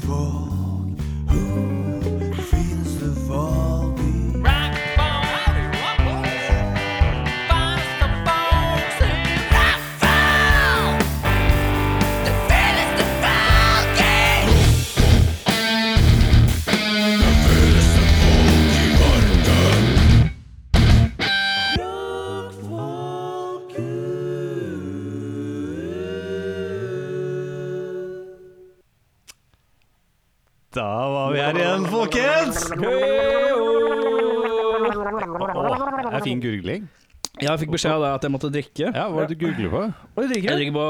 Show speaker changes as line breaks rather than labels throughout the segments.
folk? Who feels the fall beat?
Da var vi her igjen, folkens! Det er fin gurgling.
Ja, jeg fikk beskjed av deg at jeg måtte drikke.
Ja, Hva er det du googler på?
Jeg drikker på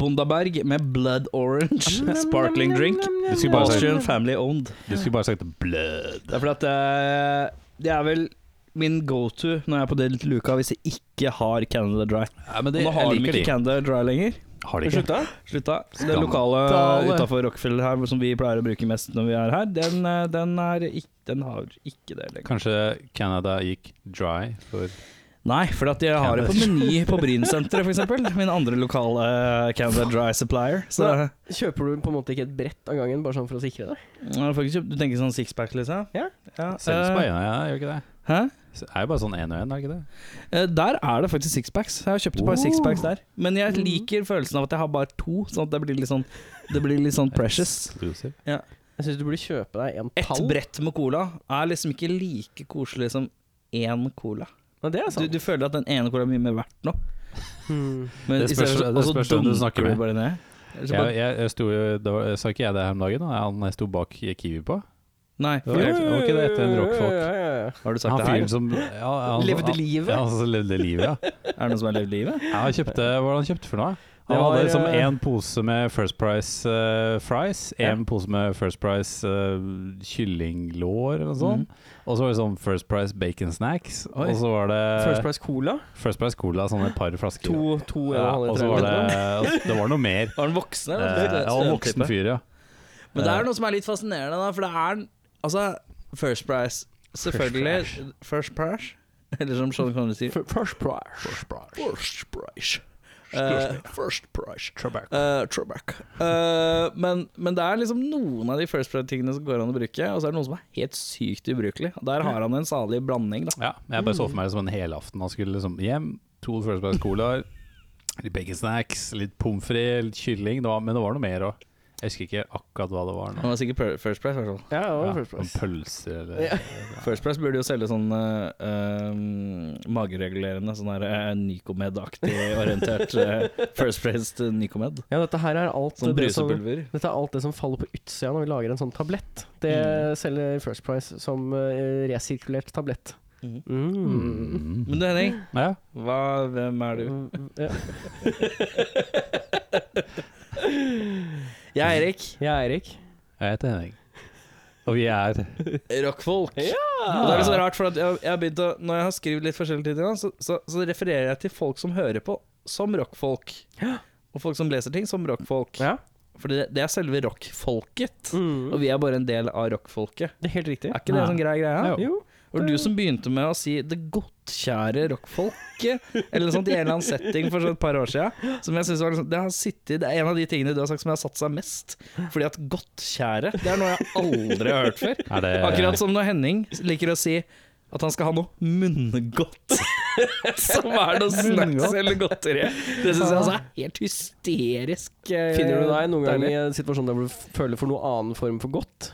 Bondaberg med Blood Orange Sparkling Drink.
Du skulle bare sagt-
Austrian Family Owned.
Du skulle bare sagt 'blød'.
Det er fordi at eh, det er vel min go-to når jeg er på den luka hvis jeg ikke har Canada Dry.
Ja, men
Og nå har de ikke Canada Dry lenger.
Har de ikke?
Slutta. Det lokale
Skandale.
utafor Rockefeller her som vi pleier å bruke mest når vi er her, den, eh, den, er ikke, den har ikke det lenger.
Kanskje Canada gikk dry for
Nei, for at jeg har det på meny på Brynsenteret f.eks. Min andre lokale eh, Canada Dry supplier. Så
Så kjøper du på en måte ikke et brett av gangen, bare sånn for å sikre deg?
jeg har faktisk kjøpt Du tenker sånn sixpack, liksom?
Ja.
ja.
Selges på
eh,
én og én, gjør ikke det?
Hæ?
Det er jo bare sånn én og én, er det ikke det?
Eh, Der er det faktisk sixpacks. Jeg har kjøpt et
Oh.
par sixpacks der. Men jeg
Mm.
liker følelsen av at jeg har bare to, sånn at det blir litt sånn, det blir litt sånn precious.
Exclusive.
Jeg syns du burde kjøpe deg en
Ett
pall.
brett med cola er liksom ikke like koselig som én cola.
Ja, det er
Du,
sant.
du føler at den ene cola er mye mer verdt nå.
Hmm.
Men
Det
i
spørs-
stedet for-
det
og så
spørs hvem du
dunker
snakker
du
med.
Bare ned. Eller så
Jeg,
bare,
jeg, jeg sto jo, det var, Sa ikke jeg det her om dagen? da? Han jeg sto bak Kiwi på?
nei,
Det var,
for-
var ikke det etter en
Ja,
rockfolk?
ja, ja, ja.
har du sagt
Han
det her?
fyren som ja, han,
Levde livet?
Ja, han som levde livet, ja.
Er det noen som har levd livet?
Ja, han kjøpte, Hva var det han kjøpte for noe? Han
Det var,
hadde liksom
eh,
én pose med First Price eh, fries, én pose med First Price eh, kyllinglår eller noe sånt. Og så var det sånn First Price bacon snacks,
Oi.
og så var det
First Price Cola.
First Price Cola, sånn et par flasker.
To, to en
ja,
og en halv
og så var det og Det var noe mer.
Var den voksen?
Eh,
eller?
Ja, og voksen fyr, ja.
Men det er noe som er litt fascinerende, da, for det er Altså, First Price, selvfølgelig. First Price? Eller som Sean Connery sier
First Price.
First Price. Eh, first Price. Eh, Trebek. Eh, men, men det er liksom noen av de First Price-tingene som går an å bruke, og så er det noen som er helt sykt ubrukelig. Og Der har han en salig blanding, da.
Ja, jeg bare så for meg det som en helaften. Han skulle liksom hjem, to First Price Colaer, litt bacon snacks, litt pommes frites, litt kylling. Det var, men det var noe mer òg. Jeg husker ikke akkurat hva det var nå.
Han var sikkert per- First Price, i hvert fall.
Ja, det var
Ja,
First Price.
sånn pølser eller
Ja.
First Price burde jo selge sånn eh, eh, mageregulerende, sånn her eh, Nycomed-aktig orientert eh, First Price til Nycomed.
Ja, dette her er alt
Sånn
det som
brusepulver.
dette er alt det som faller på utsida når vi lager en sånn tablett. Det selger First Price som eh, resirkulert tablett.
Mhm.
Mm.
Men du Henning,
Hmm. Ja.
hva, hvem er du?
Ja.
Jeg er Erik.
Jeg er Erik.
Jeg heter Henning. Og vi er
Rockfolk. Og det er litt så rart, for at jeg, jeg har begynt å, når jeg har skrevet litt forskjellige ting, så, så, så refererer jeg til folk som hører på, som rockfolk. Og folk som leser ting, som rockfolk.
Ja.
For det, det er selve rockfolket.
Mm.
Og vi er bare en del av rockfolket.
Det er helt riktig.
Er ikke det
Nei.
sånn grei greie?
Jo.
Og du som begynte med å si 'det godtkjære rockfolket', eller noe sånt i en eller annen setting for så et par år siden, som jeg synes var liksom, det, har sittet, det er en av de tingene du har sagt som jeg har satt seg mest. Fordi at 'godtkjære' det er noe jeg aldri har hørt før.
er det,
Akkurat som når Henning liker å si at han skal ha noe munngodt. Som er noe snacks eller godteri. Det syns jeg altså er helt hysterisk. eh,
Finner du deg noen gang
deilig.
i en situasjon der hvor du f- føler for noe annen form for godt?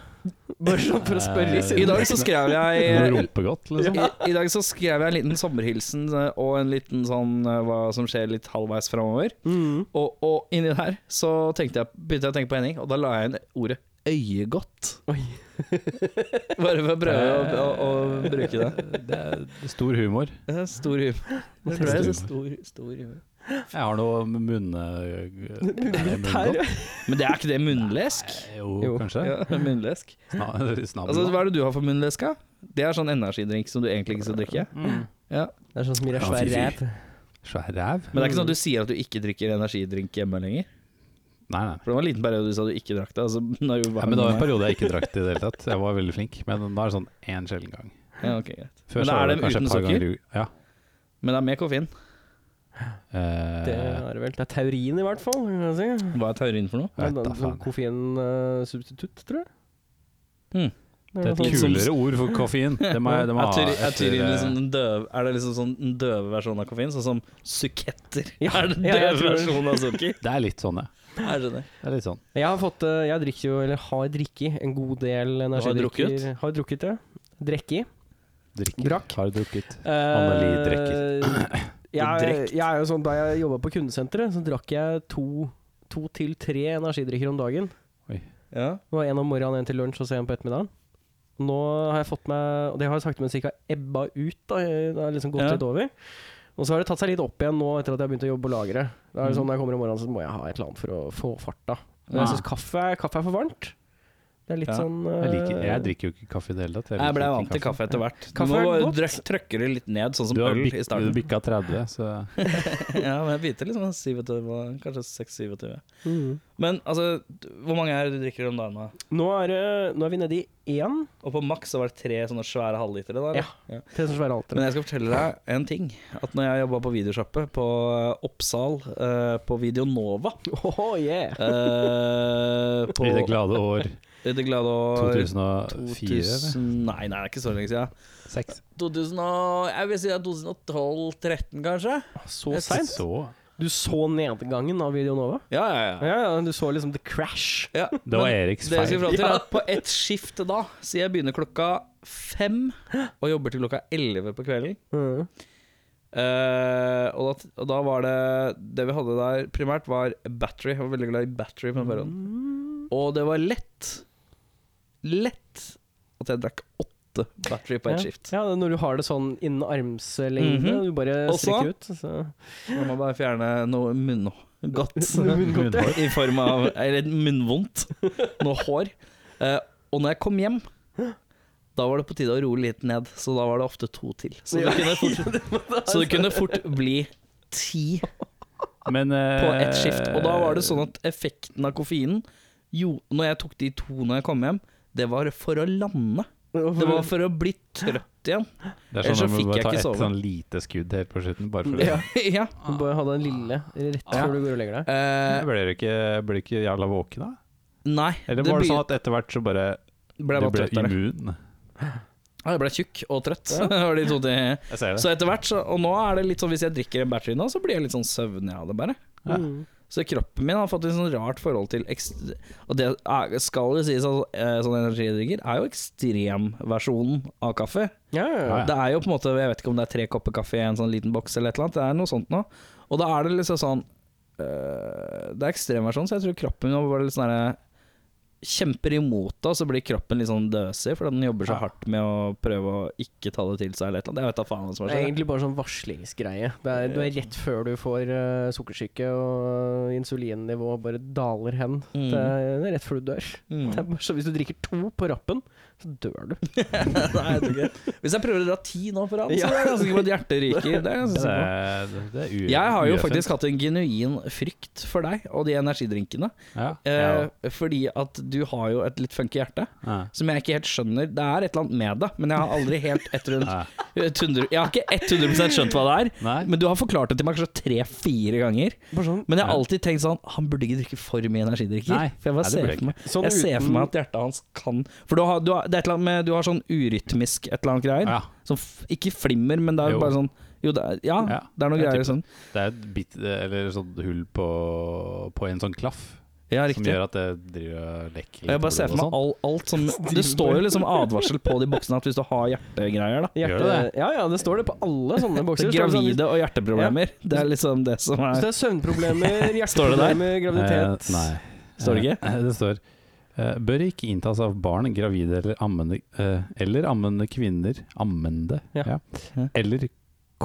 Bare sånn for å spørre.
Eh,
I dag så skrev
Noe
jeg
rumpegodt, liksom?
i, I dag så skrev jeg en liten sommerhilsen eh, og en liten sånn eh, hva som skjer litt halvveis framover.
Mm.
Og, og inni der så tenkte jeg, begynte jeg å tenke på Henning, og da la jeg inn ordet øyegodt.
Oi.
Bare for å prøve å, å, å bruke det.
Det er stor humor.
Det er Stor humor. Det tror jeg er stor, stor humor.
Jeg har noe munne...
Her,
Munngodt?
ja.
Men det er ikke det munnlesk?
Jo,
Jo.
kanskje?
Ja, munnlesk.
Sna
Altså,
Snabelgodt.
hva er det du har for munnlesk? da? Det er sånn energidrink som du egentlig ikke skal drikke.
Mm.
Ja.
Det er sånn som gir deg
Ja,
svær
fy, fy.
ræv.
Svær ræv?
Men det er ikke sånn at du sier at du ikke drikker energidrink hjemme lenger.
Nei, nei.
For det var en liten periode du sa du ikke drakk det. Altså, nå er jo
Ja, men det var en periode jeg ikke drakk det i det hele tatt. Jeg var veldig flink, men nå er det sånn én sjelden gang.
Ja, ok, greit.
Før
Men
så
da
var
er
det
det
kanskje et
uten
par
sukker?
ganger i u- Ja.
Men det er med koffein.
Eh,
Det er det vel. Det er taurin, i hvert fall. Kan jeg si.
Hva er taurin for noe?
Det
vet
er
da
en sånn
faen.
koffeinsubstitutt, eh, tror jeg.
Hmm.
Mm. Det er et
noe
litt
sånt.
kulere ord for koffein. Det må, jeg- eh, det må
Er
ha
taurin- er
et-
taurin liksom den døve Er det liksom sånn den døve versjonen av koffein? Sånn som suketter
Ja,
er den
ja, jeg
døve
tror det.
versjonen av sukker?
Det er litt sånn, ja.
Jeg skjønner.
Det er litt sånn.
Jeg har fått eh, Jeg drikker jo, eller har drikket, en god del energidrikker.
drukket?
Har drukket, ja. Drekket.
Drikker.
Drakk.
Har drukket.
Anneli
Anneli
drikker. Eh, jeg,
Drekt.
jeg er jo sånn, da jeg jobba på kundesenteret, så drakk jeg to, to til tre energidrikker om dagen.
Ja.
Det var en om morgenen, en til lunsj og så en på ettermiddagen. Nå har jeg fått meg Og det har sakte, men sikkert ebba ut. Da. Det har liksom gått
Ja.
litt over. Og så har det tatt seg litt opp igjen nå etter at jeg har begynt å jobbe på lageret. Da er det sånn, når jeg kommer om morgenen, så må jeg ha et eller annet for å få farta. Men
Ja.
jeg syns kaffe, er- kaffe er for varmt. Det er litt
Ja.
sånn
Jeg, liker,
eh,
jeg drikker jo ikke kaffe i det hele tatt. Jeg
Jeg
liker
ble
ikke
vant til kaffe etter hvert. Du
Kaffe
må
er
bare
godt.
drøk- trøkke det litt ned, sånn som
Du har
øl
bik-
i
du
starten.
bikka 30, så
ja, men jeg begynte liksom 27, var kanskje 26-27.
Mm.
Men altså, d- hvor mange er det du drikker om dagen? da?
Nå, er, det- nå er vi nede i én.
Og på maks så var det tre sånne svære halvlitere. da, eller?
Ja. Tre som svære alter.
Men jeg skal fortelle deg en ting. At når jeg jobba på videosjappe på Oppsal, eh, på Videonova
Oh, yeah.
eh, på,
I det glade år
I det glade år
2004, eller?
2000 Nei, nei, det er ikke så lenge siden. 2000 og, jeg vil si det er 2012-2013, kanskje.
Så
Jeg
seint?
Så
Du så nedgangen av Videonova?
Ja, ja, ja.
Ja, ja, du så liksom the crash.
ja.
Det var Eriks
Det jeg skal
feil.
fram til er at På ett skift da, så jeg begynner klokka fem og jobber til klokka elleve på kvelden.
Mm.
Eh, og, da, og da var det Det vi hadde der primært, var battery. Jeg var veldig glad i battery på den morgenen. Og det var lett Lett at jeg drakk åtte battery på ett
ja.
skift.
Ja, det er når du har det sånn innen armslengde,
Mhm.
du bare
Og så-
strekker ut. Så.
Jeg må bare fjerne noe munngodt.
Munngodt, ja.
I form av Eller munnvondt. Noe hår. Eh, og når jeg kom hjem, da var det på tide å roe litt ned, så da var det ofte to til. Så det kunne fort, så det kunne fort bli ti
Men eh,
på ett skift. Og da var det sånn at effekten av koffeinen Jo, når jeg tok de to når jeg kom hjem, det var for å lande. Det var for å bli trøtt igjen.
Det er sånn
Ellers så
at man
fikk
bare
jeg
tar
ikke
ett
sove.
sånn lite skudd helt på slutten, bare for
Ja.
det.
ja.
Du bare ha den lille rett
Ja.
før du går og legger deg.
Eh,
Ble dere ikke, ble dere ikke jævla våkne? da?
nei.
Eller var det
begy-
sånn at etter hvert så bare
ble
Du
jeg
ble
bare trøttere.
immun?
Ja, Jeg ble tjukk og trøtt. Det var de to ting.
Jeg ser det.
Så etter hvert, så, og nå er det litt sånn hvis jeg drikker en battery nå, så blir jeg litt sånn søvnig av det bare.
Ja.
Mm.
Så kroppen min har fått et sånn rart forhold til ekst- Og det er, skal jo sies at eh, sånn energidrikker er jo ekstremversjonen av kaffe.
Ja, ja, ja.
Ja,
Det er jo på en måte, jeg vet ikke om det er tre kopper kaffe i en sånn liten boks eller et eller annet, det er noe sånt nå. Og da er det liksom sånn øh, Det er ekstremversjon, så jeg tror kroppen min var litt sånn herre Kjemper imot det, og så blir kroppen litt sånn døsig fordi den jobber så
Ja.
hardt med å prøve å ikke ta det til seg eller et eller annet. Jeg vet da faen hva som har
Det er
skjedd.
egentlig bare sånn varslingsgreie. Det er, du er rett før du får eh, sukkersyke og insulinnivået bare daler hen.
Mm.
Det, er, det er rett før du dør.
Mm.
Det er bare, så hvis du drikker to på rappen, så dør du.
Nei, jeg tror ikke. Hvis jeg prøver å dra ti nå for han, så
Ja.
er jeg ganske sikker på at hjertet ryker. Det er jeg
Det
ganske sikker på.
er, det er u-
Jeg har jo
ueffent.
faktisk hatt en genuin frykt for deg og de energidrinkene.
ja.
Eh, fordi at du har jo et litt funky hjerte.
Ja.
som jeg ikke helt skjønner. Det er et eller annet med det, men jeg har aldri helt et rundt,
Ja.
et hundre- Jeg har ikke 100 skjønt hva det er,
Nei.
men du har forklart det til meg kanskje tre-fire ganger.
Bare sånn,
Men jeg har alltid tenkt sånn Han burde ikke drikke for mye energidrikker.
Nei,
for jeg, bare
nei, det burde
ser
jeg
for meg,
Sånn
jeg ser
uten-
for meg at hjertet hans kan For du har, du har, det er et eller annet med, du har sånn urytmisk et eller annet greier.
Ja.
Som f ikke flimmer, men det er
Jo.
jo bare sånn Jo, det er, ja,
Ja,
det er noe
jeg
greier
tipper
sånn.
Det er et bit, eller sånn hull på, på en sånn klaff
Ja,
som
riktig.
gjør at det driver og lekker litt.
Og jeg bare ser
på
for
blodet
meg
og sånn.
all, alt som Det står jo liksom advarsel på de boksene at hvis du har hjertegreier, da
Gjør
hjerte,
det det?
Ja, ja, det står det på alle sånne bokser.
Så
Står det sånn,
gravide og hjerteproblemer. Det er liksom det som
Hvis
er
det er søvnproblemer,
Står det der?
hjerteproblemer, graviditet
Eh, nei.
Står det
Eh, Det står eh, Bør ikke inntas av barn, gravide eller ammende, eh, eller ammende kvinner Ammende,
Ja.
ja.
Ja.
Eller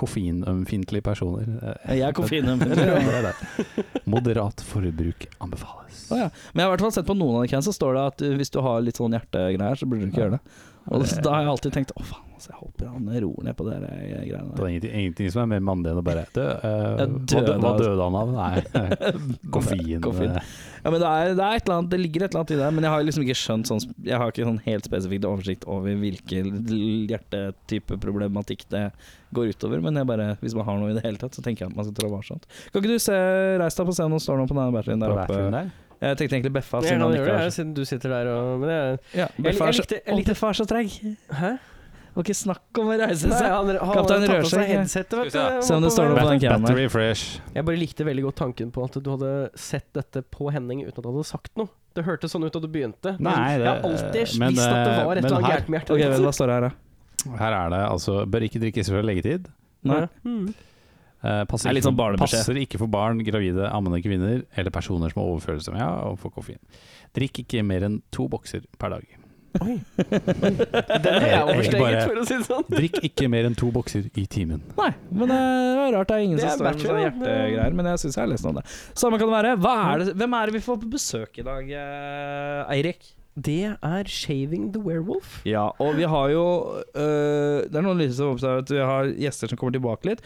koffeinømfintlige personer. Eh,
Jeg er
det
koffeinømfintlig.
er det. Moderat forbruk anbefales.
eh, Å ja. Men jeg har i hvert fall sett på noen av de kan, så står det at uh, hvis du har litt sånn hjertegreier, så burde du ikke gjøre det. Og da har jeg alltid tenkt å faen, altså, jeg håper han roer ned på de der eh, greiene
Det
der.
er ingenting, ingenting som er mer mandig enn å bare dø, eh,
Ja,
hva, dø,
døde
hva
av-
døde han av? Nei, koffein.
Koffein.
eh,
Ja, men det, er, det, er et eller annet, det ligger et eller annet i det, men jeg har liksom ikke skjønt sånn Jeg har ikke sånn helt spesifikt oversikt over hvilken hjertetype problematikk det går utover. Men jeg bare, hvis man har noe i det hele tatt, så tenker jeg at man skal trå varsomt. Kan ikke du se, reis deg opp og se om det står noe på den batterien
på
der oppe?
bathroom der.
Jeg tenkte egentlig Beffa.
Jeg
Siden
kan
han
gjøre
ikke
det,
har
jeg, siden du sitter der og Men jeg
ja,
jeg
Beffa er så,
likte- jeg
Å,
likte-
Beffa er så treg.
Hæ?
Og ikke snakk om å reise
Nei,
seg.
han, han
Kaptein
hadde tatt av
Rødskjegg,
seg
ja.
headsetet, vet du.
Skal vi
og
Se om det
på
står
vei-
noe på den cam her.
Battery fresh.
Jeg bare likte veldig godt tanken på at du hadde sett dette på Henning uten at du hadde sagt noe. Det hørtes sånn ut da du begynte.
Nei, det-
jeg har alltid
men,
visst at det
eh,
var
men
et eller annet
her-
gærent med hjertet.
Ok, vel, hva står det her, da?
Her er det altså Bør ikke drikkes før leggetid.
Nei.
Mm.
Eh, passer,
Det er litt
ikke
sånn
for,
barnebeskjed.
passer ikke for barn, gravide, ammende kvinner eller personer som har overfølelse med ja, overfor koffein. Drikk ikke mer enn to bokser per dag.
Oi. Den har jeg
Jeg- jeg
oversteget,
bare-
for å si det sånn.
Drikk ikke mer enn to bokser i timen.
Nei, men eh, det var rart det er ingen
Det
som
er
står med
bachelor,
sånne
da.
hjertegreier. Men jeg syns jeg har lest noe om det. Samme kan det være. Hva er det, hvem er det vi får på besøk i dag, eh, Eirik?
Det er 'Shaving the Werewolf'.
Ja, og vi har jo eh, Det er noen lyder som oppdager at vi har gjester som kommer tilbake litt.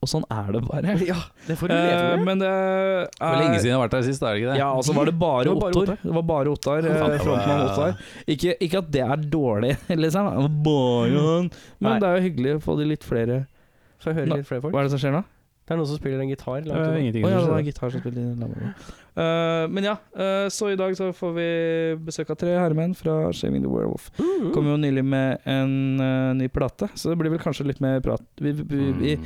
Og sånn er det bare.
Ja, det får du leve
Eh,
med.
men det er
Det var lenge siden jeg har vært her sist, er det ikke det?
Ja, og så var det bare
Det var bare
Ottar.
Ottar.
Det var bare Ottar. eh,
Faen, det var-
Frontmann Ottar. Ikke, ikke at det er dårlig, liksom. Det var Bare han. Men
Mm. Nei.
det er jo hyggelig å få de litt flere
Får jeg
Nå-
høre litt flere folk?
Hva er det som skjer nå?
Det er noen som spiller en gitar.
Det var
Langt
ingenting
Å ja,
som
det var
skjedde.
gitar som spilte i lammet. Eh, men ja, eh, så i dag så får vi besøk av tre herremenn fra Shaming the Werewolf.
mm.
Kom jo nylig med en eh, ny plate, så det blir vel kanskje litt mer prat. Vi, vi, vi,
Mm.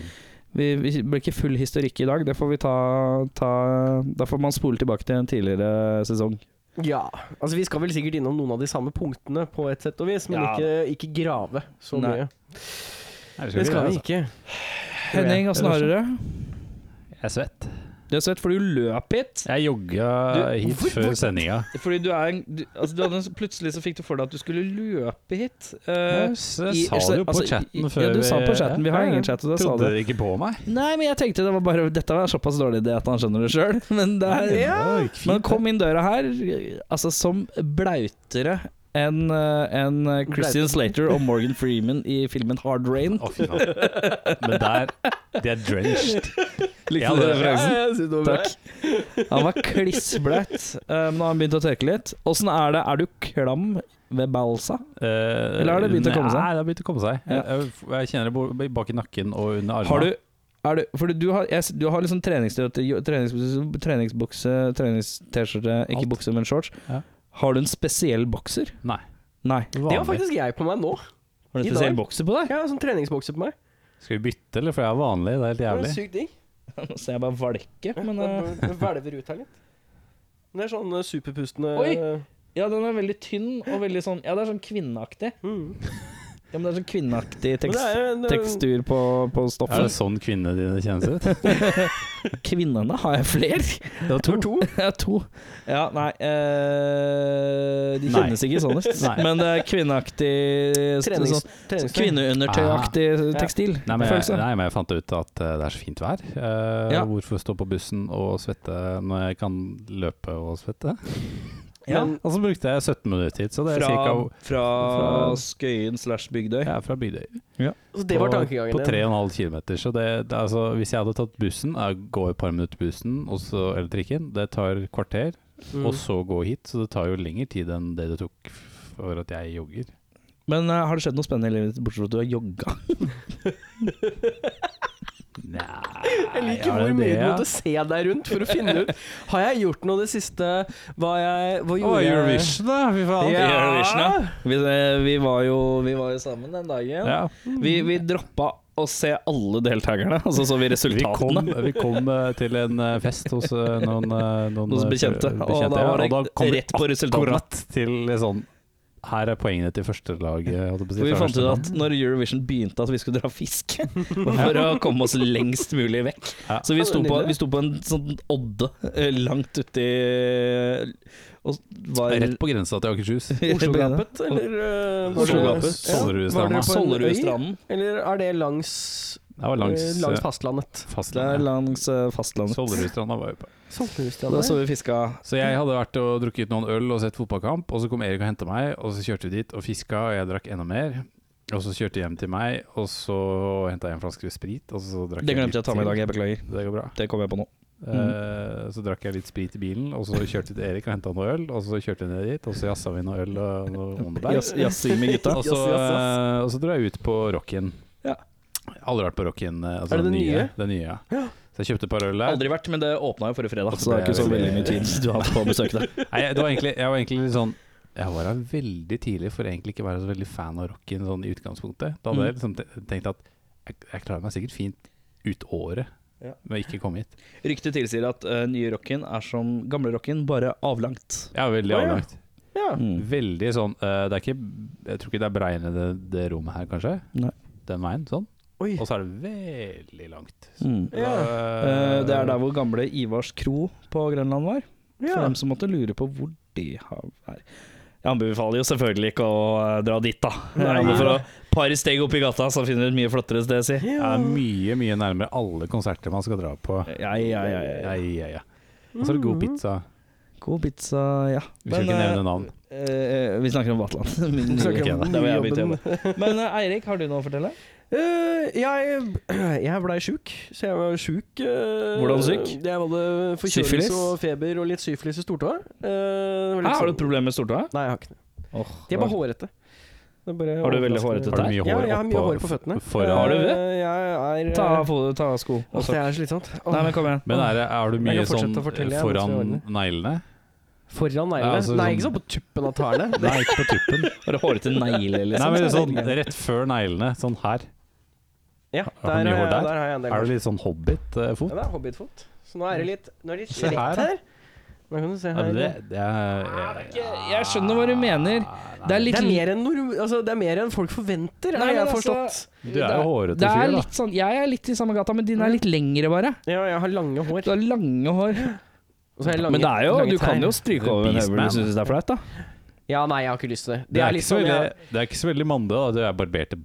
vi, vi blir ikke full historikk i dag, det får vi ta, ta Da får man spole tilbake til en tidligere sesong.
Ja. Altså, vi skal vel sikkert innom noen av de samme punktene på et sett og vis, men
Ja.
ikke, ikke grave så
Nei.
mye.
Nei,
Det skal vi
altså.
ikke.
Henning, åssen har du det?
Jeg er svett.
Du er svett fordi du løp hit.
Jeg jogga
Du-
hit
hvorfor-
før sendinga.
Fordi du er en du, altså, du hadde en, Plutselig så fikk du for deg at du skulle løpe hit. Eh,
Jeg s- jeg
i-
sa det jo på
altså, i-
chatten før
Ja, du sa på chatten. Vi har
Ja, ja.
ingen chat, og da sa
Trodde
du
dere ikke på meg?
Nei, men jeg tenkte det var bare Dette var såpass dårlig idé at han skjønner det sjøl. Men det er
det gikk
Men
fint.
kom inn døra her Altså som blautere enn eh, enn Christian Slater og Morgan Freeman i filmen Hard Rain.
Å, fy faen. Men der De er drenched.
Likte
Ja,
du
det-
referansen?
jeg synes det var
Takk. Han var klissblaut, eh, men nå har han begynt å tørke litt. Åssen er det? Er du klam ved balsa?
Eller
har det begynt å komme seg?
Eh, Nei, det har begynt å komme seg.
Ja.
Jeg, jeg, jeg kjenner det bo- bak i nakken og under armene.
Har du er du, fordi du har, jeg, s- du har liksom treningstøyte, jo- treningsbukse, treningsbukse treningst-skjorte, ikke
Alt.
bukse, men shorts.
Ja.
Har du en spesiell bokser?
Nei.
Nei.
Det har faktisk jeg på meg nå.
Har du
I
en spesiell
dag?
bokser på deg?
Jeg har sånn treningsbokse på meg.
Skal vi bytte, eller? For jeg er vanlig. Det er helt
Det er
jævlig.
sykt digg.
Nå ser jeg bare valke, men eh,
Den den hvelver ut her litt. Det er sånn eh, superpustende
Oi!
eh,
Ja, den er veldig tynn og veldig sånn Ja, det er sånn kvinneaktig.
Mm.
Ja, men det er sånn kvinneaktig
Men
tekst,
det er en, eh,
tekstur på, på
Er det
stoffet.
sånn kvinnene dine kjennes ut?
Kvinnene har jeg flere.
Det var to.
to.
Jeg har to. Ja, nei eh, De
Nei.
kjennes ikke sånn ut.
Nei.
Men det er kvinneaktig
Trenings,
sånn,
treningstøy.
Kvinneundertøyaktig
Ja.
tekstil.
Ah. Nei men, jeg,
følelse.
nei, men jeg fant ut at eh, det er så fint vær. Eh,
Ja.
Hvorfor stå på bussen og svette når jeg kan løpe og svette?
Ja.
Og så brukte jeg 17 minutter hit, så det er
Fra,
cirka
fra
fra-
Skøyen slash Bygdøy.
jeg er fra Bygdøy.
Så altså, det var
På-
tankegangen
På 3,5 km. Så det, det, er altså, hvis jeg hadde tatt bussen, jeg går et par minutter på bussen og så, eller trikken, det tar kvarter,
Mm.
og så gå hit. Så det tar jo lengre tid enn det det tok f- for at jeg jogger.
Men eh, har det skjedd noe spennende i livet ditt, bortsett fra at du har jogga?
Nei,
Jeg liker hvor mye du måtte se deg rundt for å finne ut Har jeg gjort noe det siste Hva, jeg, hva gjorde jeg
da! Fy faen.
Ja.
Eurovision, ja. Vi, eh, vi, var jo, vi var jo sammen den dagen.
Ja.
Vi, vi droppa å se alle deltakerne, og så så vi
Vi kom,
resultatene.
vi kom eh, til en eh, fest hos eh, noen, eh, noen,
Noen som
eh,
bekjente. Og da
ja,
var
og da kom
det
vi
rett på resultatene.
akkurat til eh, sånn Her er poengene til førstelaget. holdt jeg på å si,
For vi
fra
fant ut
første
at når Eurovision begynte, at vi skulle dra fiske. For å komme oss lengst mulig vekk.
Ja.
Så vi sto på, vi sto på en sånn odde eh, langt uti eh, Og var
Rett på grensa til Akershus.
Oslogapet, eller eh, var det-
Oslogapet.
Ja.
Solruestranda.
Var dere på en øy,
Solrudstranden.
Eller er det langs,
Det var langs,
eh, langs fastlandet?
eh,
Det er
fastlandet.
langs eh, fastlandet.
Solrudstranda var vi på.
Saltmus,
Da så vi fiska
Så jeg hadde vært og drukket noen øl og sett fotballkamp, og så kom Erik og hentet meg, og så kjørte vi dit og fiska, og jeg drakk enda mer. Og så kjørte jeg hjem til meg, og så henta jeg en flaske sprit, og så drakk
Det glemte jeg
litt
å ta med i
til.
dag, jeg beklager.
Det går bra.
Det kom jeg på nå.
Eh, så drakk jeg litt sprit i bilen, og så kjørte jeg til Erik og henta noe øl, og så kjørte jeg ned dit, og så jassa vi noe øl og noe
Jazz-
Wonderberg.
Jazzing med gutta.
Og så,
Yes, yes, yes.
eh, og så dro jeg ut på Rocken.
Ja.
Jeg har Aldri vært på Rocken. eh, Altså
Er det
den
den nye?
Den nye ja. Så jeg kjøpte et par øl der.
Aldri vært, men det åpna jo forrige fredag,
Altså,
så det er ikke
det er
så
veldig-
veldig mye tid du har hatt på å besøke det.
Nei, jeg, det var egentlig, jeg var egentlig litt sånn Jeg var her veldig tidlig for egentlig ikke å være så veldig fan av Rocken sånn i utgangspunktet. Da hadde jeg liksom te- tenkt at jeg, jeg klarer meg sikkert fint ut året
Ja.
med å ikke komme hit.
Ryktet tilsier at eh, nye rocken er som gamle rocken, bare avlangt.
Jeg er veldig
Å, ja.
avlagt.
Ja.
Mm.
Veldig sånn eh, Det er ikke Jeg tror ikke det er beregnet det, det rommet her, kanskje.
Nei.
Den veien, sånn.
Oi.
Og så er det veldig langt.
Mm.
Ja.
Eh, det er der hvor gamle Ivars kro på Grønland var. For
Ja.
dem som måtte lure på hvor de har er. Jeg anbefaler jo selvfølgelig ikke å eh, dra dit, da.
Nei.
Jeg må for å par steg opp i gata, så finner du et mye flottere sted, si.
Det er mye, mye nærmere alle konserter man skal dra på.
Ja, ja, ja, ja,
Ja,
ja.
ja, ja. Og så er det
Mm.
god pizza.
God pizza, ja.
Vi skal
Men,
ikke nevne navn.
eh, eh, vi snakker om Vatland. Min
Så
nye-
ikke
kan
det var jeg
jobben-
begynte å jobbe. Men eh, Eirik, har du noe å fortelle?
Eh, jeg jeg blei sjuk, så jeg var sjuk. eh,
Hvordan syk?
Jeg hadde forkjølelse
Syfilis?
og feber og litt syfilis i stortåa. Eh, det var litt
Hæ, har du
sånn-
et problem med stortåa?
Nei, jeg har ikke det.
Åh,
De er bare hårete. Det er bare
Har du veldig
overraskende.
Har
hårete
du mye
Ja,
hår,
jeg har mye
oppå-
hår på føttene.
foran?
Har du det?
Eh, Jeg er
ta, av fo- ta av sko.
Åh,
Også.
Det er slitsomt. Åh.
Nei, men kom igjen.
Men er, det- er du
Jeg
mye
kan fortsette
sånn
å fortelle, jeg, mens vi
foran
ordner.
neglene?
Foran neglene.
Ja, altså,
Nei,
sånn-
ikke sånn på tuppen av tærne.
Nei, ikke på tuppen.
Har du hårete negler,
Nei,
liksom?
men sånn rett før neglene, sånn her.
Ja,
du
der,
mye
har
hår
jeg,
der?
der har jeg en del.
Er
hår.
du litt sånn hobbit-fot?
Ja, det er hobbitfot. Så nå er det litt Nå er det litt
Se
rett
her,
her.
da.
Nå kan du se
Ja,
her.
men det, det er
ikke- jeg skjønner hva du mener.
Nei,
Det er litt
Det er mer enn, norm- altså, det er mer enn folk forventer,
Nei,
har jeg
men altså-
forstått.
Du er jo hårete
Det er
fyr, da.
litt sånn, jeg er litt i samme gata, men din er litt lengre, bare.
Ja, jeg har lange hår.
Du har lange hår.
Og så har jeg lange,
men det er jo,
lange
du
tær.
kan jo stryke over en høvel
Beastman.
hvis du syns det er flaut, da.
Ja, nei, jeg har ikke lyst til det.
Det er,
litt
liksom,
ikke så
sånn,
veldig,
jeg-
det er ikke så veldig mandig, da. Du er barberte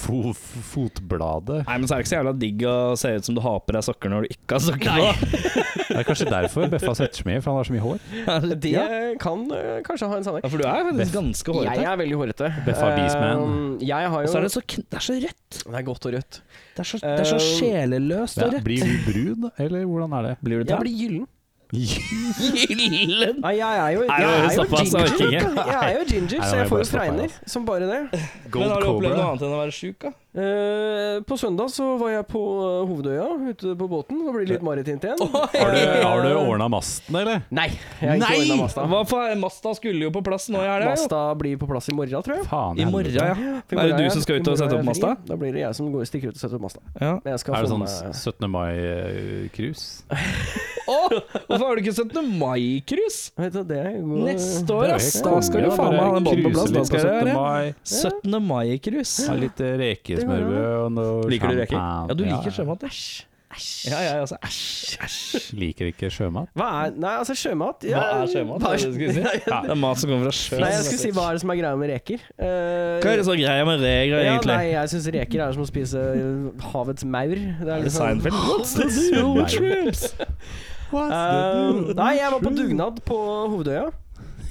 fo fotbladet.
Nei, men så er det ikke så jævla digg å se ut som du har på deg sokker når du ikke har sokker på.
Det er kanskje derfor Beffa setter seg med, for han har så mye hår.
Det
ja.
kan øh, kanskje ha en sammenheng.
ja, for du er faktisk ganske
Jeg
hårete.
er veldig hårete.
Beffa Beastman.
Eh, Jeg har
Og
jo
så er det så kn- Det er så rødt.
Det er godt og rødt.
Det er så, det er så
Eh,
sjeleløst og
Ja,
rødt.
blir du brun, eller hvordan er det?
Blir
Jeg blir gyllen.
Gyllen!
Nei, jeg er jo,
Nei,
jeg
nå er
er
det
jo
såpass, jeg orker
ginger.
ikke.
Jeg er jo ginger,
Nei, nå må
så jeg
jeg
får
bare
jo
stoppe her,
fregner
altså.
som bare det.
Men har du opplevd noe
Cobra.
annet enn å være sjuk, da?
Eh, På søndag så var jeg på eh, Hovedøya, ute på båten. Så blir det litt maritimt igjen.
Har du,
Eh,
har du ordna masten, eller?
Nei! Jeg har ikke ordnet Masta.
Hva faen? Masta skulle jo på plass nå i helga, jo.
Masta blir på plass i morgen, tror jeg.
Faen
I morgen, ja.
For i
Er det
morgen
du
jeg-
som skal ut
i
og
morgen
sette
er
opp
jeg
masta?
fri. Da blir det jeg som går, stikker ut og setter opp Masta.
ja.
Men jeg skal
Er det
få
sånn eh,
meg-
17. mai-cruise?
Å, hvorfor har du ikke 17. mai-kryss?
Vet du, det er jo
Neste år, ass! Da skal du
Ja,
faen meg ha
bare
den båten på plass. Da skal det være
mai.
17. mai-kryss.
Ha litt eh, rekesmørbrød og noe
Liker du reker?
champagne.
Ja, du
Ja,
liker sjømat. Æsj. Ja, jeg også. Æsj. æsj.
Liker ikke sjømat?
Hva er Nei, altså, sjømat
Hva
ja,
er sjømat?
hva
er
er-
det du skulle si? Det er mat som kommer fra sjøen.
Nei, jeg skulle si hva er det som er greia med reker. Eh,
Hva er det som er greia med regler,
ja,
egentlig?
nei, jeg syns reker er som å spise eh, havets maur.
Er
Det er
det
liksom
Seinfeld? What's the
deal with
trips?
Eh, Nei, jeg var på dugnad på Hovedøya.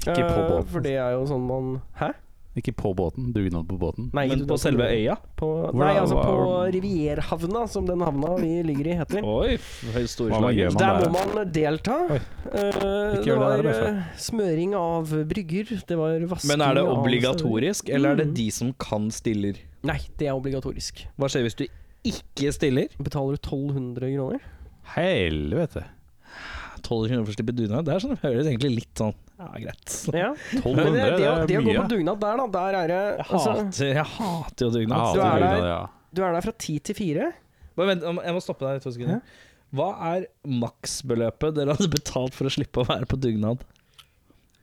Ikke på
Eh,
båten.
For det er jo sånn man Hæ?
Ikke på båten, dugnad på båten.
Nei, ikke
Men
dugnad
på selve øya?
På,
Hvor
nei,
er-
altså
hva-
på Rivierhavna, som den havna vi ligger i, heter.
Oi, høy
Hva var
storslag.
gjør man
Der
der,
må man delta.
Oi.
Eh,
Ikke
det
gjør
var
det der, Beffa.
eh, smøring av brygger, det var vasking
Men er det
av-
obligatorisk, eller er det de som kan stiller?
Nei, det er obligatorisk.
Hva skjer hvis du ikke stiller?
Betaler du 1200 kroner?
Helvete.
1200 kroner for å slippe dugnad? Det er sånn, det høres egentlig litt sånn Ja, greit.
Ja. Men
1200,
det, det,
det
å- det å
er
gå
mye.
på dugnad der, da, der er det
Jeg
altså,
hater, jeg hater jo
Jeg
dugnad.
hater
Du er der.
dugnad, ja.
Du er der fra ti til fire.
Bare vent, jeg må- jeg må stoppe deg i to sekunder. Hva er maksbeløpet dere hadde betalt for å slippe å være på dugnad?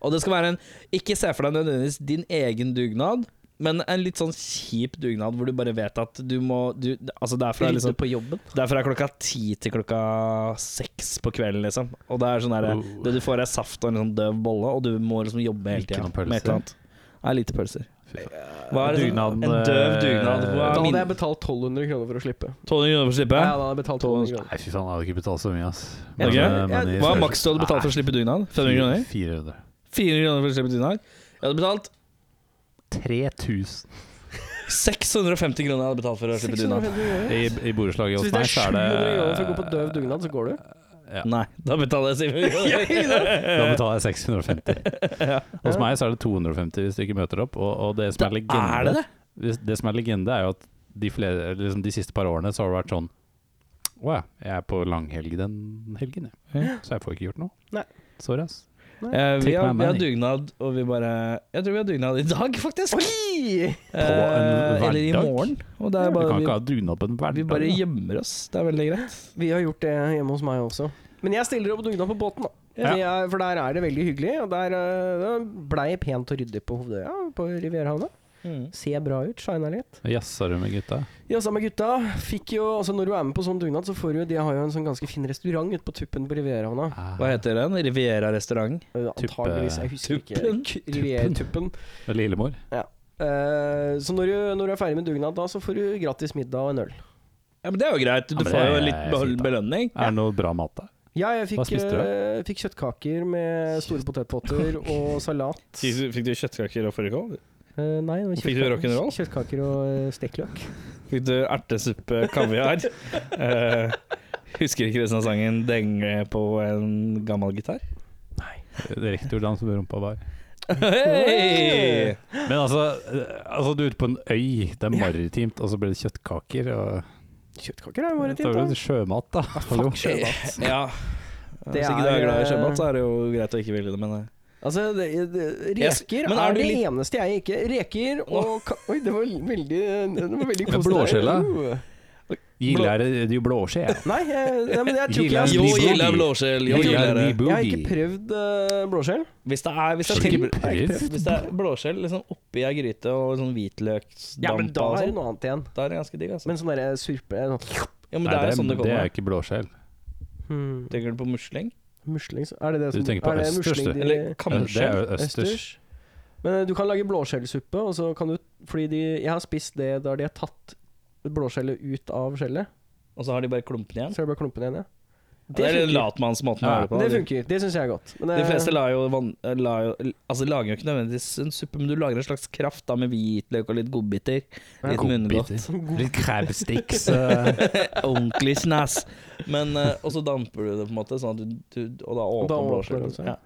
Og det skal være en Ikke se for deg nødvendigvis din egen dugnad, men en litt sånn kjip dugnad hvor du bare vet at du må du, Altså, det er fra, liksom,
Rydde på jobben.
det er fra klokka ti til klokka seks på kvelden, liksom. Og det er sånn derre
Oh.
Det du får, er saft og en sånn døv bolle, og du må liksom jobbe hele
Ikke
tida
noen pølser.
med et eller annet. er lite pølser.
Fy faen. eh,
Hva er det sånn-
Dugnaden,
en døv dugnad. Hva
Da
er
hadde
min
jeg betalt 1200 kroner for å slippe.
Tony Johnne får
Ja,
slippe?
da hadde jeg betalt 1200 kroner.
Nei, fy faen, jeg hadde ikke betalt så mye, ass.
Ok.
eh, men i
Hva
størrelse-
er maks du hadde betalt for å slippe dugnad? 500
Nei,
kroner?
400.
400 kroner for å slippe dugnad? Jeg hadde betalt
3000.
650 kroner jeg hadde betalt for å slippe dugnad.
650 kroner.
I, i borettslaget hos
Så hvis det
meg
er
så er
700 kroner for å gå på døv
det
dugnad, så går du?
Ja.
Nei, da betaler jeg 700
Da
kroner.
betaler jeg 650. Hos meg så er det 250 hvis du ikke møter opp. Og, og det, som er legende,
Er det det?
hvis- det som er legende, er jo at de, flere, eller liksom de siste par årene så har det vært sånn Å ja, jeg er på langhelg den helgen, jeg.
Ja.
Så jeg får ikke gjort noe.
Nei.
Sorry, ass.
Eh, vi,
Take
har,
my
vi har
money.
dugnad, og vi bare Jeg tror vi har dugnad i dag, faktisk. Eh,
en
eller i
hverdag?
morgen. Og
Du
det er
kan
bare,
ikke
vi,
ha dugnad på en hverdag.
vi bare
da.
gjemmer oss. Det er veldig greit.
Vi har gjort det hjemme hos meg også. Men jeg stiller opp dugnad på båten, da.
Ja.
Det er, for der er det veldig hyggelig. Og der eh, det blei pent og ryddig på Hovedøya, på Rivierhavna.
Mm.
Ser bra ut, shina litt.
Jazza du med gutta?
Ja, sammen med gutta. Fikk jo, altså Når du er med på sånn dugnad, så får du jo De har jo en sånn ganske fin restaurant ute på tuppen på Rivierhavna.
Hva heter den? Riviera restaurant?
Uh, antageligvis, jeg husker
Tuppen?
ikke. Riviertuppen.
Ah, det? Lillemor?
Eh, så når du, når du er ferdig med dugnad, da, så får du gratis middag og en øl.
Ja, men Det er jo greit. Du
Ja, men
får
det
jo
er
litt bel-
fint, da.
belønning.
Er det noe bra mat der?
Ja, jeg
Hva
fikk,
spiste du da?
eh, fikk kjøttkaker med store potetpotter og salat.
Fikk du kjøttkaker og fårikål?
Eh, nei, det var
Fikk du
kjøttkaker-
rock'n'roll?
Kjøttkaker og eh, stekeløk.
Fikk du ertesuppe, kaviar? Eh, husker ikke resten av sangen 'Denge på en gammel gitar'?
Det er riktig hvordan som rumpa var.
Hei!
Men altså, eh, altså du er ute på en øy, det er maritimt, og så blir det kjøttkaker. Og,
Kjøttkaker er jo
da
maritimt,
er det
da.
sjømat, da. Hallo.
Fuck sjømat.
Ja.
Det
Hvis ikke du er
er,
glad i
eh,
sjømat, så er det jo greit å ikke ville det, men eh,
Altså, det, det,
Yes,
reker
men er
er
du
det
litt-
eneste jeg ikke Reker og ka Oi, det var veldig, det var veldig
Men
koselig.
blåskjella?
Uh.
Gille er det jo blåskje, jeg.
Nei, jeg, nei, men jeg tror
Gilde er
ikke jeg
en
Jo,
boogie.
gilde er blåskjell. Jo,
Gilde
gilde
er
er det.
en boogie.
Jeg har ikke prøvd eh, blåskjell.
Hvis det er, hvis det er,
Slik
tilbe-
prøv.
hvis det er blåskjell liksom oppi ei gryte og sånn hvitløksdamp
Ja, men
og
da er det
sånn,
altså. noe annet igjen.
da er det ganske digg, altså.
Men sånn derre surpe sånn.
ja, men
Nei,
det er jo sånn det
det er
kommer.
ikke blåskjell.
hmm,
Tenker du på musling?
Musling så- Er det det
Du
som
tenker på
er det
østers,
musling
du.
de-
Eller
Det er
kamskjell?
jo østers.
Østers. Men eh, du kan lage blåskjellsuppe, og så kan du Fordi de Jeg har spist det der de har tatt blåskjellet ut av skjellet.
Og så har de bare klumpene igjen?
Så er det bare klumpene igjen, ja.
Det, det er latmannsmåten å
Ja,
gjøre det på.
Det funker. Det syns jeg er godt. Men,
De
eh,
fleste lager jo, vann, la jo Altså lager jo ikke nødvendigvis en suppe, men du lager en slags kraft da med hvitløk og litt godbiter. Litt munngodt.
Litt crabsticks. eh,
Ordentlig snass. Men, eh, og så damper du det, på en måte, sånn at du, du, og da
Og da
åpner
åpner
blåskjell.
den seg.
Ja.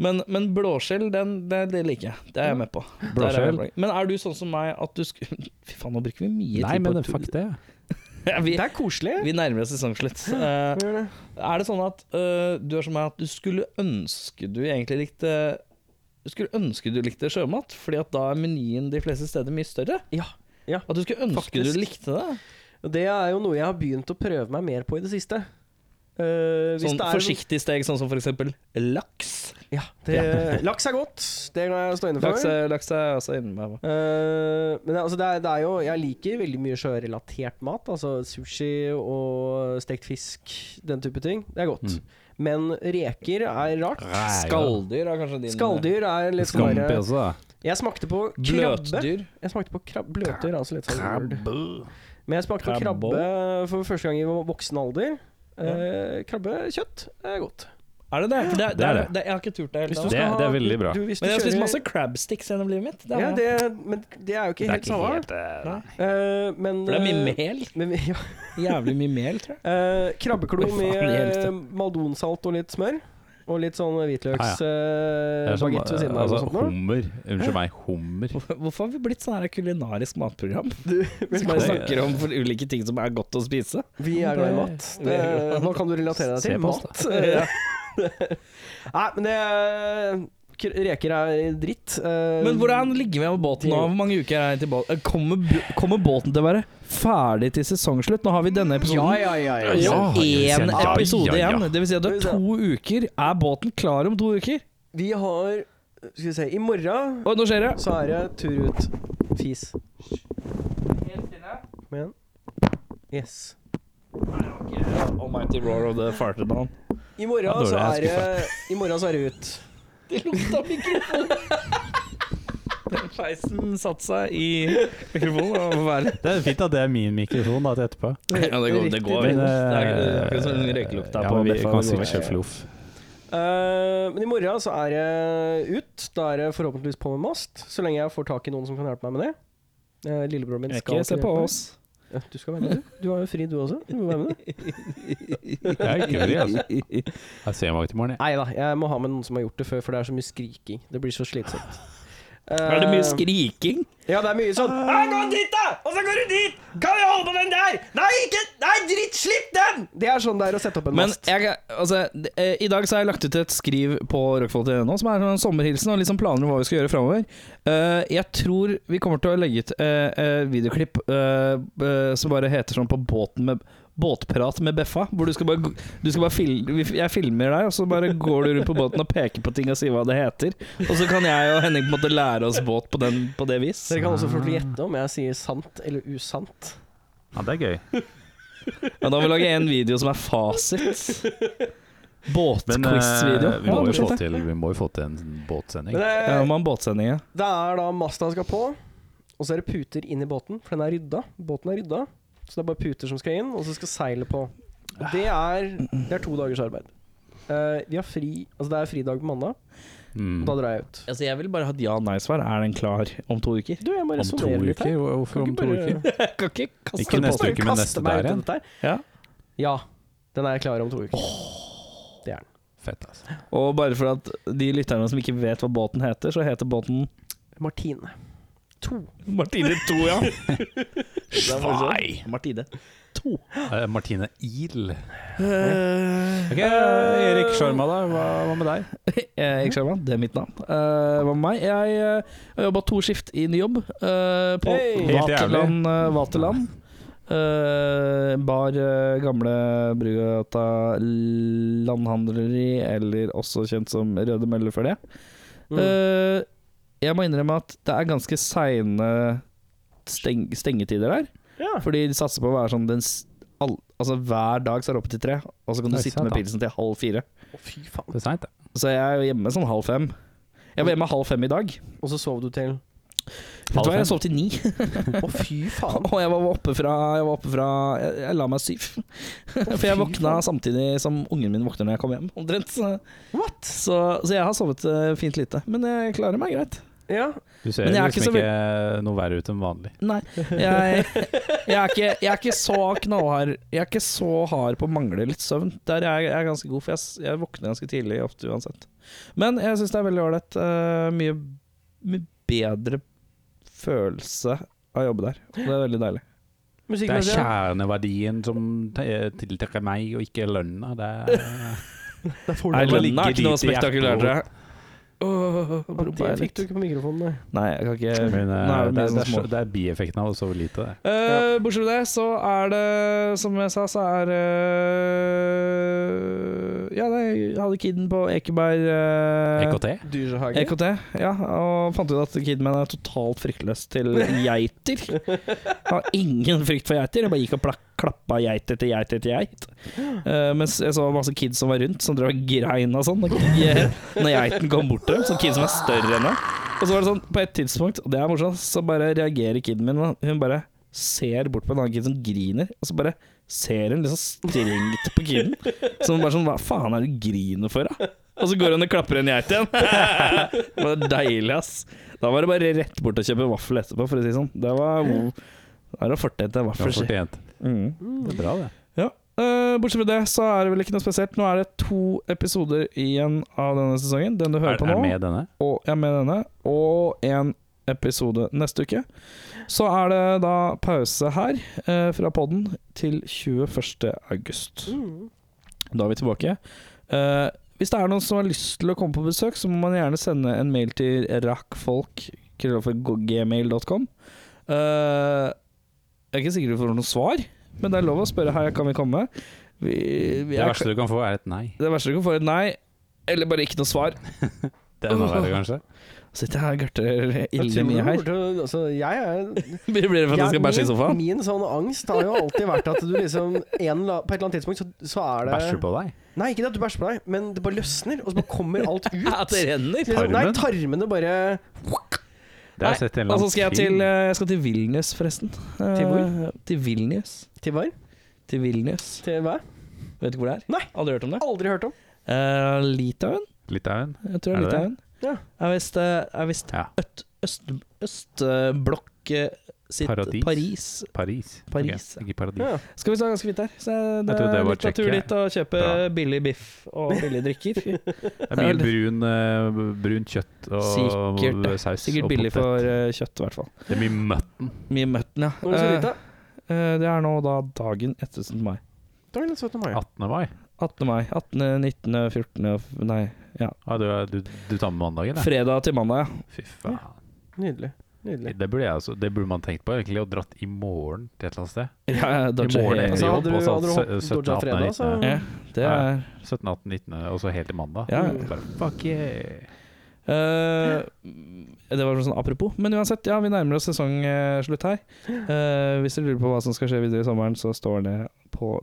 Men, men blåskjell, den, det, det liker jeg. Det er jeg med på. Der er jeg
Blåskjell?
med på. Men er du sånn som meg at du skulle Fy faen, nå bruker vi mye
Nei,
tid
men
på
fuck det.
Ja, vi,
Det er koselig.
vi nærmer oss sesongslutt. Eh,
Gjør det.
er det sånn at eh, du er som meg at du skulle ønske du egentlig likte du skulle ønske du likte sjømat, Fordi at da er menyen de fleste steder mye større.
Ja, ja.
At du skulle ønske
Faktisk.
du likte det.
Og det er jo noe jeg har begynt å prøve meg mer på i det siste. Eh, hvis
Sånn
det er-
forsiktig steg, sånn som for eksempel laks.
Ja, det, Laks er godt. Det kan jeg stå inne for.
Laks er, laks er også inne med.
Eh, men det, altså det, er, det er jo Jeg liker veldig mye sjørelatert mat. Altså sushi og stekt fisk, den type ting. Det er godt.
Mm.
Men reker er rart.
Nei, ja.
Skalldyr er kanskje din
Skalldyr er litt sånn
Skampi
derre-
også, da.
Jeg smakte på krabbe.
altså. Bløtdyr.
Jeg smakte på krab bløtdyr. Altså litt sånn weird.
Krabbe.
Men jeg smakte på
Krabbo.
krabbe for første gang i voksen alder. Eh, krabbekjøtt er godt.
Er det det? For det,
Det er det.
Jeg har ikke turt det
Hvis
helt.
du
Det-
ennå.
skal ha-
det er veldig bra.
Du, hvis du
Men jeg har spist
kjører-
masse crabsticks gjennom livet mitt. Det
ja,
har jeg.
det, Men det er jo ikke
Det er
helt
ikke
samme.
helt eh,
Nei.
Eh, men
For det er mye
eh,
mel.
men vi- ja.
Jævlig mye mel, tror jeg.
Eh, krabbeklo
Oi, faen,
med
i helvete.
eh, maldonsalt og litt smør. Og litt sånn hvitløks
Det er
eh,
som,
baguette ved siden av.
altså,
eller noe sånt nå.
hummer. Unnskyld meg, hummer.
Hvorfor hvorfor har vi blitt sånn her kulinarisk matprogram? Som
Velkommen.
bare snakker om for ulike ting som er godt å spise.
Vi er glad i mat. Det, hva kan du relatere deg
Se
til?
på oss,
Mat. Eh, Nei, men det k- Reker er dritt. Eh,
Men hvordan ligger vi med båten nå? Hvor mange uker er det til båten? Eh, Kommer, bu- kommer båten til å være ferdig til sesongslutt? Nå har vi denne
Ja,
episoden.
ja, ja. ja, ja.
Ja,
Og én
ja, ja,
episode
ja.
igjen. Det vil si at det er to uker. Er båten klar om to uker?
Vi har Skal vi se I morgen
Oi, nå skjer det.
så er det tur ut. Fis. Kom igjen. Yes.
Almighty roar of the farted man.
I morgen,
Ja, dårlig,
så
jeg
er
er
det, I morgen så er det ut.
Det lukta mikrofon. Sveisen satte seg i mikrofonen og var verre.
Det er fint at det er min mikrofon da, til etterpå.
Ja, det går. Det går.
Men,
Det er ikke- det
eh,
er ikke sånn røykelukt der
ja,
på
men vi
Beffa,
kan
det går
sikkert
vekk.
kjøre floff.
Eh, men i morgen så er det ut. Da er det forhåpentligvis på med mast. Så lenge jeg får tak i noen som kan hjelpe meg med det. Eh, Lillebroren min skal
Ikke se
kunne
på
hjelpe meg.
oss.
Ja, du skal være med, du. Du har jo fri, du også. Du må være med, du.
Jeg er ikke fri, altså. Jeg ser meg ikke i morgen, jeg.
Nei da, jeg må ha med noen som har gjort det før, for det er så mye skriking. Det blir så slitsomt.
Er det
Eh,
mye skriking?
Ja, det er mye sånn Nei, gå dit, da! Og så går du dit! Kan vi holde på den der? Nei, ikke Nei, dritt, slipp den! Det er sånn det er å sette opp en
Men
mast.
jeg, altså, d- eh, i dag så har jeg lagt ut et skriv på rockfolk.no som er en sommerhilsen og liksom planer om hva vi skal gjøre framover. Eh, jeg tror vi kommer til å legge ut eh, eh, videoklipp eh, eh, som bare heter sånn på båten med Båtprat med Beffa, hvor du skal bare, g- du skal bare fil, vi- Jeg filmer deg, og så bare går du rundt på båten og peker på ting og sier hva det heter. Og så kan jeg og Henning på en måte lære oss båt på, den, på det vis.
Dere kan også få lov til å gjette om jeg sier sant eller usant.
Ja, det er gøy.
Men da må vi lage en video som er fasit.
Men eh,
Båtquiz-video.
vi må
Ja,
jo få
morsomt, det.
til, vi må jo få til en båtsending.
Men eh,
Ja, vi må ha en båtsending, ja.
det er da masta skal på, og så er det puter inn i båten, for den er rydda. Båten er rydda, så det er bare puter som skal inn, og så skal seilet på. Og det er, det er to dagers arbeid. Eh, vi har fri Altså det er fridag på mandag, og da
Mm.
drar jeg ut.
Altså, jeg vil bare ha et ja-nei-svar. Er den klar om to uker?
Du, jeg må
Om to
resonnere litt
uker?
her.
Hvorfor
Kan
om
ikke
to
bare-
uker?
Jeg kan ikke kaste
Ikke
den på
neste
deg.
uke, men neste
meg
der
ut i
igjen.
dette her.
Ja.
Ja, den er klar om to uker. Det er den.
Fett, altså.
Og bare for at de lytterne som ikke vet hva båten heter, så heter båten
Martine. To.
Martine 2, ja. Svei! Altså, Martine 2.
Eh, Martine Il.
Eh,
Ok, Erik Sjarma, da. Hva, hva med deg?
Erik Sjarman, det er mitt navn. Eh, hva med meg? Jeg eh, har jobba to skift i ny jobb. eh, på
Hey!
Helt jævlig.
Vaterland. eh, Vaterland. Eh, bar eh, gamle Brugata Landhandleri, eller også kjent som Røde Møller for det.
Mm.
Eh, jeg må innrømme at det er ganske seine steng stengetider der.
Ja.
Fordi de satser på å være sånn den s- all, Altså Hver dag så er det opp til tre, og så kan du
Nei,
sitte
sant
med
da.
pilsen til halv fire.
Å, fy faen.
Det er seint, det.
Så jeg er jo hjemme sånn halv fem. Jeg var hjemme halv fem i dag.
Og så sov du til
Vet du hva,
fem?
jeg sov til ni.
Å, fy faen.
Og jeg var oppe fra Jeg, var oppe fra, jeg, jeg la meg syv. For jeg våkna samtidig som ungen min våkner når jeg kommer hjem, omtrent. Så,
What?
så, så jeg har sovet eh, fint lite. Men jeg klarer meg greit.
Ja.
Du ser
Men jeg er
liksom
ikke så
ikke, noe verre ut enn vanlig.
Nei, jeg, jeg, er ikke, jeg er ikke så knallhard Jeg er ikke så hard på å mangle litt søvn. Der er jeg, jeg er ganske god, for jeg, s- jeg våkner ganske tidlig ofte uansett. Men jeg syns det er veldig ålreit. eh, mye, mye bedre følelse av å jobbe der. Og det er veldig deilig.
Det er
Musikkmessig. ja.
kjerneverdien som te- tiltrekker meg, og ikke lønna. Det er
Nei,
det å
lønna
ligge
er ikke noe
dit i
spektakulært.
hjertet
dere. Åh,
Ja,
prompa
Det
jeg
fikk
litt.
du ikke på mikrofonen, nei.
Nei, jeg kan ikke
Men, eh, det,
Nei,
er, det,
mye
er,
sånn
så- det er bieffekten av å sove lite. Det.
Eh, bortsett fra det, så er det Som jeg sa, så er eh, Ja, nei, jeg hadde kiden på Ekeberg eh,
EKT?
Dyrehage.
EKT. Ja, og fant ut at kiden min er totalt fryktløs til geiter. Har ingen frykt for geiter. Jeg bare gikk og plak- klappa geit etter geit etter geit. Eh, mens jeg så masse kids som var rundt, som drev og grein og sånn. Når geiten kom bort til dem. Sånne kids som er større enn dem. Og så var det sånn, på et tidspunkt, og det er morsomt, så bare reagerer kiden min. og Hun bare ser bort på en annen kid som griner, og så bare ser hun liksom strengt på kiden. Så hun bare sånn Hva faen er det du griner for, da? Og så går hun og klapper en geit igjen. Det var deilig, ass. Da var det bare rett bort og kjøpe vaffel etterpå, for å si det sånn. Det var Da er det fortjent en
Det var
vaffel. si.
fortjent.
Mm.
Det er bra, det.
Ja. Eh, bortsett fra det, så er det vel ikke noe spesielt. Nå er det to episoder igjen av denne sesongen. Den du hører
Er,
på nå
er med denne?
og jeg er med denne, og en episode neste uke. Så er det da pause her eh, fra podden til 21. august.
Mm.
Da er vi tilbake. Eh, hvis det er noen som har lyst til å komme på besøk, så må man gjerne sende en mail til rakkfolk.gmail.com. Eh, jeg er ikke sikker på om vi får noe svar, men det er lov å spørre her, kan vi komme? Vi, vi
Det
er,
verste du kan få, er et nei.
det verste du kan få er et nei, eller bare ikke noe svar.
Det er enda verre, kanskje.
Sitter jeg og gørter
Jeg
ille
tror
mye
du
her.
burde- Altså, jeg er
Blir det for at jeg skal bæsje i sofaen?
Min, min sånn angst har jo alltid vært at du liksom en, la- På et eller annet tidspunkt så, så er det
Bæsjer på deg.
Nei, ikke det at du bæsjer på deg, men det bare løsner, og så bare kommer alt ut.
renner?
Liksom, nei, tarmene bare
Det har jeg sett i en eller
Altså
annen
skal jeg til, eh, jeg skal til Vilnius, forresten. Eh,
Til hvor?
Til Vilnius.
Til hva?
Til Vilnius.
Til hva?
Vet du hvor det er?
Nei.
Aldri hørt om det?
Aldri hørt om.
Eh, Litauen?
Litauen.
Jeg tror det
Er det
er
det?
Litauen.
Ja.
Er visst, eh, er visst
Ja.
øst, øst, østblokk eh, sitt
Paradis.
Paris.
Paris.
Paris,
Ok, Ikke paradis.
Ja.
Skal vi ta ganske fint der. Så eh, det
trodde det
er
var
litt naturlig
Tsjekkia.
å kjøpe
Bra.
billig biff og billige drikker.
Det er mye brun, eh, brunt kjøtt og
Sikkert det.
saus.
Sikkert
og
billig
potet.
for eh, kjøtt, i hvert fall.
Det er mye mutton.
Mye mutton, ja.
Når er det så vidt,
Eh,
da?
eh, det er nå da dagen etter 17. mai.
Da er det litt 17. mai.
18. mai.
18. mai. 18., 19., 14. og f- Nei,
Ah, du, er- du, du tar med mandagen, da?
fredag til mandag, ja.
Fy faen.
Nydelig. Nydelig.
Det burde, jeg, altså, det burde man tenkt på, egentlig. Og dratt i morgen til et eller annet sted.
ja ja,
I
Dodge
morgen
Hay-
etter
Altså,
jobb,
hadde du-
og så
hadde du
sø-
holdt
17.,
Dodge
18.,
fredag, så-
19.,
Ja, det er
17., 18., 19., og så helt til mandag.
Ja.
Bare, fuck yeah.
Eh, det var sånn apropos. Men uansett, ja, vi nærmer oss sesongslutt her. Eh, hvis dere lurer på hva som skal skje videre i sommeren, så står det på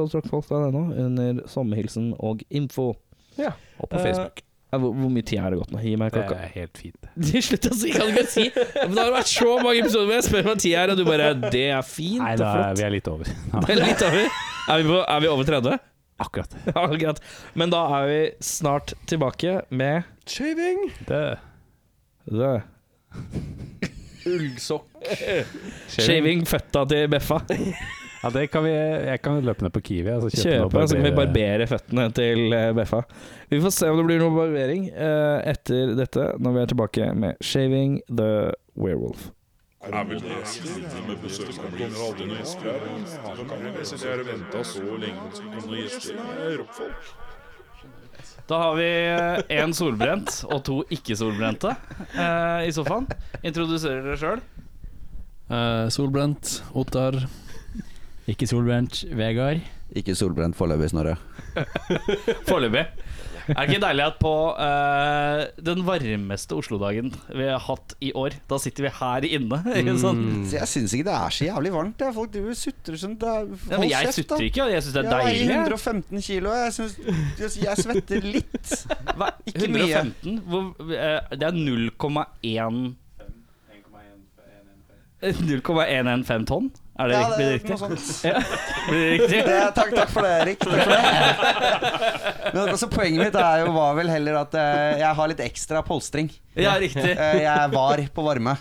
www.rockfolk.no under sommerhilsen og info.
Og på
Eh,
Facebook.
Ja, hvor, hvor mye tid er det gått nå? Gi meg
Eh, Det
klokka.
er helt fint.
Slutt å si! Kan du ikke si Men Det har vært så mange episoder hvor jeg spør hva tida er, og du bare Det er fint
Nei,
og
da er
flott.
vi er litt over.
Det er litt over. Er vi, på, er vi over 30?
Akkurat.
Ja, greit. Men da er vi snart tilbake med
Shaving!
Det
The
Ullsokk.
Shaving føtta til Beffa.
Ja, det kan vi Jeg kan løpe ned på Kiwi og så kjøpe,
Kjøpe,
noe
så kan altså, vi barbere føttene til eh, Beffa. Vi får se om det blir noe barbering eh, etter dette, når vi er tilbake med 'Shaving the Werewolf'. Da har vi én solbrent og to ikke-solbrente eh, i sofaen. Introduserer dere sjøl.
Eh, solbrent, Ottar.
Ikke solbrent, Vegard.
Ikke solbrent foreløpig, Snorre.
Foreløpig. Er det ikke deilig at på eh, den varmeste Oslo-dagen vi har hatt i år, da sitter vi her inne? i
Mm.
en sånn.
Så Jeg syns ikke det er så jævlig varmt. Jeg. Folk driver og sutrer sånn. Det er,
Ja, men jeg sutter ikke, og jeg syns det er
Jeg veier
deilig.
115 kilo. Jeg, synes, jeg, jeg svetter litt. Ikke mye.
115, hvor, eh, det er 0,1 0,115 tonn? Er det,
Ja,
riktig-
det er
blir det riktig?
noe sånt.
Blir det riktig?
Det, takk, takk for det, Erik. Takk for det. Men altså, poenget mitt er jo, var vel heller at eh, jeg har litt ekstra polstring.
Ja, riktig.
Eh, jeg var på varme.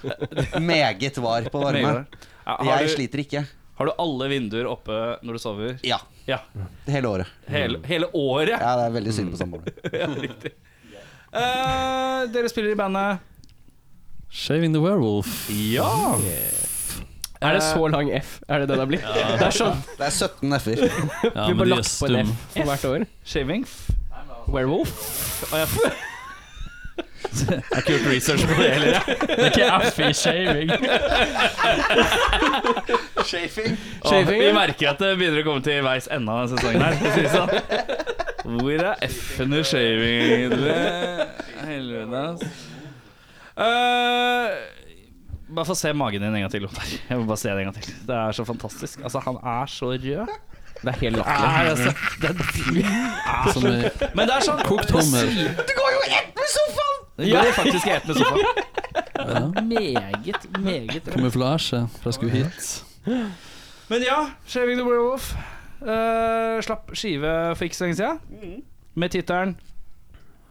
Meget var på varme.
Ja, har,
Jeg
du,
sliter ikke.
har du alle vinduer oppe når du sover?
Ja.
Ja.
Hele året.
Hele, hele året?
Mm. Ja, det er veldig synd på samboeren.
Eh, dere spiller i bandet.
Shaving the Werewolf.
Ja!
Ah. Er det så lang F? Er det det det blir? Det er sånn.
Det er 17 f-er.
Ja,
Vi
men
bare
de er
lagt på en
stum.
F for hvert år.
Shaving.
Werewolf.
Jeg har ikke gjort research på det heller. jeg.
Det er ikke F i shaving.
Shafing.
Åh,
Shaving,
vi
ja.
merker at det begynner å komme til veis ende av denne sesongen her. for å si det sånn. Hvor er F-en i shaving? Helvete, ass. Eh, bare få se magen din en gang til, Ottar. Jeg må bare se det en gang til. Det er så fantastisk. Altså, han er så rød.
Det er helt latterlig.
Nei, altså, det er,
Som er
men det er sånn
kokt hummer.
Du går jo ett med sofaen!
Det går faktisk i ett med sofaen.
Ja.
Meget, meget rød.
Kamuflasje fra Skulle hit.
Men ja, Shaving the Werewolf eh, slapp skive for ikke så lenge siden. Med tittelen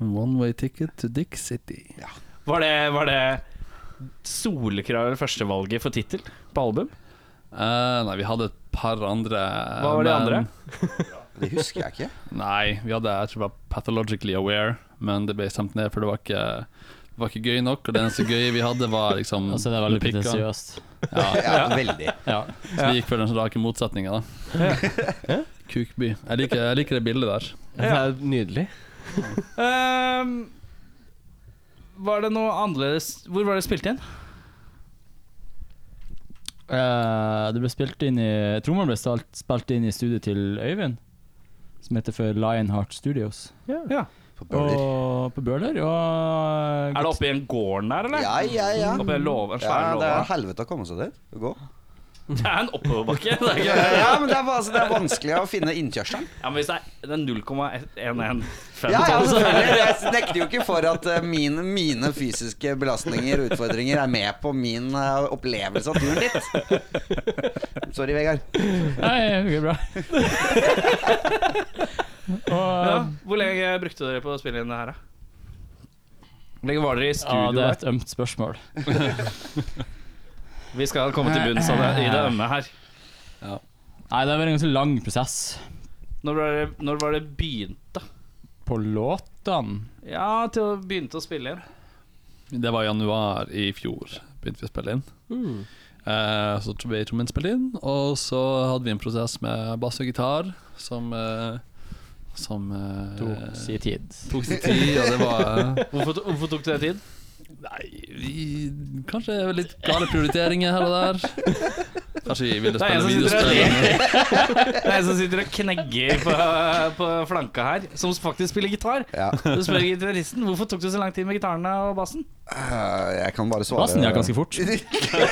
One way ticket to Dick City.
Var det, var det soleklare førstevalget for tittel på album?
Eh, nei, vi hadde et par andre.
Hva var de
Um,
andre?
Det husker jeg ikke.
Nei, vi hadde jeg tror det var Pathologically Aware, men det ble stemt ned, for det var ikke det var ikke gøy nok, og det eneste gøye vi hadde, var liksom
Altså, det er veldig
replikkene.
pretensiøst.
Ja,
Ja, veldig.
Ja.
så vi gikk for den rake motsetninga, da. Kukby. Jeg liker, jeg liker det bildet der.
Det er nydelig.
Ehm, var det noe annerledes Hvor var det spilt inn?
Eh, det ble spilt inn i Trommer ble stalt, spilt inn i studioet til Øyvind, som heter for Lionheart Studios.
På Bøler.
Og eh, på Bøler. Og
Er det oppe i en gården der, eller?
Ja, ja, ja.
Oppe i en låve, en
Ja,
svær
det er
låve?
helvete å komme seg dit. Å gå.
Det er en oppoverbakke. Det er ikke,
Ja, men det er, altså, det er vanskelig å finne innkjørselen.
ja, men hvis det er det er 0,115
Ja, ja,
tonn, så
selvfølgelig. Jeg nekter jo ikke for at eh, mine, mine fysiske belastninger og utfordringer er med på min eh, opplevelse av turen dit. Sorry, Vegard.
Nei, det går bra.
ja. Hvor lenge brukte dere på å spille inn det her, da? Hvor lenge var dere i
Ja,
studio?
det er
der?
et ømt spørsmål.
Vi skal komme til bunns av det i det ømme her.
Nei, det har vært en ganske lang prosess.
Når var det, når var det begynte?
På låtene
Ja, til å begynte å spille inn.
Det var i januar i fjor begynte vi å spille inn.
Mm.
Eh, så ble trommen spilt inn, og så hadde vi en prosess med bass og gitar som eh, som eh,
tok sin tid.
tok sin tid, og det var eh,
Hvorfor, hvorfor tok det tid?
Nei, vi, kanskje litt gale prioriteringer her og der. Kanskje vi ville
Det altså, er en
spille
som sitter og
videospill. men-
Det er en som sitter og knegger på, på flanka her, som faktisk spiller gitar.
Ja.
Du spør gitaristen hvorfor tok det så lang tid med gitarene og bassen.
Eh, Jeg kan bare svare
Bassen gikk ganske fort.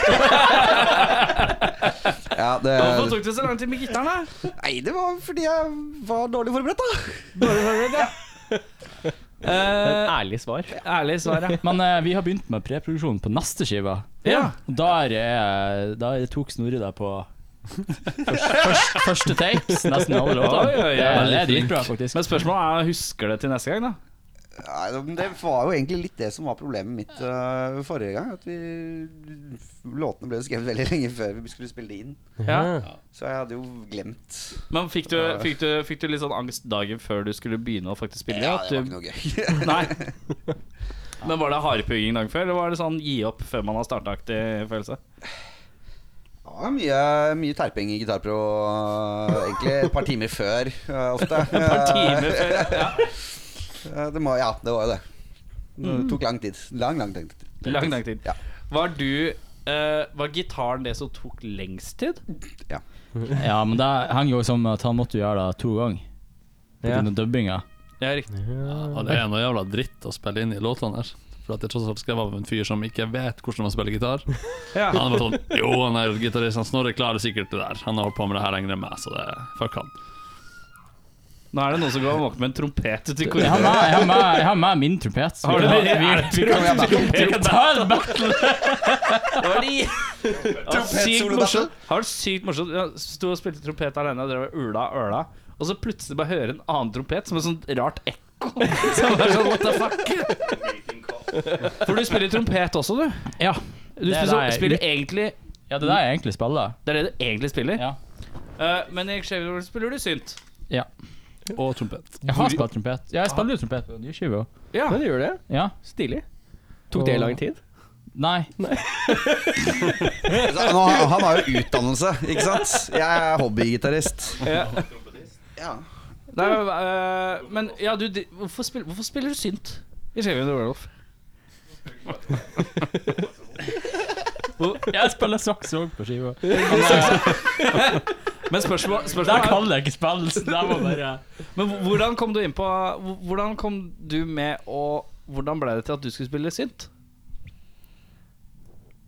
Ja, det
Hvorfor tok det så lang tid med gitarene?
Nei, det var fordi jeg var dårlig forberedt, da.
Eh,
Ærlig svar.
ærlig svar, ja.
Men eh, vi har begynt med preproduksjon på neste skive.
ja.
Der, er, der tok Snorre deg på først, først, første takes, nesten alle låter.
Oi, oi, oi.
Ja, det er dritbra, faktisk.
Men spørsmålet er husker det til neste gang, da.
Nei, men Det var jo egentlig litt det som var problemet mitt øh, forrige gang. At vi Låtene ble jo skrevet veldig lenge før vi skulle spille det inn.
Ja.
Så jeg hadde jo glemt.
Men fikk du, fikk, du, fikk du litt sånn angst dagen før du skulle begynne å faktisk spille?
Ja,
at
det var
du-
ikke noe gøy.
Nei. Men var det hardpugging dagen før, eller var det sånn gi opp før man har starta-aktig følelse?
Det var mye, mye terping i gitarpro øh, egentlig et par timer før øh, ofte. Et
par timer før,
Eh, Det må, ja, det var jo det. Det tok lang tid. Lang, lang tid.
Mm. Lang, lang tid.
Ja.
Var du eh, Var gitaren det som tok lengst tid?
Ja, men det henger jo som at han måtte gjøre det to ganger. På
Ja.
grunn av dubbinga.
Ja, riktig.
Ja, det er noe jævla dritt å spille inn i låtene der. For at jeg tross alt skrev av en fyr som ikke vet hvordan man spiller gitar.
Ja.
Han var sånn Jo, han er gitarist, han Snorre klarer sikkert det der. Han har holdt på med det her lenger enn meg, så det fuck han.
Nå er det noen som går og våkner med en trompet ute i
Jeg har
korridoren.
med, jeg har med, jeg har med min trompet. så
Har du
vi-
det?
vi-
Er det
vi- vi- Ta en battle!
Det var de! Ja, sykt
Trompetsolo,
morsomt. Har vært sykt morsomt. Jeg sto og spilte trompet alene og drev og ula og øla, og så plutselig bare hører en annen trompet som et sånt rart ekko. Så jeg bare sånn, what the fuck? For du spiller trompet også, du.
Ja.
Du
Det
spiller,
er det jeg-
spiller egentlig
ja, det er det jeg egentlig spiller.
Det er det du egentlig spiller.
Ja.
Eh, men i Xavier spiller du synt.
ja.
Og trompet.
Jeg har spilt trompet. Ja, jeg spiller jo trompet på nyskiva.
Ja.
Men du gjør det.
Ja.
Stilig. Tok det
Og-
lang tid?
Nei.
Så Altså, Han, har- han har jo utdannelse, ikke sant? Jeg er hobbygitarist. Ja.
Nei, men, eh, men ja, du de- Hvorfor spiller, hvorfor spiller du synt i Xavier the Werewolf?
Jeg spiller saks òg på skiva. eh,
Men spørsmål,
Der
spørsmålet er
kan jeg ikke spille, så der må bare
Men hvor- hvordan kom du inn på Hvordan kom du med å Hvordan ble det til at du skulle spille synt?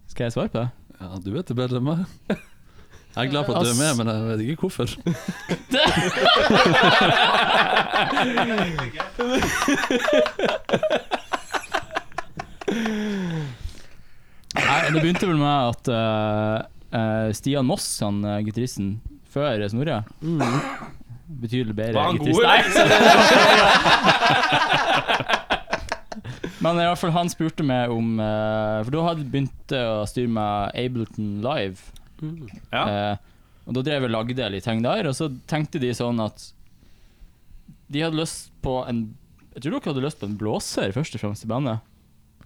Skal jeg svare på det?
Ja, du vet det bedre enn meg. Jeg er glad for at du er med, men jeg vet ikke hvorfor.
Nei, det begynte vel med at eh, eh, Stian Moss, han eh, gitaristen før Snorre Betydelig bedre
Var han god,
gitarist. Nei, så- Men i hvert fall han spurte meg om eh, For da hadde jeg begynt å styre med Ableton Live.
Ja.
Eh, og da drev jeg og lagde litt ting der, og så tenkte de sånn at De hadde lyst på en Jeg tror dere hadde lyst på en blåser, først og fremst, i bandet.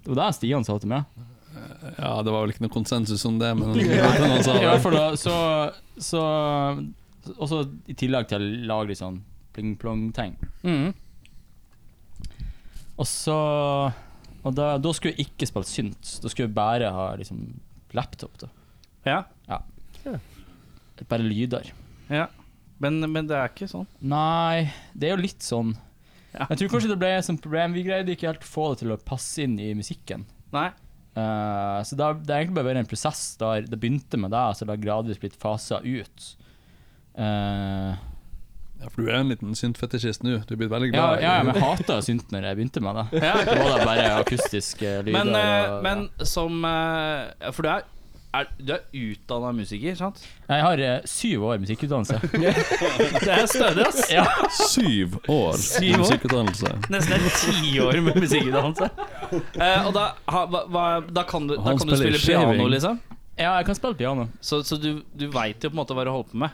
Det var det Stian sa til meg.
Ja, det var vel ikke noe konsensus om det, men noen sa
I hvert
det.
fall da, så, så Også i tillegg til å lage litt sånn pling-plong-ting. Og så Og da, da skulle jeg ikke spille synt. Da skulle jeg bare ha liksom laptop. da
Ja.
Bare lyder.
Men, men det er ikke sånn.
Nei, det er jo litt sånn
Ja.
Jeg tror kanskje det ble et sånt problem. Vi greide ikke helt å få det til å passe inn i musikken.
Nei.
Eh, så da, det har egentlig bare vært en prosess der det begynte med deg, så det har gradvis blitt fasa ut. Eh,
Ja, for du er en liten syntfetisjist nå. Du er blitt veldig
ja,
glad. i-
ja, men jeg hata synt når jeg begynte med det. Det var da bare akustiske lyder.
Men, eh,
og-
men som eh, For du er, er, du er utdanna musiker, sant?
Jeg har eh, syv år musikkutdannelse.
Det er stødig, ass.
ja.
Syv år i musikkutdannelse.
Nesten et tiår med musikkutdannelse. Eh, og da, ha, hva- hva- da kan du, da
Han
kan du
spiller
spille piano,
skjeving.
liksom?
ja, jeg kan spille piano.
Så, så du, du veit jo på en måte hva du holder på med?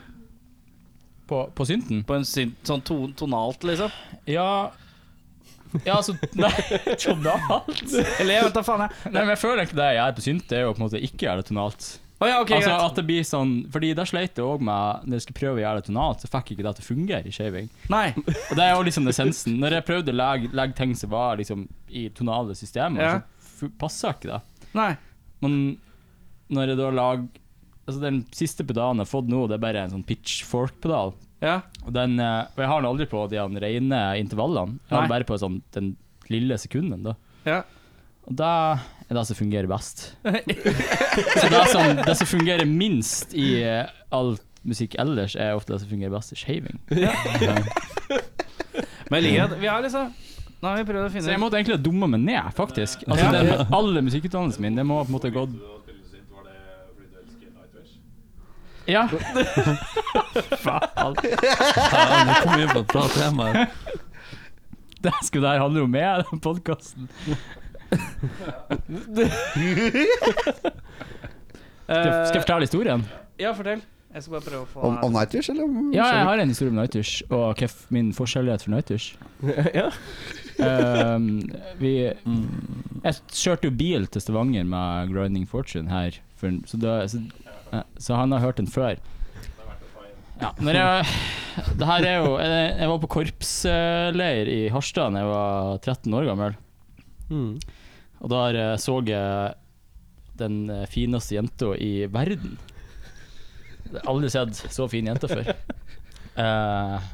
På, på synten?
På en syn, sånn to, tonalt, liksom?
Ja Ja, altså Nei, tonalt?
Eller jeg vet da faen, jeg.
Nei, men jeg føler ikke det jeg gjør på synt, det er jo på en måte ikke gjøre det tonalt.
Å ja, ok,
altså
greit.
at det blir sånn Fordi da sleit jeg òg med Når jeg skulle prøve å gjøre det tonalt, så fikk jeg ikke det til å fungere i shaving.
Nei.
Og det er jo liksom essensen. Når jeg prøvde å legge, legge ting som var liksom i tonale systemer,
Ja.
så fu- passa ikke det.
Nei.
Men når jeg da lager Altså den siste pedalen jeg har fått nå, det er bare en sånn pitchfork-pedal.
Ja.
Og, den, eh, og jeg har den aldri på de han rene intervallene. Jeg har den
Nei.
bare på sånn, den lille sekunden, da.
Ja.
Og det er det som fungerer best. Så det som, sånn, det som fungerer minst i eh, all musikk ellers, er ofte det som fungerer best i shaving.
Men jeg liker at vi har liksom Nå har vi prøvd å
Så
finne
jeg
ut
måtte egentlig dumme meg ned, faktisk. Altså,
Ja.
den, alle musikkutdannelsen min, det må på en måte ha gått Ja. Faen.
Ja, det kom inn på et bra tema. her.
Det skulle det her handle om meg, den podkasten. Skal,
eh,
skal jeg fortelle historien?
Ja, fortell. Jeg skal bare prøve å få
Om, om Nightwish, eller? Om,
Ja, jeg har en historie om Nightwish, og hva f- min forskjellighet for Nightwish.
Ja.
Um, vi Jeg kjørte jo bil til Stavanger med Grinding Fortune her, for, så, da, så, eh, så han har hørt den før. Ja, når jeg, det her er jo Jeg, jeg var på korpsleir i Harstad da jeg var 13 år gammel. Og der eh, så jeg den eh, fineste jenta i verden. Jeg har aldri sett så fin jente før. Eh,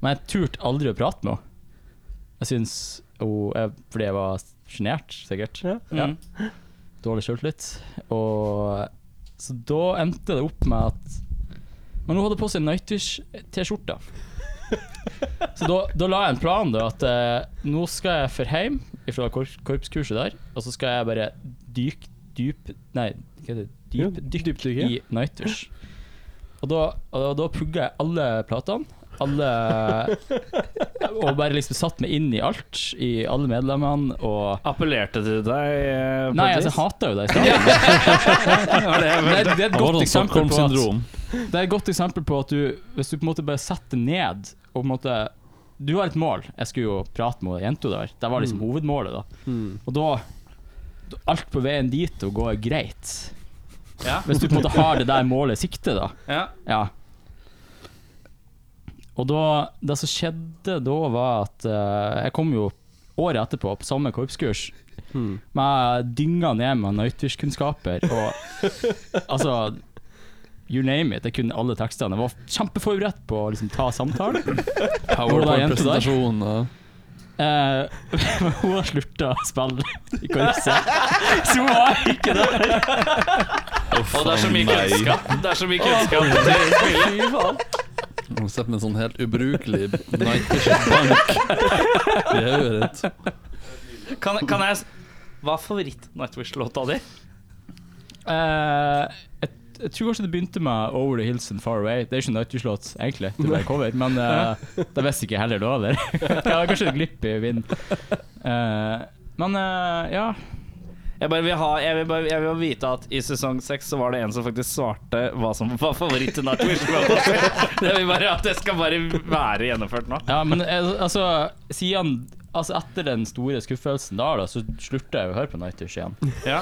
men jeg turte aldri å prate med henne. Jeg syns hun jeg, Fordi jeg var sjenert, sikkert.
Ja.
Dårlig sjøltillit. Og Så da endte det opp med at Men hun hadde på seg Nightwish-T-skjorte. Så da, da la jeg en plan, da. At eh, nå skal jeg for hjem fra kor korpskurset der, og så skal jeg bare dyk, dyp Nei, hva heter det?
Ja,
Dyp, dykk
dypdykke.
i Nightwish. Og da, og da pugga jeg alle platene. Alle Og bare liksom satt meg inn i alt. I alle medlemmene og
Appellerte til deg eh, på
Nei,
et
altså, jeg
vis?
hata jo det i starten. det, er- det er et
Var
godt
det sånn
eksempel på at
Stockholm-syndrom?
det er et godt eksempel på at du Hvis du på en måte bare setter ned og på en måte Du har et mål. Jeg skulle jo prate med jenta der. Det var liksom hovedmålet, da. Og da da- Alt på veien dit og går greit.
Ja.
Hvis du på en måte har det der målet i sikte, da.
Ja.
Ja. Og da Det som skjedde da, var at eh, jeg kom jo året etterpå på samme korpskurs. Med dynga ned med Nightwish-kunnskaper og altså You name it. Jeg kunne alle tekstene. Jeg var kjempeforberedt på å liksom ta samtalen.
PowerPoint-presentasjon og
Eh, Men hun har slutta å spille i korpset, så hun var ikke der.
Og det er så mye kunnskap. Det er så mye kunnskap.
Fy faen.
Hun sitter med en sånn helt ubrukelig Nightwish-bank i hodet ditt.
Kan, kan jeg s- Hva er favoritt-Nightwish-låta di?
Eh, jeg, jeg tror kanskje det begynte med 'Over the Hills and Far Away'. Det er ikke en Nightwish-låt, egentlig. Det er bare cover. Men eh, det visste ikke jeg heller da, eller? jeg var kanskje glipp i vinden. Eh, men eh, ja.
Jeg, bare vil ha, jeg, vil bare, jeg vil vite at i sesong seks så var det en som faktisk svarte hva som var favoritt-Nightwish-låta si. Det vil bare at det skal bare være gjennomført nå.
ja men eh, altså, siden Altså Etter den store skuffelsen da, da så slutta jeg å høre på Nightwish igjen.
Ja.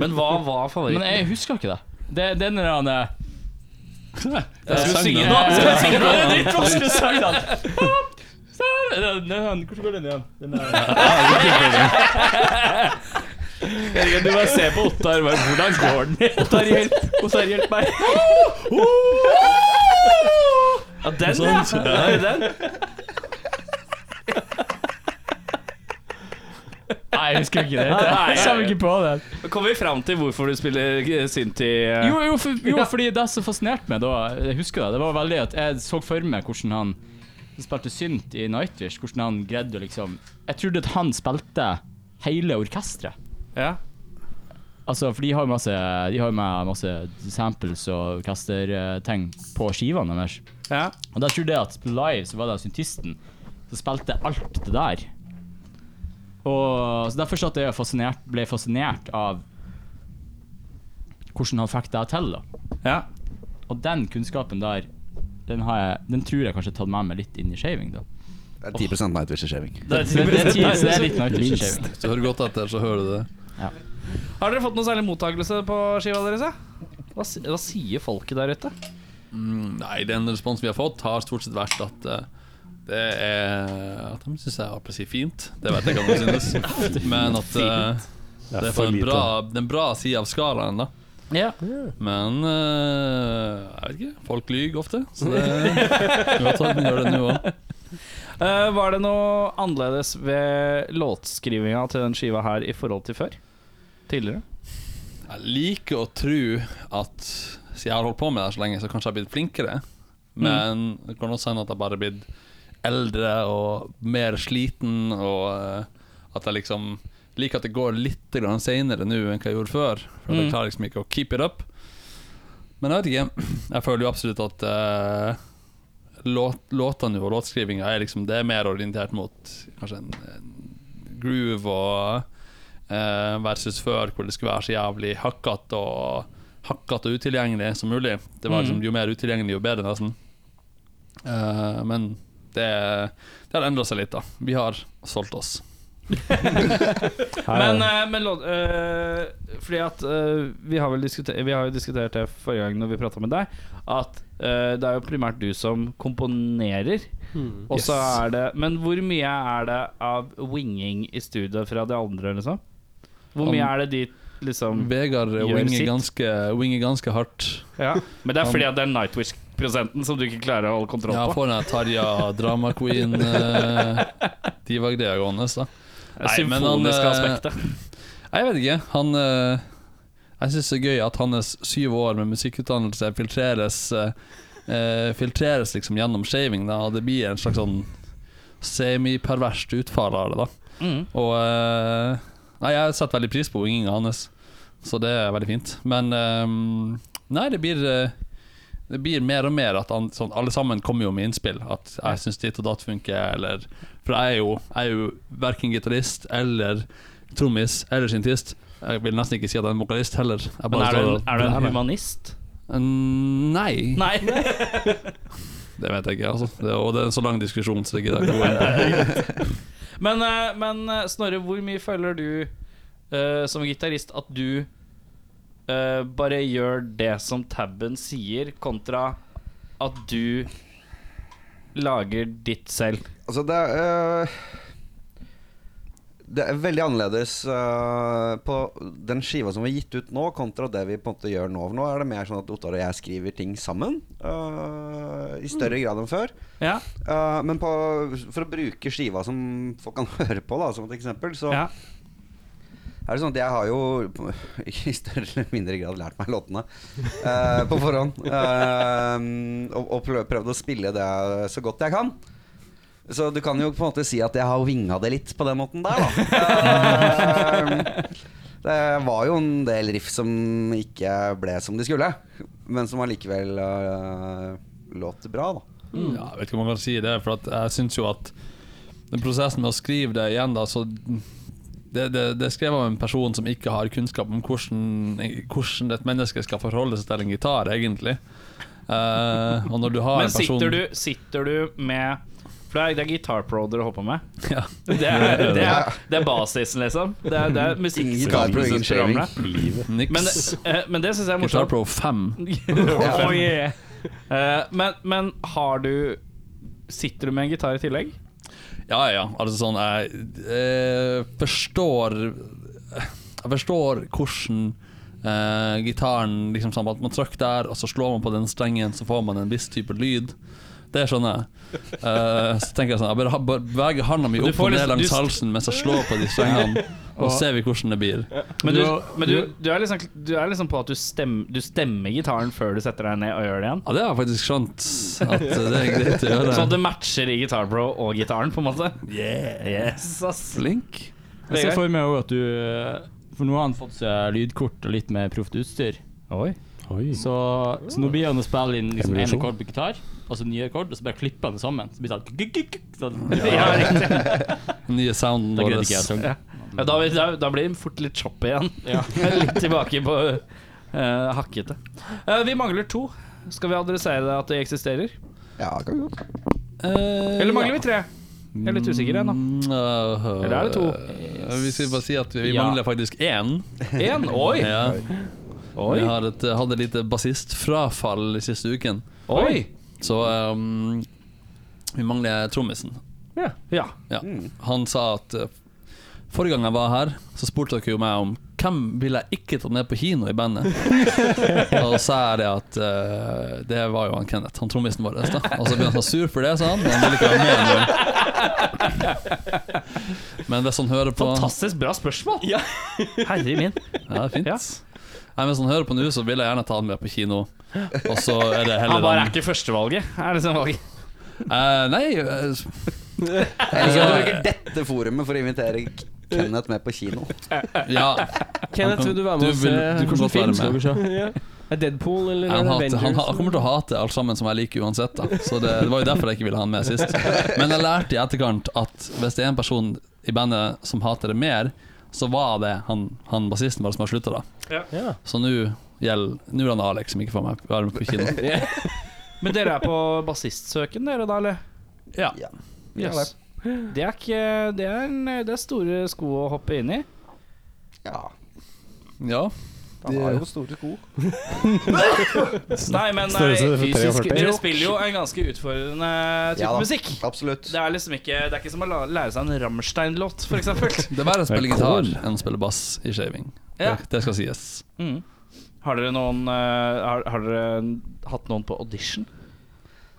Men hva var
Men
favoritt?
jeg husker ikke det. Det, det er den der han eh,
Jeg
Skal
skal
du
synge
synge
nå?
Skal du synge nå? Det er dritvanskelig sang, da. Hvordan går den igjen? Den er Du bare ser på Ottar bare Hvordan går den? Ottar, hjelp! Ottar, hjelp meg!
Ja, den, ja. Er det den?
Nei, jeg husker ikke det. Jeg kommer ikke på det.
Kommer vi fram til hvorfor du spiller eh, Synti? eh?
Jo, jo, for, jo fordi det som fascinerte meg da, jeg husker det, det var veldig at jeg så for meg hvordan han som spilte synt i Nightwish, hvordan han greide å liksom Jeg trodde at han spilte hele orkesteret.
Ja.
Altså, for de har jo masse, de har jo med masse samples og orkesterting på skivene deres.
ja.
Og da trodde jeg at live så var det syntisten som spilte alt det der. Og så Derfor satt jeg og fascinert, ble fascinert av hvordan han fikk det til. da.
ja.
Og den kunnskapen der, den, har jeg, den tror jeg kanskje har tatt med meg litt inn i shaving. da.
Det er 10 Nightwish i shaving.
Det, det, det, er ti- så det er litt nøytralt shaving.
Hvis du hører godt etter, så hører du det.
Har dere fått noe særlig mottakelse på skiva deres? da? Hva, si- hva sier folket der ute?
Nei, den responsen vi har fått, har stort sett vært at eh, det er At de syns jeg er appelsin fint. Det vet jeg ikke om de synes. Men at eh, det er på en bra, den bra side av skalaen, da.
Ja.
Men eh, jeg vet ikke. Folk lyver ofte, så det godt at den gjør det nå òg.
Eh, var det noe annerledes ved låtskrivinga til den skiva her i forhold til før? Tidligere?
Jeg liker å tro at siden jeg har holdt på med det her så lenge, så kanskje jeg har blitt flinkere. Men det kan også hende at jeg bare har blitt eldre og mer sliten, og eh, at jeg liksom liker at det går litt grann senere nå enn hva jeg gjorde før. For jeg klarer liksom ikke å keep it up. Men jeg vet ikke. Jeg føler jo absolutt at eh, låt, låtene og låtskrivinga er liksom Det er mer orientert mot kanskje en, en groove og eh, versus før, hvor det skulle være så jævlig hakkete og hakkete og utilgjengelig som mulig. Det var
Mm.
liksom, Jo mer utilgjengelig, jo bedre, nesten. Eh, men det, det har endra seg litt, da. Vi har solgt oss.
Men, eh, men låt, eh, fordi at eh, vi, har vel diskutert, vi har jo diskutert det forrige gang når vi prata med deg, at eh, det er jo primært du som komponerer. Og så er det Men hvor mye er det av winging i studio fra de andre, liksom? Hvor mye er det de liksom
Vegard
Gjør
winger
sitt.
ganske, winger ganske hardt.
ja. Men det er fordi at det er Nightwish-prosenten som du ikke klarer å holde kontroll
Ja,
på.
får den Tarja Drama Queen uh, Diva-greia gående. så.
Det
Nei, men han,
symfoniske
eh,
aspektet.
Nei, Jeg vet ikke. Han eh, Jeg syns det er gøy at hans syv år med musikkutdannelse filtreres eh, eh, Filtreres liksom gjennom shaving, da, og det blir en slags sånn semiperverst utfall av det, da.
Mm.
Og eh, Nei, jeg setter veldig pris på winginga hans, så det er veldig fint. Men eh, Nei, det blir eh, det blir mer og mer at han, sånn, alle sammen kommer jo med innspill. At jeg syns ditt og datt funker, eller For jeg er jo, jeg er jo verken gitarist eller trommis eller syntist. Jeg vil nesten ikke si at jeg er en vokalist heller. Jeg
Men
bare
er du,
står
en,
og-
er du en humanist?
Mm, Nei,
Nei.
det vet jeg ikke. Altså. Det, og det er en så lang diskusjon, så det gidder jeg ikke gå inn på.
Men, eh, men eh, Snorre, hvor mye føler du eh, som gitarist at du eh, bare gjør det som tabben sier, kontra at du lager ditt selv?
Altså, det er øh, Det er veldig annerledes øh, på den skiva som vi har gitt ut nå, kontra det vi på en måte gjør nå. For nå er det mer sånn at Ottar og jeg skriver ting sammen. øh, I større grad enn før.
Mm. Ja.
Eh, men på, for å bruke skiva som folk kan høre på, da, som et eksempel, så
Ja.
er det sånn at jeg har jo i større eller mindre grad lært meg låtene eh, på forhånd. Eh, og, og prøv- prøvd å spille det så godt jeg kan. Så du kan jo på en måte si at jeg har vinga det litt på den måten der, da. Eh, det var jo en del riff som ikke ble som de skulle, men som allikevel eh, låt bra, da.
Mm.
Ja, jeg vet ikke om man kan si det, for at jeg syns jo at den prosessen med å skrive det igjen, da, så det, det, det er skrevet av en person som ikke har kunnskap om hvordan, hvordan et menneske skal forholde seg til en gitar, egentlig. Eh, og når du har
Men
en person
sitter du, sitter du med For det er, det er Guitar Pro dere holder på med.
Ja.
Det er, det er, det er basisen, liksom. Det er, det er
Guitar Pro, ingen shaving.
musikkprogrammet.
Niks.
Men, eh, men det syns jeg er
Guitar
morsomt.
Pro 5.
oh, yeah. Eh, men, men har du Sitter du med en gitar i tillegg?
Ja, ja. Altså sånn Jeg eh, forstår Jeg forstår hvordan eh, gitaren liksom sånn at Man trykker der, og så slår man på den strengen, så får man en viss type lyd. Det skjønner jeg. Eh, så tenker jeg sånn Jeg bare, ha- bare beveger handa mi
Du
opp
får
og ned
liksom-
langs
du-
halsen mens jeg slår på de strengene. Og så ser vi hvordan det blir.
Men, du, men du, du, er liksom, du er liksom på at du, stem, du stemmer gitaren før du setter deg ned og gjør det igjen?
Ja, det har jeg faktisk skjønt. At eh, det er greit å gjøre.
Sånn at det matcher i Guitar Pro og gitaren, på en måte? Yes, ass.
Flink.
Jeg ser for meg også at du eh, For nå har han fått seg lydkort og litt mer proft utstyr.
Oi.
Oi.
Så, så nå blir han å spille inn liksom én
Emulasjon.
akkord på gitar, og så en ny akkord, og så bare klipper han det sammen. Så blir det sånn, kuk, kuk, kuk, sånn.
Nye sounden
Da
vår.
greide
altså.
ikke jeg å synge.
Ja, da, da, da blir det fort litt choppy igjen. litt tilbake på eh, hakkete. Eh, vi mangler to. Skal vi adressere det at de eksisterer?
Ja, kan vi godt.
Eh,
Eller mangler vi tre? Jeg er litt usikker ennå. Eller er det to?
mm, Vi skal bare si at vi
Ja.
mangler faktisk én.
Én? Oi!
Ja.
Oi!
Vi har et, hadde et lite bassistfrafall siste uken,
Oi!
så ehm, vi mangler trommisen.
Ja. ja.
Ja. Han sa at eh, forrige gang jeg var her, så spurte dere jo meg om hvem ville jeg ikke tatt med på kino i bandet. og så er det at eh, det var jo han Kenneth, han trommisen vår. Da. Og så ble han så sur for det, sa han. Han ville ikke være med engang. Men hvis han hører på
Fantastisk bra spørsmål! Herre min.
Ja, det er fint.
Ja.
Nei, Hvis han hører på nå, så vil jeg gjerne ta han med på kino. Og så er det heller
Han bare er ikke førstevalget. Er liksom valget.
Eh, Nei, eh,
Eller så bruker dette forumet for å invitere Kenneth med på kino.
ja.
Kenneth, vil du være med og
Du vil- du kan
se
godt være med.
skal vi se? Ja. Er Deadpool eller
Han, hater,
Avengers?
han, han kommer til å hate alt sammen som jeg liker uansett. Da. Så det, det var jo derfor jeg ikke ville ha han med sist. Men jeg lærte i etterkant at hvis det er en person i bandet som hater det mer, så var det han, han bassisten bare som har slutta, da.
Ja.
Ja.
Så nå gjelder Nå er det Alex som ikke får meg være med på kino.
Men dere er på bassistsøken, dere da, eller?
Ja.
Yes. Det er ikke Det er, en, det er store sko å hoppe inn i.
Ja,
ja.
han har jo store sko.
Nei, men nei,
Størrelse
fysisk
43.
Dere spiller jo en ganske utfordrende type
Ja da,
musikk.
Absolutt.
Det er liksom ikke Det er ikke som å la- lære seg en Rammstein-låt, for eksempel.
Det er verre å spille gitar enn å spille bass i shaving.
Ja.
Det, det skal sies.
Mm. Har dere noen eh, har, har dere hatt noen på audition?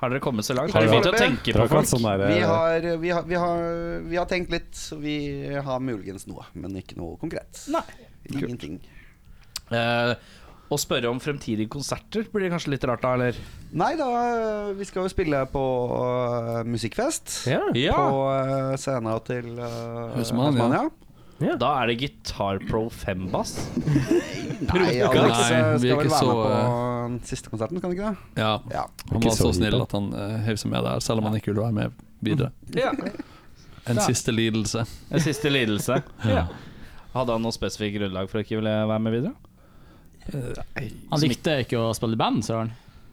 Har dere kommet så langt? Har dere begynt å tenke på folk?
Sånn der,
Vi har, vi, har, vi, har, vi har tenkt litt. så Vi har muligens noe, men ikke noe konkret.
Nei.
Ingenting.
Eh, Å spørre om fremtidige konserter blir kanskje litt rart, da, eller?
Nei da, eh, vi skal jo spille på øh, musikkfest.
Ja.
På øh, scena til øh,
Husmann, ja.
Husmann,
Da er det Guitar Pro 5-bass.
Nei, Alex øh,
Nei, vi
skal
er
vel
ikke
være
så,
med på øh, siste konserten, skal han ikke det?
Ja.
Ja.
Han var så snill at han eh, heiv seg med der, selv om han ikke ville være med videre.
Ja.
En siste lidelse.
En siste lidelse. Ja. Hadde han noe spesifikt grunnlag for å ikke ville være med videre?
Han likte ikke å spille i band, søren.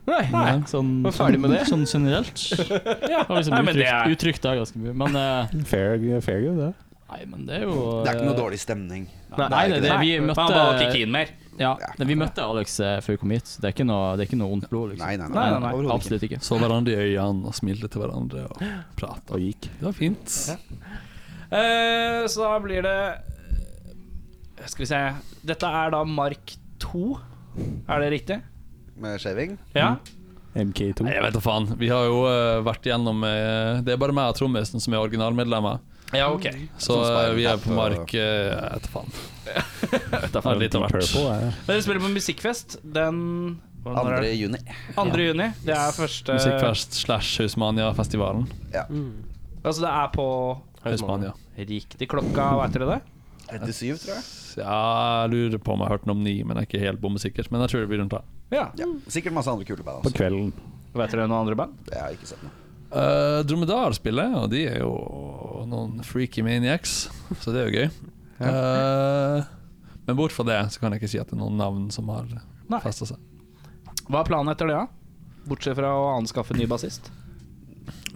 Nei.
Sånn,
Var ferdig med det.
sånn generelt. Ja, liksom
Nei, men det
uttrykt,
er-
uttrykt da ganske mye. Men, eh,
Fair, fair good, det.
nei, men det er jo
Det er ikke noe dårlig stemning.
Nei, nei, det, er det, vi
Nei,
møtte
Han bare var ikke inn mer.
eh, Ja, men vi møtte Alex eh, før vi kom hit, så det er ikke noe, det er ikke noe ondt blod. liksom.
Nei, nei, nei.
Nei, nei, nei.
Overhodet ikke.
Absolutt ikke.
Så hverandre i øynene og smilte til hverandre og prata og gikk. Det var fint.
Eh, Så da blir det eh, Skal vi se Dette er da Mark 2 Er det riktig?
Med shaving.
Ja
Nei,
MK2.
jeg vet da faen. Vi har jo eh, vært igjennom eh, Det er bare meg og trommisen som er originalmedlemmer.
Ja, ok
Så eh, vi er på mark eh, Jeg vet da faen. Har litt av hvert.
Purple er
Dere spiller på musikkfest Den hva-
2.
når er det?
juni.
2. juni Det er første
Musikkfest Eh, slash Hausmania-festivalen.
Altså det er på
Hausmania.
Riktig klokka Vet dere det?
Etter syv, tror jeg.
Ja, jeg lurer på om jeg har hørt noe om ni, men jeg er ikke helt bommesikker. Men jeg tror det blir rundt der.
Ja
Ja. Sikkert masse andre kule band.
på
Også.
kvelden.
Vet dere noen andre band?
Jeg har ikke sett noe.
Eh, Dromedar spiller, og de er jo noen freaky maniacs, så det er jo gøy. Eh, men bort fra det så kan jeg ikke si at det er noen navn som har
Nei.
festa seg.
Hva er planen etter det da? Bortsett fra å anskaffe ny bassist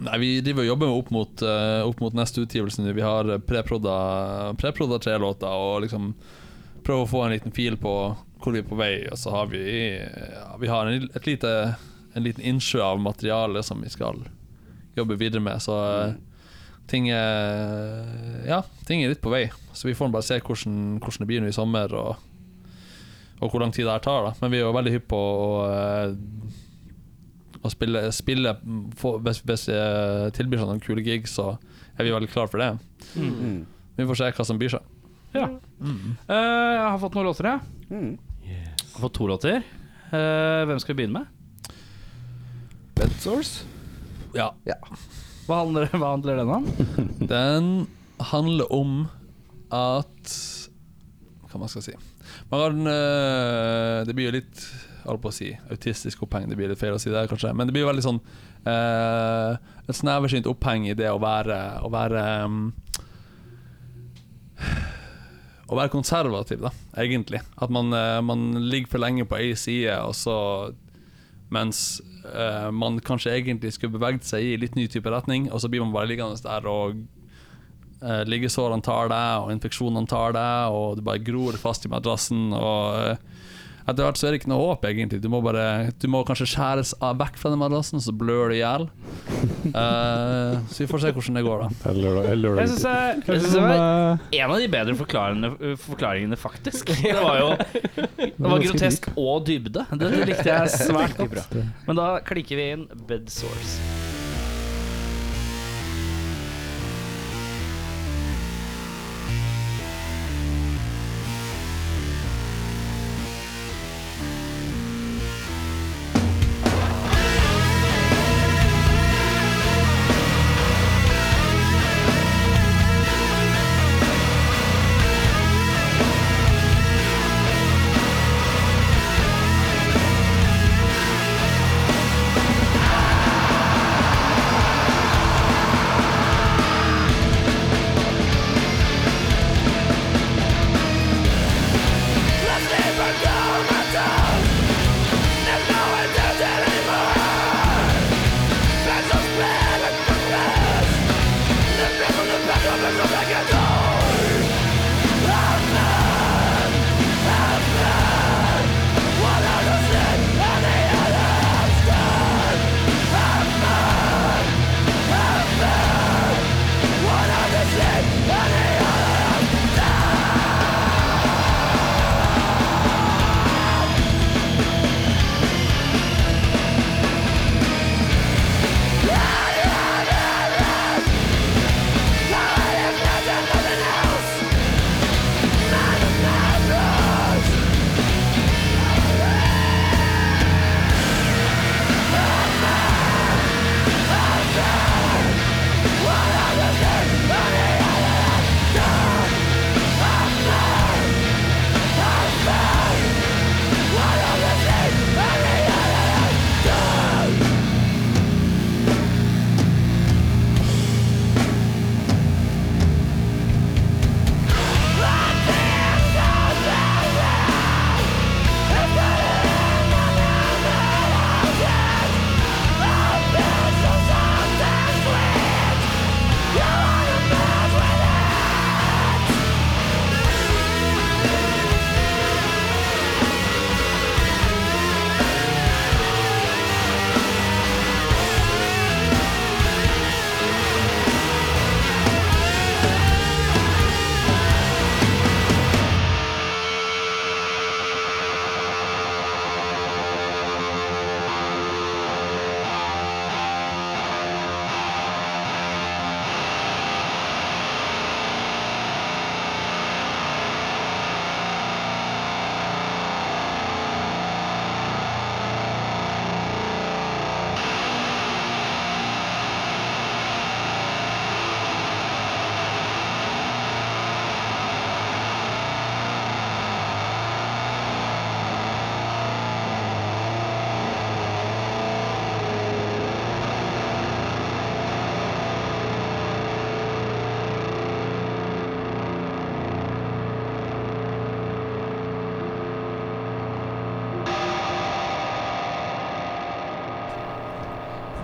Nei, Vi driver og jobber opp mot, eh, opp mot neste utgivelse nå. Vi har preprodda preprodda tre låter og liksom prøver å få en liten fil på hvor vi er på vei. Og så har vi, ja, vi har en, et lite, en liten innsjø av materiale som vi skal jobbe videre med. Så eh, ting er Ja, ting er litt på vei. Så vi får bare se hvordan, hvordan det blir nå i sommer, og, og hvor lang tid det her tar. da Men vi er jo veldig hypp på å eh, å spille, spille få- Hvis, hvis eh, jeg tilbyr seg noen kule gig, så er vi veldig klare for det. Vi får se hva som byr seg.
Ja. Eh, jeg har fått noen låter, jeg.
Mm.
Jeg har fått to låter. Eh, hvem skal vi begynne med?
Bed source?
Hva handler, hva handler den om?
Den handler om at Hva man skal si Man har en øh, Det blir jo litt jeg holdt på å si autistisk oppheng, det blir litt feil å si det, kanskje. Men det blir jo veldig sånn øh, Et sneversynt oppheng i det å være Å være eh, øhm, å være konservativ, da, egentlig. At man, øh, man ligger for lenge på ei side, og så mens eh, man kanskje egentlig skulle beveget seg i litt ny type retning, og så blir man bare liggende der og eh, liggesårene tar deg, og infeksjonene tar deg, og du bare gror fast i madrassen. Og eh, etter hvert så er det ikke noe håp, egentlig. Du må, bare, du må kanskje skjæres av vekk fra den madrassen, så blør du i hjel. Eh, så vi får se hvordan det går, da.
Jeg syns det, jeg synes det var en av de bedre forklaringene, forklaringene faktisk. Det var jo det var grotesk og dybde. Det likte jeg svært godt. Men da klikker vi inn Bed Source.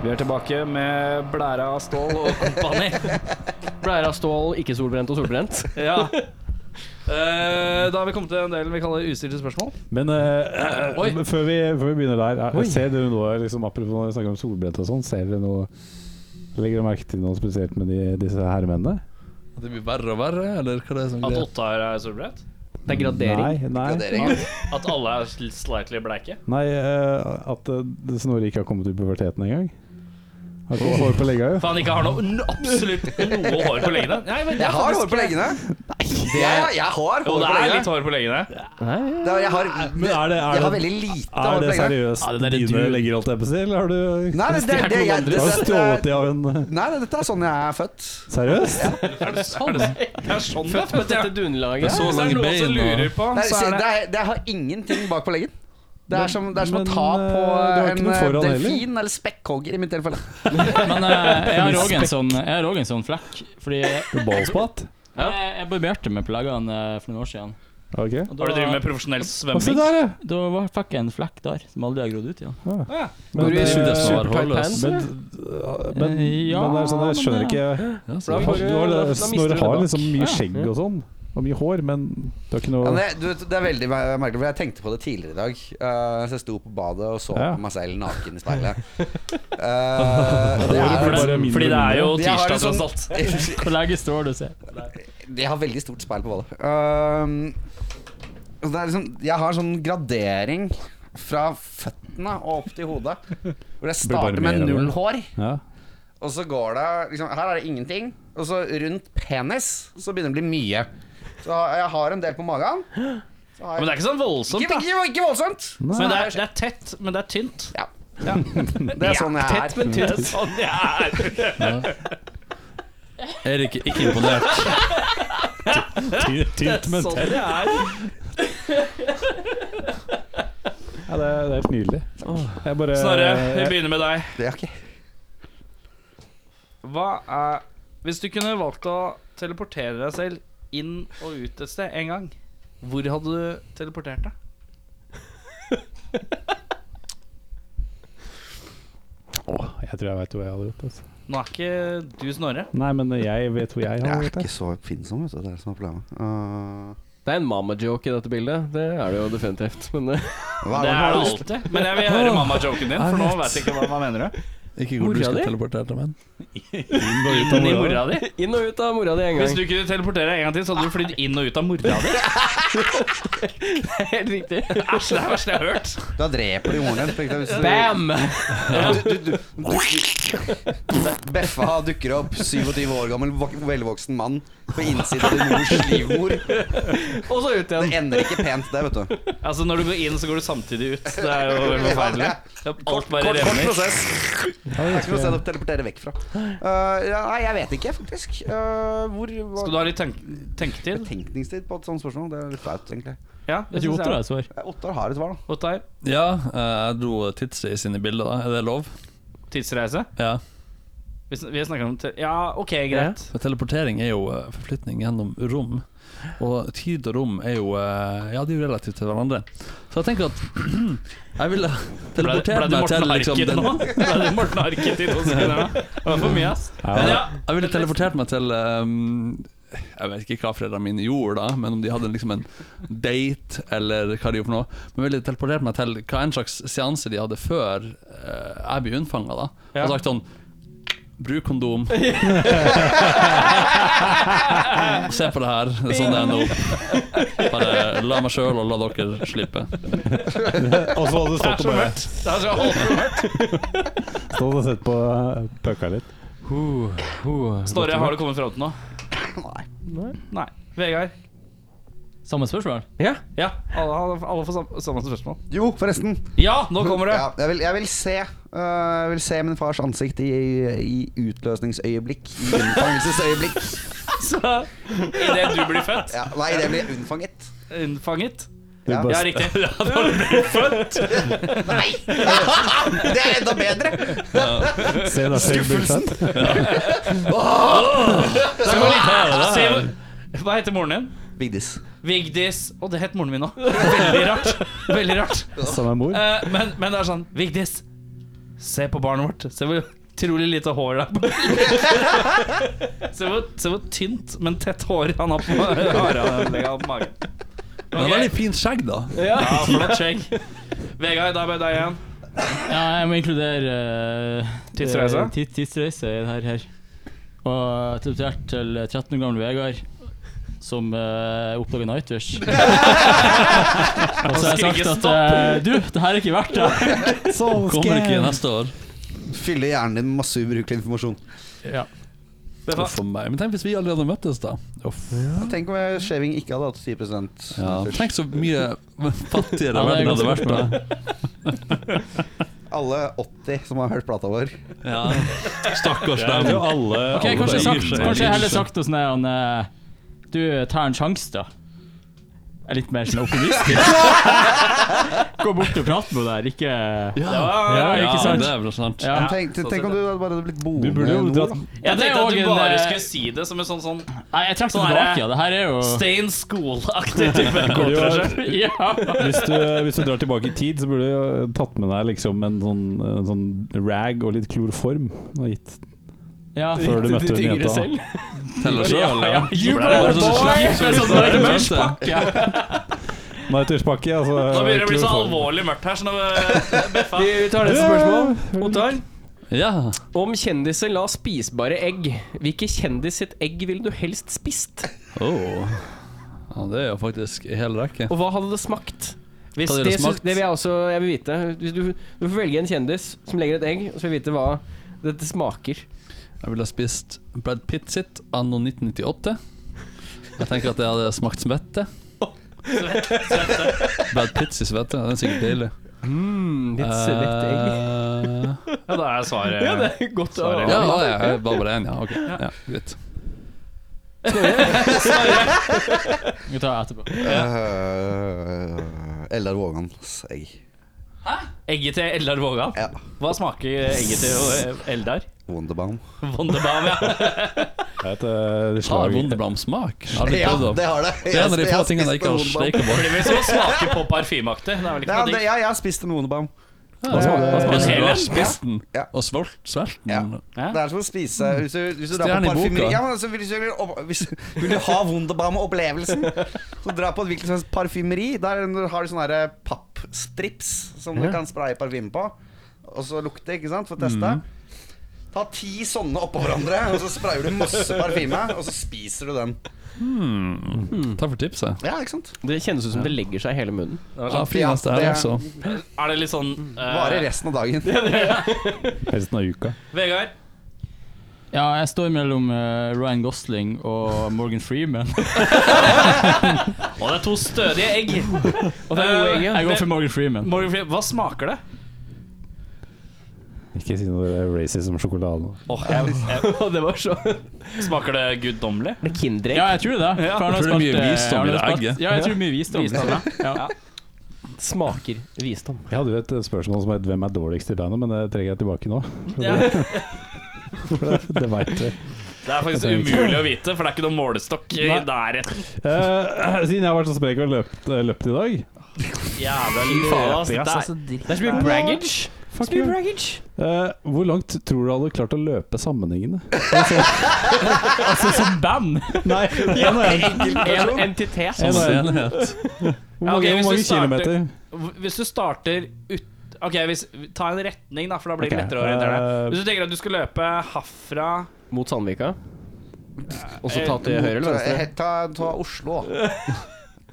Vi er tilbake med blæra av stål og kompani. blæra av stål, ikke solbrent og solbrent.
Ja. Eh, da har vi kommet til en del vi kaller ustilte spørsmål.
Men eh,
Oi.
men før, vi, før vi begynner der, er- ser dere noe liksom, Apropos når vi snakker om solbrent og sånn, ser dere noe Legger dere merke til noe spesielt med de, disse herremennene?
At det blir verre og verre, eller hva det er som
At
greier?
Ottar er solbrent?
Det er gradering.
Nei, nei,
Gradering.
At alle er slightly bleike?
nei eh, at eh, Snorre ikke har kommet ut i puberteten engang. Har ikke hår på legga, jo.
For han ikke har noe, n- absolutt noe hår på leggene? Nei, men det er
Jeg har
faktisk-
hår på leggene. Jeg, jeg, jeg har
Jo,
hår
det
på
er
legene.
litt hår på leggene.
Det er- Jeg har,
sånn- Men er det,
jeg
er
har
det,
veldig lite
er
hår
det
på legene.
seriøst
Ja, det der er
dine
du-
legger, holdt jeg på å si? Eller har du,
Nei, det, det, det, det, jeg-
har du
det,
stjålet
det,
de av en
nei, nei, dette er sånn jeg er født.
Seriøst?
Sånn
Født med dette dunlaget.
Så
er
lange
det noen som
bein og
lurer på,
Nei,
så
se,
er
det
det
er, det, jeg har ingenting bak på leggen. Det er som, det er som
Men,
å ta
eh,
på
du har ikke
en
noe foran heller.
delfin eller spekkhogger i mitt tilfelle.
Men eh, jeg har òg en, sånn, jeg har også en sånn flekk. Fordi jeg,
Ballspatt?
jeg, jeg barberte meg på leggene eh, for noen år siden.
Ok.
Og
Har du drevet med
da,
profesjonell
Og se
svømming?
der, ja.
da var- fikk jeg en flekk der som aldri har grodd ut igjen.
Men,
Det er ikke
eh,
det som var
Supertight
hårløs.
pants,
men,
eller?
men,
Ja,
men det er sånn, jeg skjønner
men det-
ikke
Ja,
Du
så
har,
får du-
du har,
da- da mister du
Snorre
det
har
bak.
liksom mye
Ja.
skjegg og sånn, og mye hår, men du har ikke
Ja,
noe
men jeg, du, vet, det er veldig mer- merkelig, for jeg tenkte på det tidligere i dag. Eh, så jeg sto på badet og så
Ja.
på meg selv naken i speilet. Eh, det
Håret
er,
blir bare mindre
Fordi
og
det er jo
De har en
tirsdag,
sånn-
tross alt.
Hvor lenge står du og ser?
Jeg har veldig stort speil på badet. Ehm, og det er liksom, jeg har sånn gradering fra føttene og opp til hodet. Hvor jeg
bare
starter med
mer av det.
null hår,
Ja.
og så går det liksom, Her er det ingenting. Og så rundt penis så begynner det å bli mye. Så jeg har en del på magen. Så har
Men
jeg,
det er ikke sånn voldsomt,
ikke,
da.
ikke, ikke voldsomt.
Men det er, det er tett, men det er tynt.
Det er sånn jeg er.
men tynt. Sånn jeg er.
Erik er ikke imponert.
Tynt, men
Sånn jeg er.
ja, det, er, det er helt nydelig. Jeg bare
Snorre, vi
jeg,
begynner med deg.
Det er ikke
Hva er Hvis du kunne valgt å teleportere deg selv inn og ut et sted en gang, hvor hadde du teleportert deg?
Åh, jeg tror jeg veit hvor jeg hadde gått. Altså.
Nå er ikke du Snorre.
Nei, men jeg vet hvor jeg
Jeg
hadde
er
gått.
ikke så oppfinnsom, vet du. Det er det som er problemet. Eh,
Det er en mamma-joke i dette bildet. Det er det jo definitivt. Men eh,
hva
Det er
hva
det alltid. Men jeg vil høre mamma-joken din, for nå vet jeg ikke hva hva mener du
Ikke hvor du
Mora
skal
di?
teleportere deg, men.
Inn i mora di?
inn og ut av mora di en
Hvis
gang.
du kunne teleportere deg en gang til, så hadde du flydd inn og ut av mora di?
Helt riktig.
Æsj, det er det verste jeg har hørt.
Da dreper du moren din. tenkte jeg, hvis du-
Bam!
du, du, du. Beffa dukker opp, 27 år gammel, vok velvoksen mann på innsiden av din mors livmor.
Og så ut
Det
igjen.
ender ikke pent, det, vet du.
Altså Når du går inn, så går du samtidig ut. Det er jo helt forferdelig. Alt bare
Kort, kort
revner.
prosess. Det er ikke noe sted å teleportere vekk fra. Eh, ja, nei, jeg vet ikke, faktisk. Eh, hvor hva-
Skal du ha litt tenk tenketid?
Betenkningstid på et sånt spørsmål? Det er litt flaut, egentlig.
Ja, det
Jeg tror
synes
Ottar
jeg.
har et svar.
Eh, Ottar har et svar, da.
Ottar,
Ja, eh, jeg dro tidsreis inn i bildet, da. Er det lov?
tidsreise?
Ja.
Vi sn- vi snakker om te Ja, OK, greit.
For teleportering er jo eh, forflytning gjennom rom. Og tid og rom er jo eh, Ja, de er jo relativt til hverandre. Så jeg tenker at jeg ville
Ble, ble
teleportert
det
meg
Morten
til liksom
Harket
den
nå? Ble det Morten Harket i to sekunder nå? Det var for mye, ass. Men ja,
Jeg ville teleportert meg til ehm, Jeg vet ikke hva foreldrene mine gjorde da, men om de hadde liksom en date eller hva de gjorde for noe. Men ville teleportert meg til hva en slags seanse de hadde før eh, jeg ble unnfanga, da.
Ja.
Og sagt sånn Bruk kondom. Se på det her, det er sånn det er nå. Bare la meg sjøl og la dere slippe.
Og så hadde du stått og bare
det er så
stått og sett på eh, pøka litt.
Snorre, har du kommet fram til noe? Nei. Vegard?
Samme spørsmål?
Ja, alle, alle, alle får sam- samme spørsmål.
Jo, forresten.
Ja, nå kommer det!
Ja, jeg, vil, jeg vil se eh, Jeg vil se min fars ansikt i, i utløsningsøyeblikk. I unnfangelsesøyeblikk.
Idet du blir født.
Ja, nei, det blir unnfanget.
Unnfanget.
Du
Ja.
bare
Ja, riktig.
Nei! Det er enda bedre!
Se deg selv bli født.
Se, hvor- hva heter moren din?
Vigdis.
Vigdis. Å, det het moren min òg. Veldig rart. Veldig rart.
Som er mor.
Eh, men, men det er sånn Vigdis, se på barnet vårt. Se hvor utrolig lite hår det er på se, hvor, se hvor tynt, men tett hår han har på, har han legger på magen.
Men det er veldig fint skjegg, da.
Ja, flott skjegg. Vegard, da er det deg igjen.
Ja, jeg må inkludere eh,
Tidsreise?
eh, Tid, tidsreise i det her, her. Og teleportert til 13 år gamle Vegard, som uh, oppdaga Nightwish. og så har jeg
skulle ikke
sagt at
stoppe.
eh, Du, det her er ikke verdt det.
Kommer ikke neste år.
Fylle hjernen din med masse ubrukelig informasjon.
Vet du hva?
Uff a meg. Men tenk hvis vi aldri hadde møttes, da. Uff.
Tenk om jeg- shaving ikke hadde hatt 10
Ja,
først.
tenk så mye fattigere
Ja, det er
verden hadde
ganske
vært da.
Alle 80 som har hørt plata vår.
Ja. Stakkars
Jeg
dem.
tror alle,
Ok,
alle
kanskje,
bare
sagt,
gir seg.
kanskje jeg heller
Gir seg.
sagt noe sånn her han, eh, Du, tar en sjanse, da. Jeg er litt mer sånn optimistisk. Gå bort og prate med deg, ikke
Ja,
Ja, ikke sant?
det er vel sant.
Ja.
Tenk, tenk om du hadde bare blitt
Du
boende
burde jo
nå,
dratt
da.
Jeg
det er
tenkte at
også
du
en,
bare
eh,
skulle si det som en sånn sånn
Nei, jeg trekker
Sånn er
det tilbake.
det.
Ja. Det her er jo
stay in school-aktig type
var-
kontrasjøl.
ja.
hvis, du, eh, hvis du drar tilbake i tid, så burde du jo tatt med deg liksom en sånn, en sånn rag og litt klorform. Og gitt
ja.
før du møtte hun jenta.
Teller selv, ja.
You
Det er
better
sånn
boy!
slapp-
Det er sånn
slapp-
Norwegian-pakke.
Nighterpakke, altså.
Nå begynner det å bli så
kloroform.
alvorlig mørkt her, så nå eh, Beffa.
Vi tar neste spørsmål. Ottar,
Ja.
om kjendiser la spisbare egg, hvilke kjendis sitt egg ville du helst spist?
Oh. ja, det er jo faktisk i hele rekke.
Og hva hadde det smakt? Hvis
Hva hadde
det,
det
syns-
smakt?
det vil jeg også jeg vil vite. Hvis du, du får velge en kjendis som legger et egg, og så vil jeg vite hva dette smaker.
Jeg ville ha spist Brad Pitt sitt anno 1998. Jeg tenker at det hadde smakt svette. Brad Pitts i svette, det er sikkert deilig.
Litt svett egg.
Eh,
Ja, da er svaret
Ja, det er godt å
Svaret
Ja, ja, ja, jeg var bare én, ja. Ok, ja, greit.
Vi tar etterpå.
Uh, Eh, Eldar Vågans egg.
Egget til Eldar Vågan?
Ja.
Hva smaker egget til eh, Eldar?
Wonderbaum.
Wonderbam, ja.
Det er et, eh,
Har
slag.
Wunderblam smak? Har du
Ja,
prøvd det?
det har det.
Det er en av de
Jeg
få
har
tingene jeg
spist
ikke har
en Wunderbaum.
steika på.
Det blir som å smake på parfymeaktig. Det er vel ikke
Ja,
noe
det,
digg.
ja, jeg har spist en Wonderbaum.
Hva smaker- hva
Hvis
smaker-
du
Ja.
har spist den,
Ja.
og svalt svelten
Ja.
den
Det er som å spise Hvis du, hvis du drar
Mm. Stjerne
på
i boka.
parfymeri ja, men altså, hvis, du vil opp- hvis du vil du ha Wunderbaum-opplevelsen, så dra på et hvilket som helst parfymeri. Der har du sånne her pappstrips som du kan spraye parfyme på. Og så lukte, ikke sant, for å teste.
Mm.
Ta ti sånne oppå hverandre, og så sprayer du masse parfyme, og så spiser du den.
Mm.
Takk for tipset.
Ja, ikke
Eh.
sant?
Det kjennes ut som det legger seg i hele munnen.
Ja, finest
Ja,
er
det-
altså.
Er det litt sånn eh,
Varer resten av dagen.
Resten av uka.
Vegard?
Ja, jeg står mellom eh, Ryan Gosling og Morgan Freeman.
Å, det er to stødige egg. Og det
gode egg,
Jeg går for Morgan Freeman.
Morgan Freeman, hva smaker det?
Ikke si noe det er racist om sjokolade.
Åh, jeg, jeg,
det var så
smaker det guddommelig?
Kinderegg.
Ja, jeg tror det. For
Jeg
han har
tror det er
spilt,
mye
eh,
visdom i
han har
det
spilt-
egget.
Ja, jeg tror mye visdom. Ja.
Smaker visdom.
Jeg hadde jo et spørsmål som het 'Hvem er dårligst i bandet?', men det trekker jeg tilbake nå.
Ja.
For det det vet vi.
Det er faktisk umulig å vite, for det er ikke noen målestokk i
Nei.
nærheten.
Eh, siden jeg har vært så sprek og løpt, eh, løpt i dag
Jævla faen,
Løping, ass,
ass. Det er- det er så mye braggage.
Fuck you. Eh, Hvor langt tror du du hadde klart å løpe sammenhengende? Altså,
Altså, som band!
nei, en og en.
En entitet.
En og en. Hvor
Ja,
mange,
ok,
hvor
hvis
mange
vi starter-
kilometer?
Hvis du starter ut Ok, hvis, ta en retning, da, for da blir det
Ok,
lettere å
eh,
orientere deg. Hvis du tenker at du skal løpe herfra
Mot Sandvika. Og så ta til høyre eller venstre.
Ta, ta Oslo, da.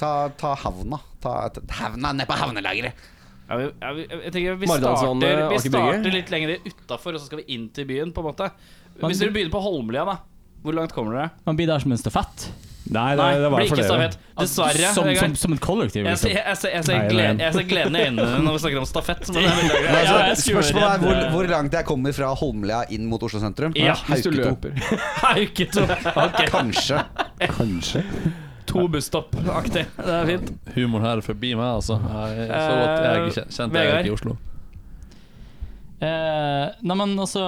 Ta, ta havna. Ta, ta havna ned på havnelageret.
ja, vi, ja, vi, jeg tenker Vi
Maridalsvannet,
starter, vi
Aker Brygge.
starter litt lenger utafor, og så skal vi inn til byen, på en måte. Hvis dere begynner på Holmlia, da. Hvor langt kommer dere?
Man blir der som en stafett.
Nei, det,
Nei,
det
det
var
blir
for
ikke
dere.
stafett. Dessverre.
Som,
Vegard.
som, som et kollektiv.
Jeg
Liksom.
ser, jeg, ser, jeg, ser
Nei,
gleden,
nei.
jeg ser gleden i øynene dine når vi snakker om stafett. Men det er veldig
Ja,
greit.
ja, jeg
altså,
skulle
Spørsmålet er
redd,
hvor,
eh,
hvor langt jeg kommer fra Holmlia inn mot Oslo sentrum.
Ja,
Hvis du
Hauketo.
løper.
Hauke to. Ok,
Kanskje.
Kanskje.
to busstopp-aktig. Det er fint.
Humoren her er forbi meg, altså. Jeg, så godt jeg er ikke kjent- kjent jeg er ikke i Oslo.
Eh, nei, men altså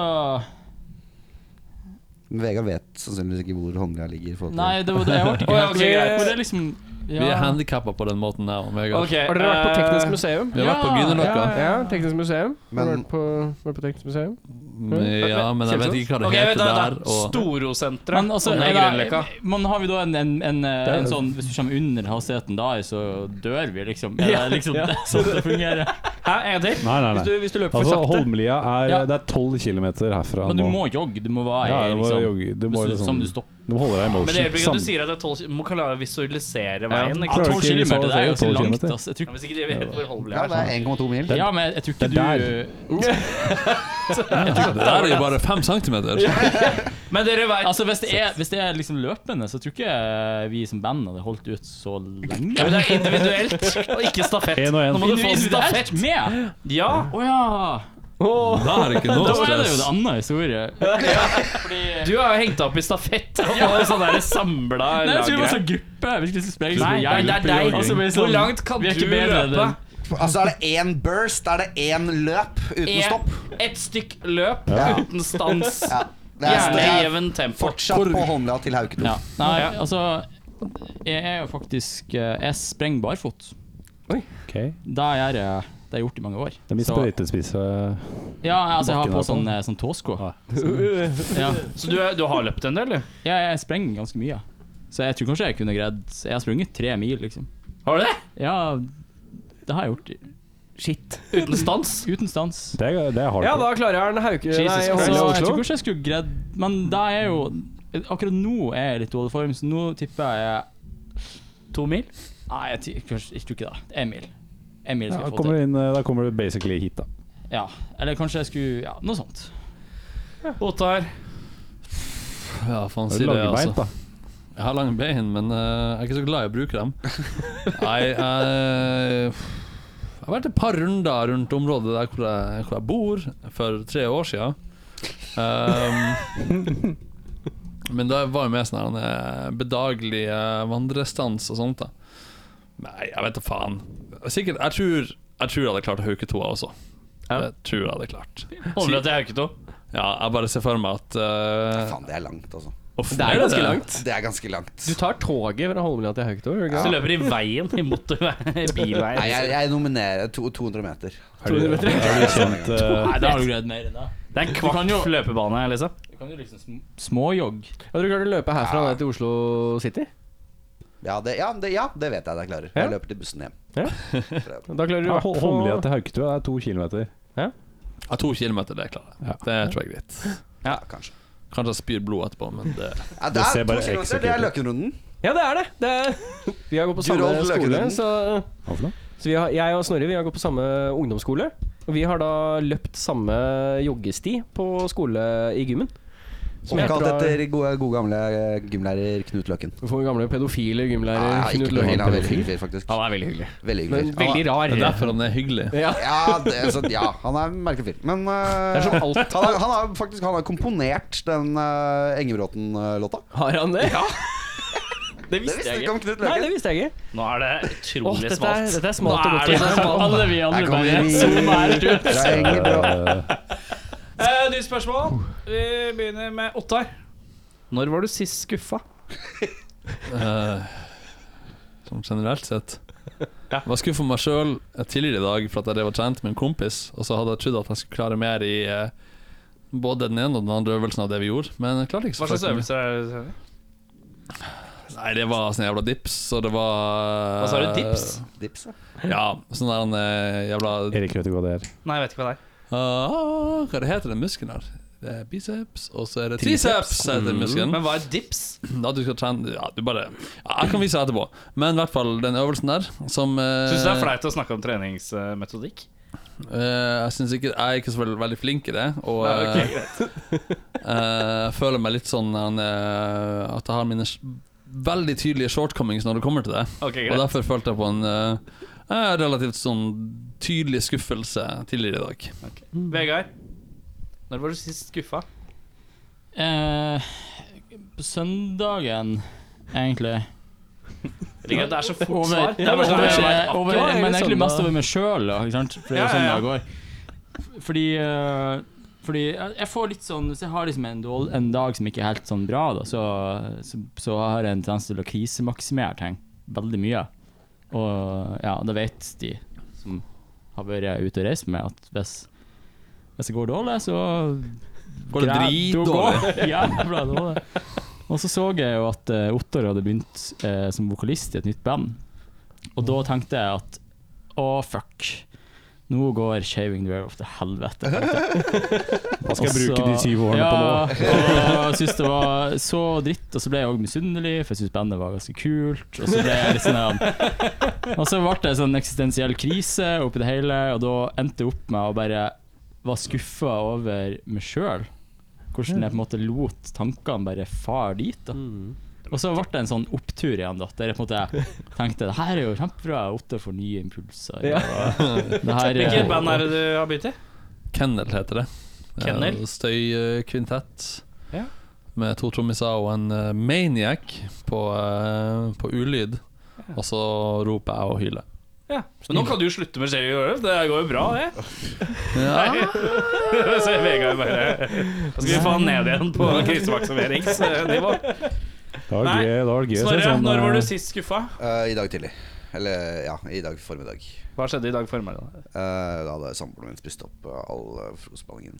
Vegard vet sannsynligvis ikke hvor Holmlia ligger. i forhold til-
Nei, det var det jeg ble
Å,
ikke
ja,
helt-
ok, greit.
Men det er liksom ja.
Vi er handikappa på den måten her, Vegard.
Ok,
Har dere vært på
eh,
Teknisk museum?
Vi har vært på
Ja,
Grünerløkka.
ja,
Ja, Teknisk museum. Har du
Men-
vært på, vært på Teknisk museum?
Mm, Ja, men jeg vet ikke hva det
Ok,
heter
vent da,
der.
da.
Og
Storosenteret.
Men altså,
Om det
er
er Grünerløkka.
det, man har vi da en, en, en, eh, en sånn Hvis du kommer under hastigheten da, så dør vi, liksom. Er det liksom det sånn det fungerer? Hæ, en gang til?
Nei, nei,
Hvis du,
nei.
hvis du løper for
Altså,
sakte.
Holmlia er
Ja.
Det er 12 km herfra
Men du
nå.
må jogge. Du må være
ja, du må
liksom,
jogge. Du må
hvis du-
liksom
Som du stopper.
Du må holde deg i
Men det
motion.
hjelper ikke at du sier at det er 12 Må klare å visualisere veien.
sånn. Ja,
Ikke?
Klarer
tolv
du ikke
liksom
kilometer, det
visualisere
er ganske
tolv
langt.
kilometer?
ass. Jeg tror
Hvis ikke de vet hvor Holmlia
Ja,
er.
det er 1,2 mil.
Ja, men jeg, jeg tror ikke
Det
du
er
Det der er jo bare fem centimeter.
sånn. Men dere vet
Altså, hvis det, er, hvis det er liksom løpende, så tror ikke vi som band hadde holdt ut så lenge.
ja, men Det er individuelt, og ikke stafett.
En og en.
Nå må du få stafett.
med!
Ja,
Å ja!
Da er det ikke
Da
noe
er det jo
stress.
en annen historie. Fordi
Du er jo hengt opp i stafett og sånn der samla
Nei, jeg tror det var
lagre.
sånn gruppe. Vi skulle spille
Nei,
sånn
nei, det er deg. altså,
Og så ble det sånn,
Hvor langt kan
vi er
du
ikke bedre
løpe?
enn-
Altså er det én burst, er det én løp uten
En-
stopp.
Ett stykk løp
Ja.
uten stans.
Ja. Det er,
Gjerne
det
i
er
jevn tempo.
fortsatt på Holmlia til Hauketo.
Ja. Nei, altså Jeg er jo faktisk eh, Jeg sprenger barfot.
Ok.
Det gjør jeg. Det har jeg gjort i mange år.
Det er min
Så-
sprøytespisse
Ja, altså, jeg har
bakken
på
her på.
sånn, eh, sånn tåsko.
Ja.
Ja,
Så du, er- du har løpt en del, du?
Ja, jeg sprenger ganske mye. Så jeg tror kanskje jeg kunne greid Jeg har sprunget tre mil, liksom.
Har du det?
Ja, det har jeg gjort. Shit.
Uten stans?
Uten stans.
Det er, det er hardcore.
Ja, da klarer jeg den Hauke
Jesus
Nei,
Christ.
Så
Holmlia
jeg
Oslo.
tror kanskje jeg skulle greid Men det er jo Akkurat nå er jeg litt dårlig form, så nå tipper jeg To mil? Nei, jeg, ti- kanskje, jeg tror ikke det. En mil. En mil
Ja,
skal
da
jeg få
kommer
til.
du inn, eh, da kommer du basically hit, da.
Ja. Eller kanskje jeg skulle Ja, noe sånt.
Ottar?
Ja, faen, si det, altså.
Langbeint, da.
Jeg har lange bein, men eh, jeg er ikke så glad i å bruke dem. Nei, jeg Jeg har vært et par runder rundt området der hvor jeg, hvor jeg bor, for tre år siden. Ehm, men da var jo med sånn her, eh, bedagelig eh, vandrestans og sånt. da Nei, jeg vet da faen. Sikkert, jeg tror jeg tror jeg hadde klart Hauketoa også. Jeg tror jeg hadde klart.
Holmlia til Hauketo?
Ja, jeg bare ser for meg at eh,
Faen, det er langt, altså.
uff,
Det er ganske langt.
Det er ganske langt.
Du tar toget fra Holmlia til Hauketo? gjør du ikke
Så
det?
løper de i veien, i motorveien, i bilveien.
Nei, jeg, jeg nominerer to, 200 meter.
Er du, er du kjent eh,
Nei, da har du greid mer enn det.
Det er en
Du kan jo-
kvart løpebane, liksom.
Du kan jo liksom sm småjogge.
Hadde du klart å løpe herfra ned til Oslo City?
Ja, det, ja, det, ja, det vet jeg at jeg klarer. Jeg løper til bussen hjem.
Da klarer du i
ja,
hvert fall-
Holmlia til Hauketua er to kilometer.
Ja, to kilometer, det klarer jeg. Det tror jeg er greit.
Ja, kanskje.
Kanskje jeg spyr blod etterpå, men det
Ja,
Det
det
ser
er to
bare
kilometer. Det er Løkenrunden.
Ja, det er det. det er, vi har gått på
Good
samme
old
skole.
Løkkeren.
Så,
Hva for noe?
så vi har, jeg og Snorre vi har gått på samme ungdomsskole. Og vi har da løpt samme joggesti på skole i gymmen. Som jeg
Oppkalt
tror-
etter gode, gode gamle eh, gymlærer Knut Løken.
Vår gamle pedofile gymlærer
Ja, ikke
Knut
noe
Løkken.
hyggelig, han er veldig hyggelig, faktisk.
Han er veldig hyggelig.
Veldig
Men
hyggelig.
veldig
Det
rar.
er derfor han er hyggelig.
Ja.
Ja, det, altså, ja, han er en merkelig fyr. Men eh,
Det er som alt.
han, har, han har faktisk han har komponert den uh, Engebråten-låta.
Har han det? Ja.
Det visste jeg ikke om Knut
Nei,
Løken.
det visste jeg ikke.
Nå er det
Åh,
utrolig
dette, er,
smalt.
dette er smalt og godt.
Så alle vi andre
Her kommer
bare
Sånn
zoomer helt ut.
vi fra Engebrå-
Eh, Nytt spørsmål. Vi begynner med Ottar. Når var du sist skuffa?
Eh, Sånn generelt sett. Jeg var skuffet meg sjøl tidligere i dag for at jeg drev og trente med en kompis, og så hadde jeg trodd at jeg skulle klare mer i eh, både den ene og den andre øvelsen av det vi gjorde, men jeg klarte ikke
Hva
så
slags
fucking mye.
øvelser er det?
Nei, det var sånne jævla dips, og det var
Hva sa du, dips?
Dips, ja.
Ja, sånn der en eh, jævla
Erik vet ikke hva det er.
Nei, jeg vet ikke hva det er.
Ah, Hva det heter den muskelen her? Det er biceps, og så er det triceps, heter muskelen.
Men hva er dips?
Da du skal trene Ja, du bare ja, Jeg kan vise deg etterpå. Men i hvert fall den øvelsen der, som eh,
Syns du det er flaut å snakke om treningsmetodikk?
eh, jeg syns ikke Jeg er ikke så veldig, veldig flink i det, og eh, eh, jeg føler meg litt sånn eh, At jeg har mine s- veldig tydelige shortcomings når det kommer til det.
Ok,
Og
greit.
derfor følte jeg på en eh, eh, relativt sånn tydelig skuffelse tidligere i dag.
Vegard, når var du sist skuffa?
Eh, på søndagen, egentlig.
Det er greit, det er så fort
Over,
svar. Det er
over,
bare sånn, jeg vet
over,
akkurat.
men egentlig mest over meg sjøl, ikke sant. For det er jo
Ja,
sånn
ja,
det går. Fordi eh, fordi jeg jeg får litt sånn Hvis jeg har liksom en, dårl- en dag som ikke er helt sånn bra, da, så, så, så har jeg en tendens til å krisemaksimere ting veldig mye. Og ja, da vet de som har vært ute og reist med meg, at hvis, hvis det går dårlig, så
Går det
Greit å
dritdårlig?
gå. Jævla dårlig. Og så så jeg jo at eh, Ottar hadde begynt eh, som vokalist i et nytt band. Og da tenkte jeg at å, fuck. Nå går shaving the werewolf til helvete.
Hva skal jeg bruke
Altså,
de syv årene på nå?
nå? og synes det var så dritt, og så ble jeg òg misunnelig, for jeg syntes bandet var ganske kult. Og så ble jeg litt sånn her- Og så ble det en sånn eksistensiell krise oppi det hele, og da endte jeg opp med å bare var skuffa over meg sjøl. Hvordan jeg på en måte lot tankene bare fare dit. da
Mm.
Og så ble det en sånn opptur igjen, da der jeg på en måte tenkte det her er jo kjempebra. Otto får nye impulser.
Ja.
og det her er-
Hvilket band er det du har begynt i?
Kennel heter det.
Kennel?
Eh, Støykvintett.
Ja.
Med to trommiser og en eh, maniac på, eh, på ulyd. Og så roper jeg og hyler.
Ja. Men nå kan du slutte med Shaving the Werewolf. Det går jo bra, det.
Ja.
Så Vegard bare Da skal vi få han ned igjen på krisemaksimeringsnivå.
Da var det gøy- da var det gøy. å se
Snorre,
sånn,
når var
eh,
du sist skuffa?
Eh, I dag tidlig. Eller ja, i dag formiddag.
Hva skjedde i dag formiddag?
Eh, da hadde samboeren min spist opp eh, all eh, frokostblandingen.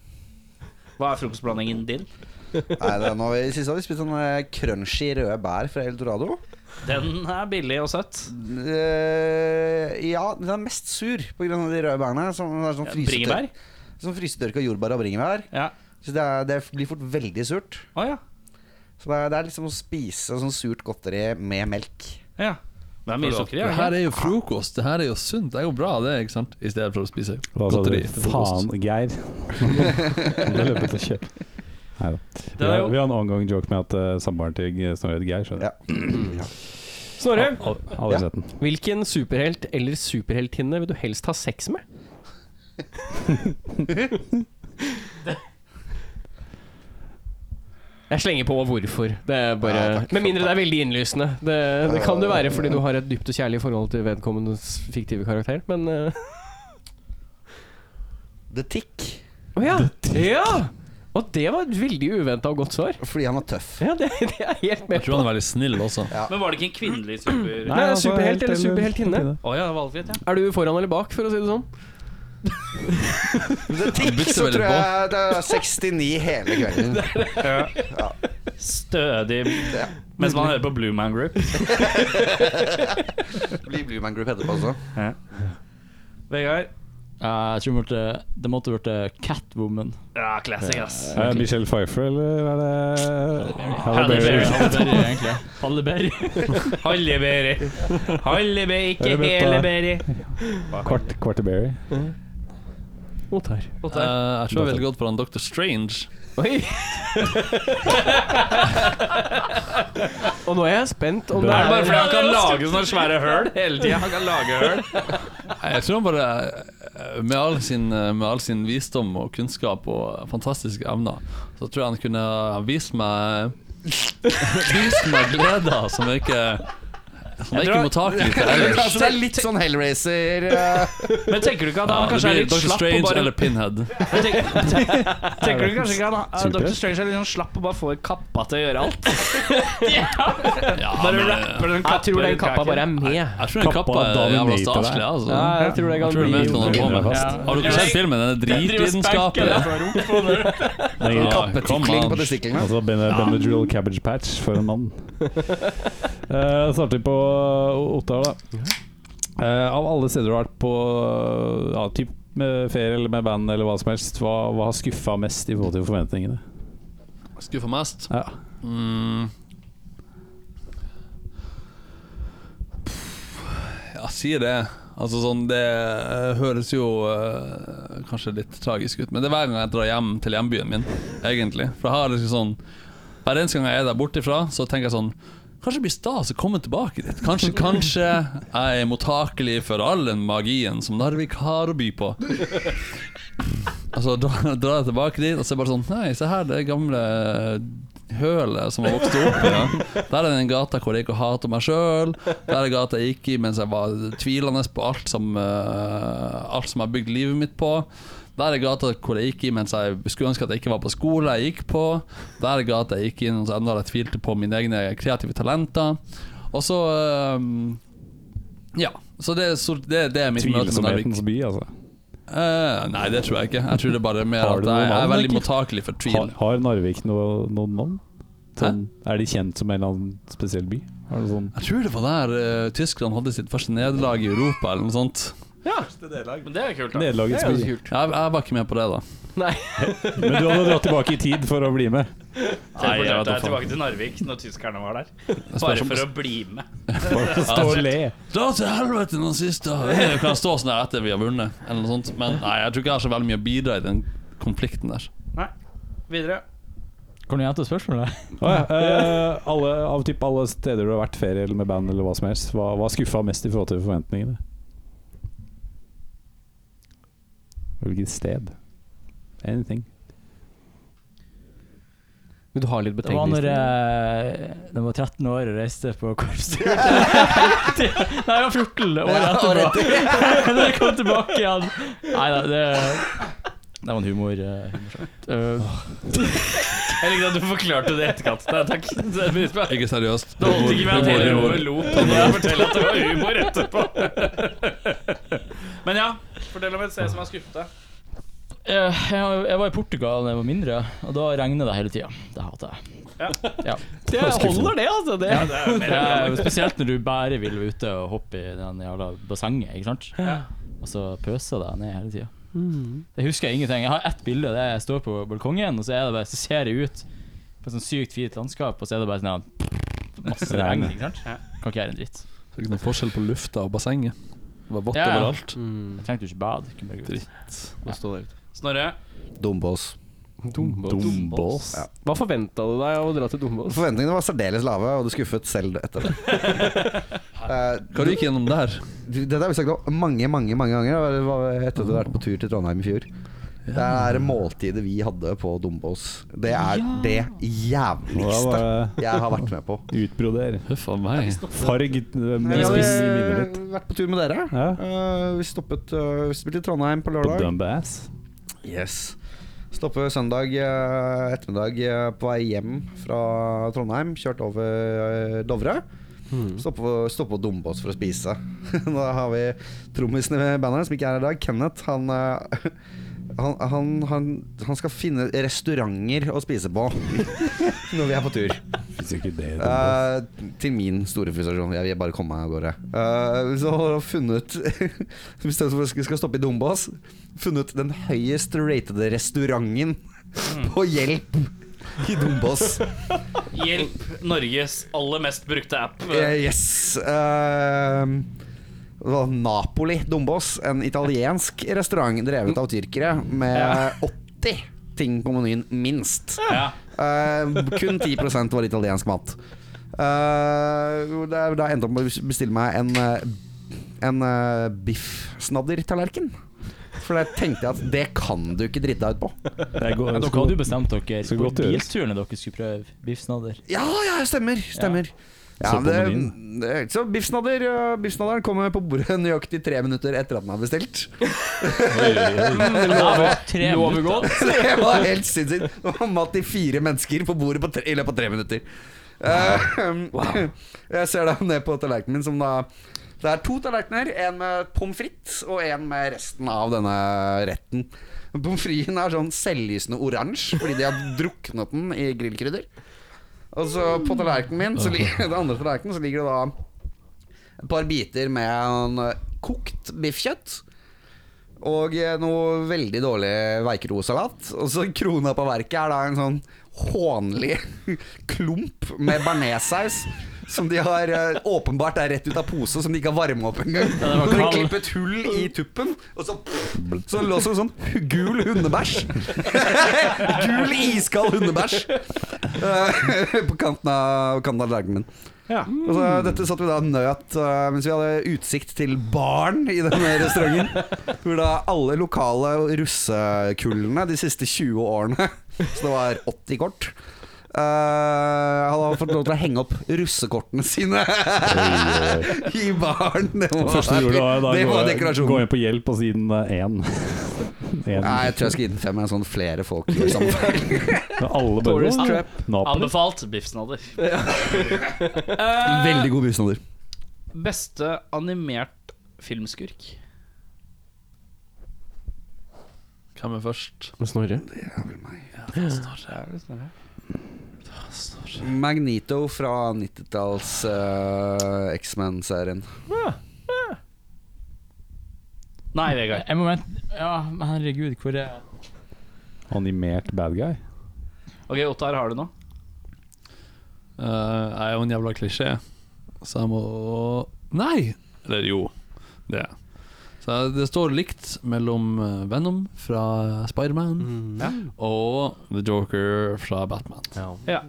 Hva er frokostblandingen din?
Nei, det er nå, I siste har vi spist sånn eh, crunchy røde bær fra Eldorado.
Den er billig og søtt.
Eh, ja, den er mest sur på grunn av de røde bærene. Som, er sånn
Ja,
frysetør-
Bringebær?
Sånn frysetørka jordbær og bringebær.
Ja.
Så det, er, det blir fort veldig surt.
Å ja.
Så det er, det er liksom å spise sånn surt godteri med melk.
ja. Det er mye sukker i.
Det
ja.
her er jo frokost, det her er jo sunt, det er jo bra det, ikke sant? I stedet for å spise
Hva sa du?
godteri til
Faen,
frokost.
Geir. det løpet å kjøpe. Nei da.
Det
Vi
er
har,
jo-
vi har en ongoing joke med at uh, samboeren til G- Snorre heter Geir. Skjønner.
Ja.
Snorre,
Al- Aldri
Ja.
sett den.
hvilken superhelt eller superheltinne vil du helst ha sex med? Jeg slenger på hvorfor. Det er bare
Ja, takk.
Med mindre det er veldig innlysende. Det, det kan det være fordi du har et dypt og kjærlig forhold til vedkommendes fiktive karakter, men eh,
The Tick.
Å ja. ja! Og det var et veldig uventa og godt svar.
Fordi han er tøff.
Ja, det, det er helt
Jeg
med
tror han er veldig snill også.
Men var det ikke en kvinnelig super...
Nei,
altså,
superhelt
helt
eller superheltinne?
heltinne.
Å ja, det var valgfritt, ja.
Er du foran eller bak, for å si det sånn?
The Tick,
bytter
så
veldig
tror
på.
jeg det er 69 hele kvelden.
Stødig. Mens man hører på Blue Man Group.
Det blir Blue Man Group etterpå også.
Vegard.
Ja, jeg tror det måtte- det måtte vært Catwoman.
Ja, classic, ass.
Er det Eh, Michelle Pfeiffer, eller er det Halle
Halle
Berry?
Berry.
Halle Berry, egentlig. Halle Berry.
Halleberry. Halleberry,
Er
ikke
det bøtta?
heleberry.
Kvart, Quarterberry.
Otar.
Eh, jeg tror jeg ville gått for han Dr. Strange.
Oi! og nå er jeg spent om
Det
det
er bare
er
fordi han kan lage sånne svære høl hele tida. Han kan lage høl.
Jeg tror han bare, eh, med all sin, eh, med all sin visdom og kunnskap og fantastiske evner, så tror jeg han kunne ha vist meg Vist meg gleder som jeg ikke Som jeg ikke må take litt ellers.
Det er litt sånn Hellraiser eh,
Men tenker du ikke at
Ja,
han
det
kanskje er
blir
litt
Dr.
slapp og
Strange
bare
eller Pinhead.
Men tenk- Tenker du kanskje ikke at han- at Dr. Strange er litt sånn slapp og bare får kappa til å gjøre alt?
Ja,
Bare
men,
rapper den kappa
Jeg tror den kappa bare er med.
jeg tror den
Kappa
kappa er jævla
dominater deg.
staselig. Altså.
Ja, jeg tror det kan
Jeg tror det
bli
vet hva han holder på med.
Ja.
Har du ikke sett filmen? Den er dritvitenskapelig. Ja, kom
Kling på
an.
testiklene.
Altså ben Benadryl Cabbage Patch for en mann. uh, starter vi på Ottar, da. Eh, av alle steder du har vært på eh, ja, typ med ferie eller med band, eller hva som helst, hva, hva har skuffa mest i forhold til forventningene?
Skuffa mest?
Ja.
Mm. Ja, sier det. Altså sånn, Det eh, høres jo eh, kanskje litt tragisk ut, men det er hver gang jeg drar hjem til hjembyen min, egentlig. For jeg har liksom sånn Hver eneste gang jeg er der bortifra, så tenker jeg sånn Kanskje det blir stas å komme tilbake dit. Kanskje, kanskje jeg er mottakelig for all den magien som Narvik har å by på. Altså, dra, dra jeg tilbake dit, og så er det bare sånn Nei, se her, det gamle hølet som har vokst opp. Ja. Der er den gata hvor jeg gikk og hata meg sjøl. Der er gata jeg gikk i mens jeg var tvilende på alt som eh, Alt som jeg har bygd livet mitt på. Der er gata hvor jeg gikk i mens jeg skulle ønske at jeg ikke var på skole jeg gikk på. Der er gata jeg gikk inn og enda jeg tvilte på mine egne kreative talenter. Og så eh, Ja. Så det, er så det, det er mitt møte med Narvik.
Tvilsomhetens by, altså.
Eh, nei, det tror jeg ikke. Jeg tror det bare er mer
Har
at
du noen
jeg, jeg er
navn,
veldig
egentlig?
mottakelig for
Har,
tvil.
har Narvik noe, noen navn? Sånn, er de kjent som en eller annen spesiell by? Har du sånn
Jeg tror det var der eh, Tyskland hadde sitt første nederlag i Europa, eller noe sånt.
Men det er kult. da
Nederlagets by.
Jeg, jeg var ikke med på det, da.
Men du hadde dratt tilbake i tid for å bli med.
Teleporterte
da
deg
faen.
tilbake til Narvik når tyskerne var der.
spør
Bare
om-
for å bli med.
Bare stå og le.
Dra til helvete nazister! Jeg kan stå sånn her etter vi har vunnet, eller noe sånt. Men nei, jeg tror ikke jeg har så veldig mye å bidra i den konflikten der.
Videre.
Kan du gjenta spørsmålet?
Å ja, eh, alle, av typ alle steder du har vært ferie eller med band, eller hva som helst, hva var skuffa mest i forhold til forventningene? Hvilket sted? Anything.
Men du har litt
Det var når eh,
betenkelighet?
jeg de var 13 år og reiste på korpstur. Nei, jeg var 14 år etterpå. Når jeg kom tilbake igjen. Nei da, det, det var en humor. eh, humorsjakt. Eh,
Jeg likte at du forklarte det i etterkant. Nei, takk. Det er mye spennende.
Ikke seriøst.
Det holdt ikke med at hele
Humor, humor.
rommet lo når jeg forteller at det var humor etterpå. Men ja, fortell om et sted som har skuffet deg.
eh, jeg, jeg var i Portugal da jeg var mindre, og da regnet det hele tida. Det hater jeg.
Det holder, det, altså. Det, ja, det er jo mer
Det
enn
er jo spesielt når du bare vil ute og hoppe i den jævla bassenget, ikke sant. Og så pøser det ned hele tida. Jeg husker ingenting. Jeg har ett bilde der jeg står på balkongen, og så, er det bare, så ser jeg ut på et sånt sykt fint landskap, og så er det bare sånn ja, masse regn. Ikke sant? Kan ikke gjøre en dritt.
Det er ikke noen forskjell på lufta og bassenget. Det var vått
Ja, ja.
overalt.
Jeg trengte jo ikke bad. Kunne bare gå ut.
Snorre.
Dombås.
Mm.
Dombås.
Ja.
Hva forventa du deg av å dra til Dombås?
Forventningene var særdeles lave, og du skuffet selv etter det. Eh,
Hva du gikk gjennom der?
Du, Dette har vi snakket om mange mange, mange ganger. Det var etter at du hadde vært på tur til Trondheim i fjor. Det er måltidet vi hadde på Dombås. Det er det
Hva
jævligste
var
jeg har vært med på.
det? Utbroder.
Huff a meg.
Farg eh,
Vi
spis i minnet
hadde
ditt.
vært på tur med dere.
Ja.
Eh, vi stoppet eh, Vi spilte i Trondheim på
På
lørdag.
Dumbass.
Yes. Stoppet søndag eh, ettermiddag eh, på vei hjem fra Trondheim. Kjørt over eh, Dovre. Stoppet på- Stoppet på Dombås for å spise. da har vi trommisen i bandet som ikke er her i dag, Kenneth. Han, eh, han, han, han, han skal finne restauranter å spise på når vi er på tur.
Fins jo ikke det. i Dombås.
Eh, til min store frustrasjon. Jeg vil bare komme meg av gårde. Eh, så har han funnet I stedet for at vi skal stoppe i Dombås, funnet den høyest ratede restauranten på Hjelp i Dombås.
Hjelp Norges aller mest brukte app.
Eh, yes. Eh, det var Napoli Dombås, en italiensk restaurant drevet av tyrkere med 80 ting på menyen, minst.
Ja.
Eh, kun 10 var italiensk mat. Eh, da, da endte jeg opp med å bestille meg en, eh, en eh, biffsnaddertallerken. For det tenkte jeg at det kan du ikke drite deg ut på.
Det er go-
Ja, Dere hadde jo bestemt dere
Skal
på
godt gjøres.
bilturene dere skulle prøve biffsnadder.
Ja, ja, stemmer. stemmer. Ja,
Så på
det,
menyen.
det, så biffsnadder eh, Biffsnadderen kommer på bordet nøyaktig tre minutter etter at den er bestilt.
Tre minutter.
Det var helt sinnssykt. Det var mat til fire mennesker på bordet på tre, i løpet av tre minutter. Eh, Jeg ser da ned på tallerkenen min, som da Det er to tallerkener. En med pommes frites og en med resten av denne retten. Pommes fritesen er sånn selvlysende oransje fordi de har druknet den i grillkrydder. Og så på tallerkenen min, så ligger, den andre tallerkenen, så ligger det da et par biter med en eh, kokt biffkjøtt. Og eh, noe veldig dårlig veikrosalat. Og så krona på verket er da en sånn hånlig klump med bearnéssaus. Som de har eh, åpenbart er rett ut av pose, som de ikke har varma opp engang. Så
var
de
kald.
klippet hull i tuppen, og så Så det lå som sånn gul hundebæsj. gul, iskald hundebæsj eh, på kanten av, kanten av tallerkenen min. Og så, dette satt vi da nøt eh, mens vi hadde utsikt til baren i denne restauranten. Hvor da alle lokale russekullene de siste 20 årene, så det var 80 kort eh, hadde fått lov til å henge opp russekortene sine i baren. Det
Det
var,
første du gjorde, var da
det var
gå- gå
dekorasjonen.
inn på hjelp og si den eh, én. Én.
Nei, jeg tror jeg skal gi den fem. En sånn flere folk. gjør samme feil.
Men Alle bare
Tourist trap.
Napoli.
Anbefalt biffsnadder.
Veldig god biffsnadder.
Beste animert filmskurk.
Hvem er først?
Snorre.
Magnito fra 90-talls eh, X-Men-serien.
Nei, Vegard.
Jeg må vente Ja, men herregud, hvor er
Animert bad guy.
Ok, Ottar, har du noe?
Eh, jeg er jo en jævla klisjé, så jeg må Nei! Eller jo, det er jeg. Så jeg- det står likt mellom eh, Venom fra Spiderman og The Joker fra Batman.
Ja.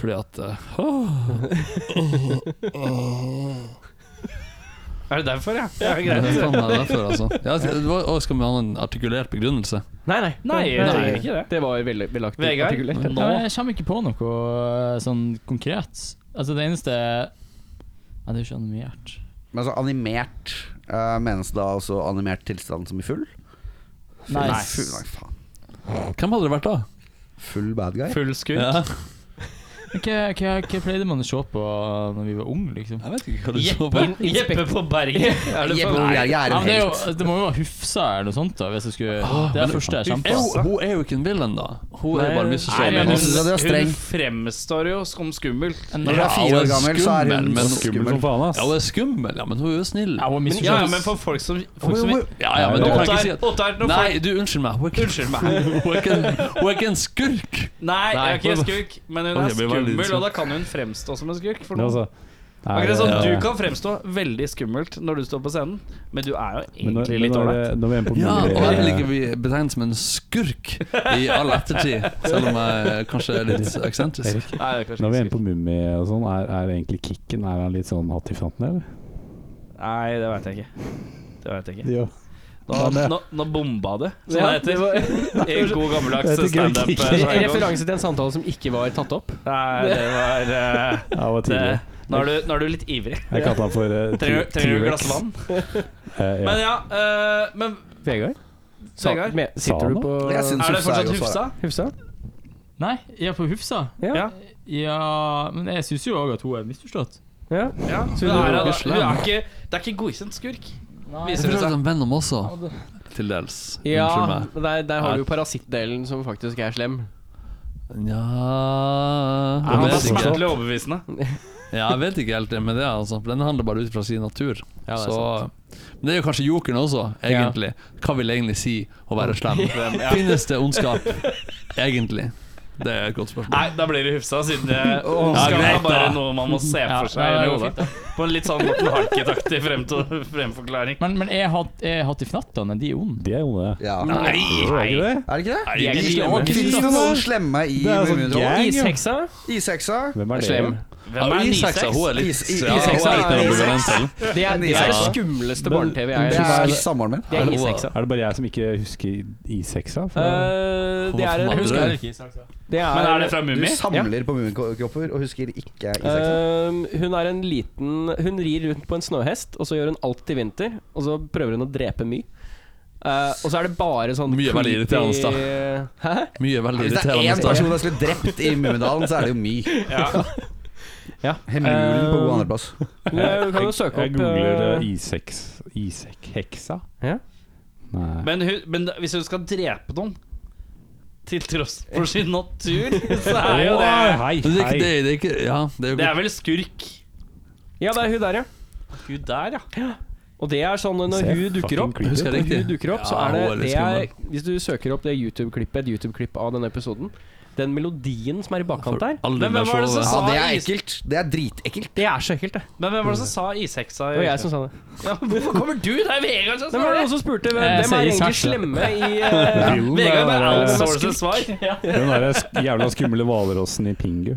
Fordi at eh, åh,
Er det derfor, ja? ja
Det
greit.
er faen meg derfor, altså. Ja, det var, å, skal vi ha en artikulert begrunnelse?
Nei, nei.
Nei, det er ikke det.
Det var veldig belagt.
Vegard?
artikulert.
Nei, men jeg kommer ikke på noe eh, sånn konkret. Altså, det eneste Ja, det er jo ikke animert.
Men altså animert eh, menes da altså animert tilstand som i full? Full,
Nei.
full, nei faen.
Hvem hadde det vært da?
full bad guy?
Full skudd.
Ja,
Men Hva, hva, hva pleide man å se på når vi var unge, liksom?
jeg vet ikke hva du så på.
Jeppe på berget. Er det sånn?
Jeppe
for-
Bjerg er
Ja,
en
men det, er
helt.
jo, det må jo være Hufsa eller noe sånt, da. Hvis jeg skulle,
Ah,
det er
men-
det første jeg kommer
Er
på.
hun- hun er jo ikke en villain, da. Hun er
Nei,
bare
nei,
Mrs.
men
Jeg
Robin.
synes at det er
hun,
streng.
hun fremstår jo som skummel.
Når hun er fire år gammel, så er
skummel,
hun
men-
Skummel som faen, ass.
Ja, hun er skummel, ja, men hun er jo snill.
Ja, hun er
Men, ja,
misforstått.
men for folk som, folk som
Ja, ja, men du kan ikke si
Ottar,
at
Ottar, nå får
Nei, du, unnskyld meg. Hun er ikke,
Unnskyld meg.
hun er ikke, en, hun er ikke en skurk.
Nei, jeg er
Nei,
ikke
hva-
skurk, men hun
Oi,
er
jeg blir veldig
skummel,
litt sånn-
og da kan hun fremstå som en skurk. For
Det er
noen.
altså- Nei,
Akkurat som
det-
du kan fremstå veldig skummelt når du står på scenen, men du er jo
Men når,
egentlig litt
når,
ålreit.
når vi er inne på
Ja, og her
mulig-
ligger vi betegnet som en skurk i all ettertid. Selv om jeg kanskje er litt eksentrisk.
Nei, det er kanskje
Når vi er inne
ikke
på Mummi og sånn, er, er egentlig kicken Er han litt sånn hatt i fronten, eller?
skurk. Nei, det veit jeg ikke. Det vet jeg ikke.
Ja.
Nå,
Men-
nå, nå bomba det, som
Ja,
det heter. I god gammeldags
Det heter
standup.
ikke-
eh,
En
jargon.
referanse til en samtale som ikke var tatt opp.
Nei, det var eh,
Ja, det var
det,
tidlig.
nå, er du, nå er du litt ivrig.
Jeg kalte han for eh, uh,
Trenger, trenger du et glass vann? Men ja, eh, men
Vegard? Sa-
Vegard,
me-
Sa
Sitter du
han
på
Jeg synes
er det
Hufsa er
fortsatt
godt
Hufsa?
svar.
Hufsa?
Nei, ja, på Hufsa?
Ja.
ja Men jeg syns jo òg at hun er misforstått.
Ja.
Ja, men
du
det er,
var
det er ikke, det er ikke godkjent skurk.
Jeg
Viser det
prøvde
seg.
en Venom også, til dels.
ja
Unnskyld meg.
der, der har du jo parasittdelen som faktisk er slem.
Nja
Han
Jeg
var
vet ikke.
smertelig overbevisende.
Ja, jeg vet ikke helt det med det, altså. For den handler bare ut fra sin natur.
Ja, det er
så Men det er jo kanskje jokeren også, egentlig. Hva vil egentlig si å være slem? Finnes det ondskap, egentlig? Det er et godt spørsmål.
Nei, da blir det Hufsa, siden det
Åh,
ondskap er
greit,
bare
da.
noe man må se for seg. i
ja, det var
hodet.
fint, da.
På en litt sånn Morten Harket-aktig fremto- fremforklaring.
Men, men jeg hatt- jeg hatt i fnattene, de er onde.
De er onde.
Ja.
Nei, nei.
Er det ikke det?
De er
Å,
ikke slemme.
Fins det noen slemme i
Det er sånn
Mummitrollet?
Isheksa?
Iseksa?
Hvem er det?
Slem.
Hvem er
Iseksa, hun er litt
Is- is-
ja, hun
Iseksa
er
er-
litt mer ambivalent til.
Det er det, er det
Isheksa.
skumleste barne-TV jeg
Det
har
er
sett.
samboeren min.
Det er
Er det-
Isheksa.
Er det bare jeg som ikke husker I6-a?
Eh, det er,
Hvorfor
det
hadde
er,
du det?
det
Men er
er
det fra
Du
Mummi?
samler på mummikropper og husker ikke Iseksa.
Ehm, hun er en liten Hun rir rundt på en snøhest, og så gjør hun alt til vinter. Og så prøver hun å drepe My. Eh, og så er det bare sånn
Mye veldig irriterende, da.
Hæ?
Mye veldig
Hvis det er én
irriterende.
person som skulle drept i Mummidalen, så er det jo My.
Ja.
Hemulen på god andreplass.
Men Du kan jo søke
Jeg
opp
googler
eh,
I6 Isek-heksa.
Ja.
Nei.
Men, hun, men hvis hun skal drepe noen til tross for sin natur, så er jo det
Åh, Hei,
Men det er
hei.
ikke det, det er ikke Ja, det er jo
Det
ikke
er vel skurk.
Ja, det er hun der, ja.
Hun der, ja.
Og det er sånn når
Se,
hun dukker
fucking
opp
creepy.
Husker jeg
Når
riktig?
hun dukker opp, så
Ja,
er det,
hun er litt
det er, Hvis du søker opp det YouTube-klippet Et YouTube-klipp av denne episoden Den melodien som er i bakkant der
Aldri
Men hvem
mer
var
så
det som
Ja,
sa
det.
det er
is-
ekkelt. Det er dritekkelt.
Det er så ekkelt det
Men hvem var det som sa isheksa?
Det var jeg som sa det
Ja, men hvorfor kommer du? Det er Vegard som
Men var
svarer!
det noen som spurte Hvem,
Eh,
hvem
sier
er egentlig
Sasha.
slemme i eh,
Drillen er
Vegard med
den der-
outsourcet svar.
Den derre sk- jævla skumle hvalrossen i Pingu.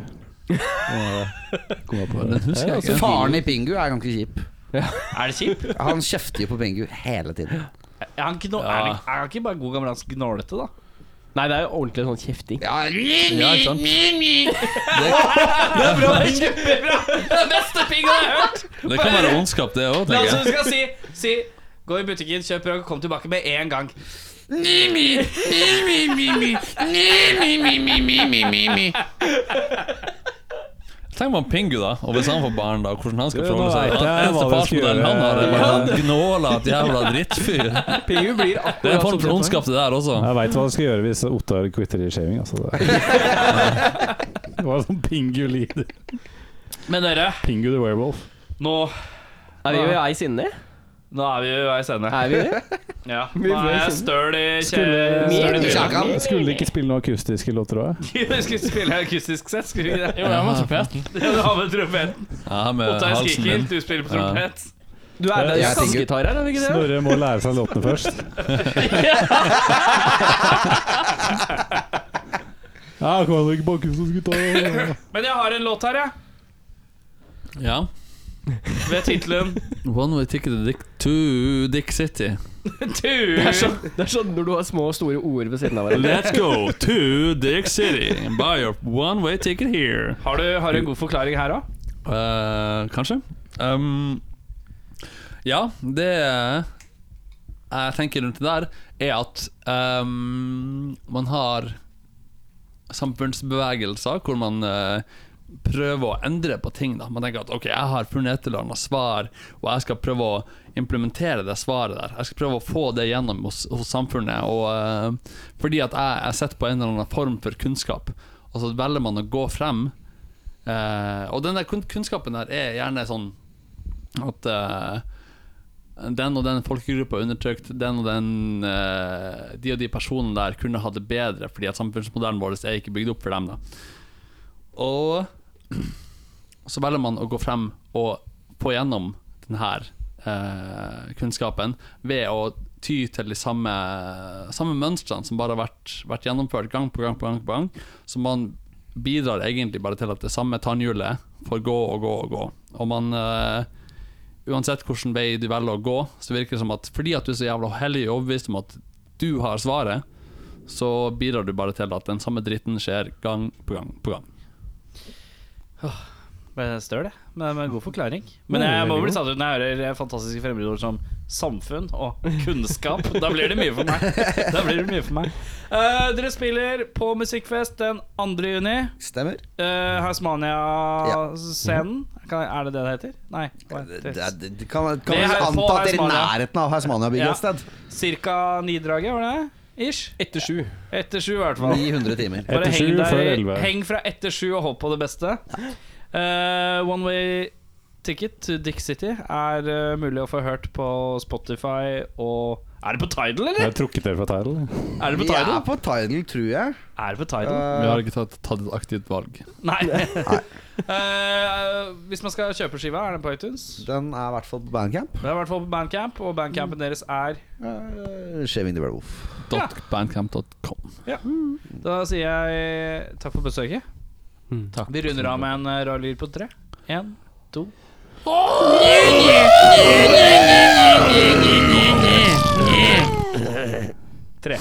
Den husker jeg
Altså,
ikke.
faren i Pingu er ganske kjip.
Er det kjip?
Han kjefter jo på Pingu hele tiden.
Er han, gno er han- er han ikke bare god gammeldags gnålete, da?
Nei, det er jo ordentlig sånn kjefting
Ja,
Ja, ikke sant?
Det beste pinga jeg har hørt!
Det kan være ondskap, det òg,
La
tenker
oss
jeg.
du skal si, si Gå i butikken, kjøp brød, kom tilbake med en gang.
Tenk på han Pingu, da. Og hvis han får barn, da, hvordan han skal
Ja, nå
forholde seg.
vet jeg
Den
hva
eneste
vi skal
farsmodellen han har, er
gjøre.
bare en gnålete jævla drittfyr.
Pingu blir
Det er en
akkurat
form
som
for ondskap, det der også.
Jeg veit hva du skal gjøre hvis Ottar quitter i shaving. Altså. Det Det var sånn Pingu leader.
Men dere,
Pingu the werewolf.
nå
Er vi jo ei sinne?
Nå er vi jo i veis ende.
Er vi det?
Ja. Nå er jeg støl i kje- støl i
Skulle-
trynet.
Kjakan.
Skulle de ikke spille noen akustiske låter òg?
Vi skulle spille akustisk sett, skulle vi ikke det?
Jo, jeg må trompeten.
Du har med trompeten.
Jeg har med
Ottar
halsen
skriker,
min.
du spiller på
Ja.
trompet.
Du er med
Jeg tenker-
kassegitar her, er du ikke det?
Snorre må lære seg låtene først. Ja, kan du ikke bakke som gutta?
Men jeg har en låt her, jeg.
Ja.
Ved tittelen
One way ticket to Dick, to Dick City.
Tur.
Det er sånn når du har små og store ord ved siden av hverandre.
Let's go to Dick City and buy your one way ticket here.
Har du, har du en god forklaring her òg?
Eh, kanskje. Um, ja, det jeg tenker rundt det der, er at um, man har samfunnsbevegelser hvor man eh, prøver å endre på ting. Da. Man tenker at ok, jeg har funnet et eller annet svar, og jeg skal prøve å implementere det svaret der. Jeg skal prøve å få det gjennom hos, hos samfunnet. Og, eh, fordi at jeg, jeg sitter på en eller annen form for kunnskap, og så velger man å gå frem. Eh, og den der kun kunnskapen der er gjerne sånn at eh, den og den folkegruppa er undertrykt, den og den eh, De og de personene der kunne ha det bedre fordi at samfunnsmodellen vår er ikke bygd opp for dem. da Og så velger man å gå frem og få gjennom den her eh, kunnskapen ved å ty til de samme, samme mønstrene som bare har vært, vært gjennomført gang på gang på gang. på gang Så man bidrar egentlig bare til at det samme tannhjulet får gå og gå og gå. Og man eh, Uansett hvilken vei du velger å gå, så virker det som at fordi at du er så jævla hellig og overbevist om at du har svaret, så bidrar du bare til at den samme dritten skjer gang på gang på gang.
Støl, jeg. Men med en god forklaring. Men jeg må bli satt ut når jeg hører fantastiske fremmedord som samfunn og kunnskap. Da blir det mye for meg. Da blir det mye for meg Eh, Dere spiller på Musikkfest den 2. juni.
Stemmer.
Uh, Hasmania-scenen. Kan- Er det det det heter? Nei. hva
Det,
heter det?
det, det kan kan
Det
vel
er på
anta at dere er i
Hausmania.
nærheten av Hausmania-bygget
Ja.
et sted.
Cirka nidraget, var det det? Ish.
Etter sju.
Etter sju, i hvert fall.
900 timer.
Bare
Etter
heng,
sju,
der,
før elleve.
heng fra etter sju og håp på det beste. Eh, one way ticket to Dick City er eh, mulig å få hørt på Spotify og Er det på Tidal,
Jeg
eller?
har trukket dere fra Tidal.
Er det på
Vi
Tidal?
er på Tidal, tror jeg.
Er det på Tidal?
Vi har
Eh,
ikke tatt, tatt et aktivt valg.
Nei. Eh, hvis man skal kjøpe skiva, er den på iTunes?
den er i hvert fall på Bandcamp.
Det er i hvert fall på Bandcamp, og bandcampen deres er
Uh, Shaving the Werewolf.
Ja.
Bandcamp.com.
Da sier jeg takk for besøket.
Hmm.
Vi runder av med en eh, rar lyd på tre. Én, to Tre.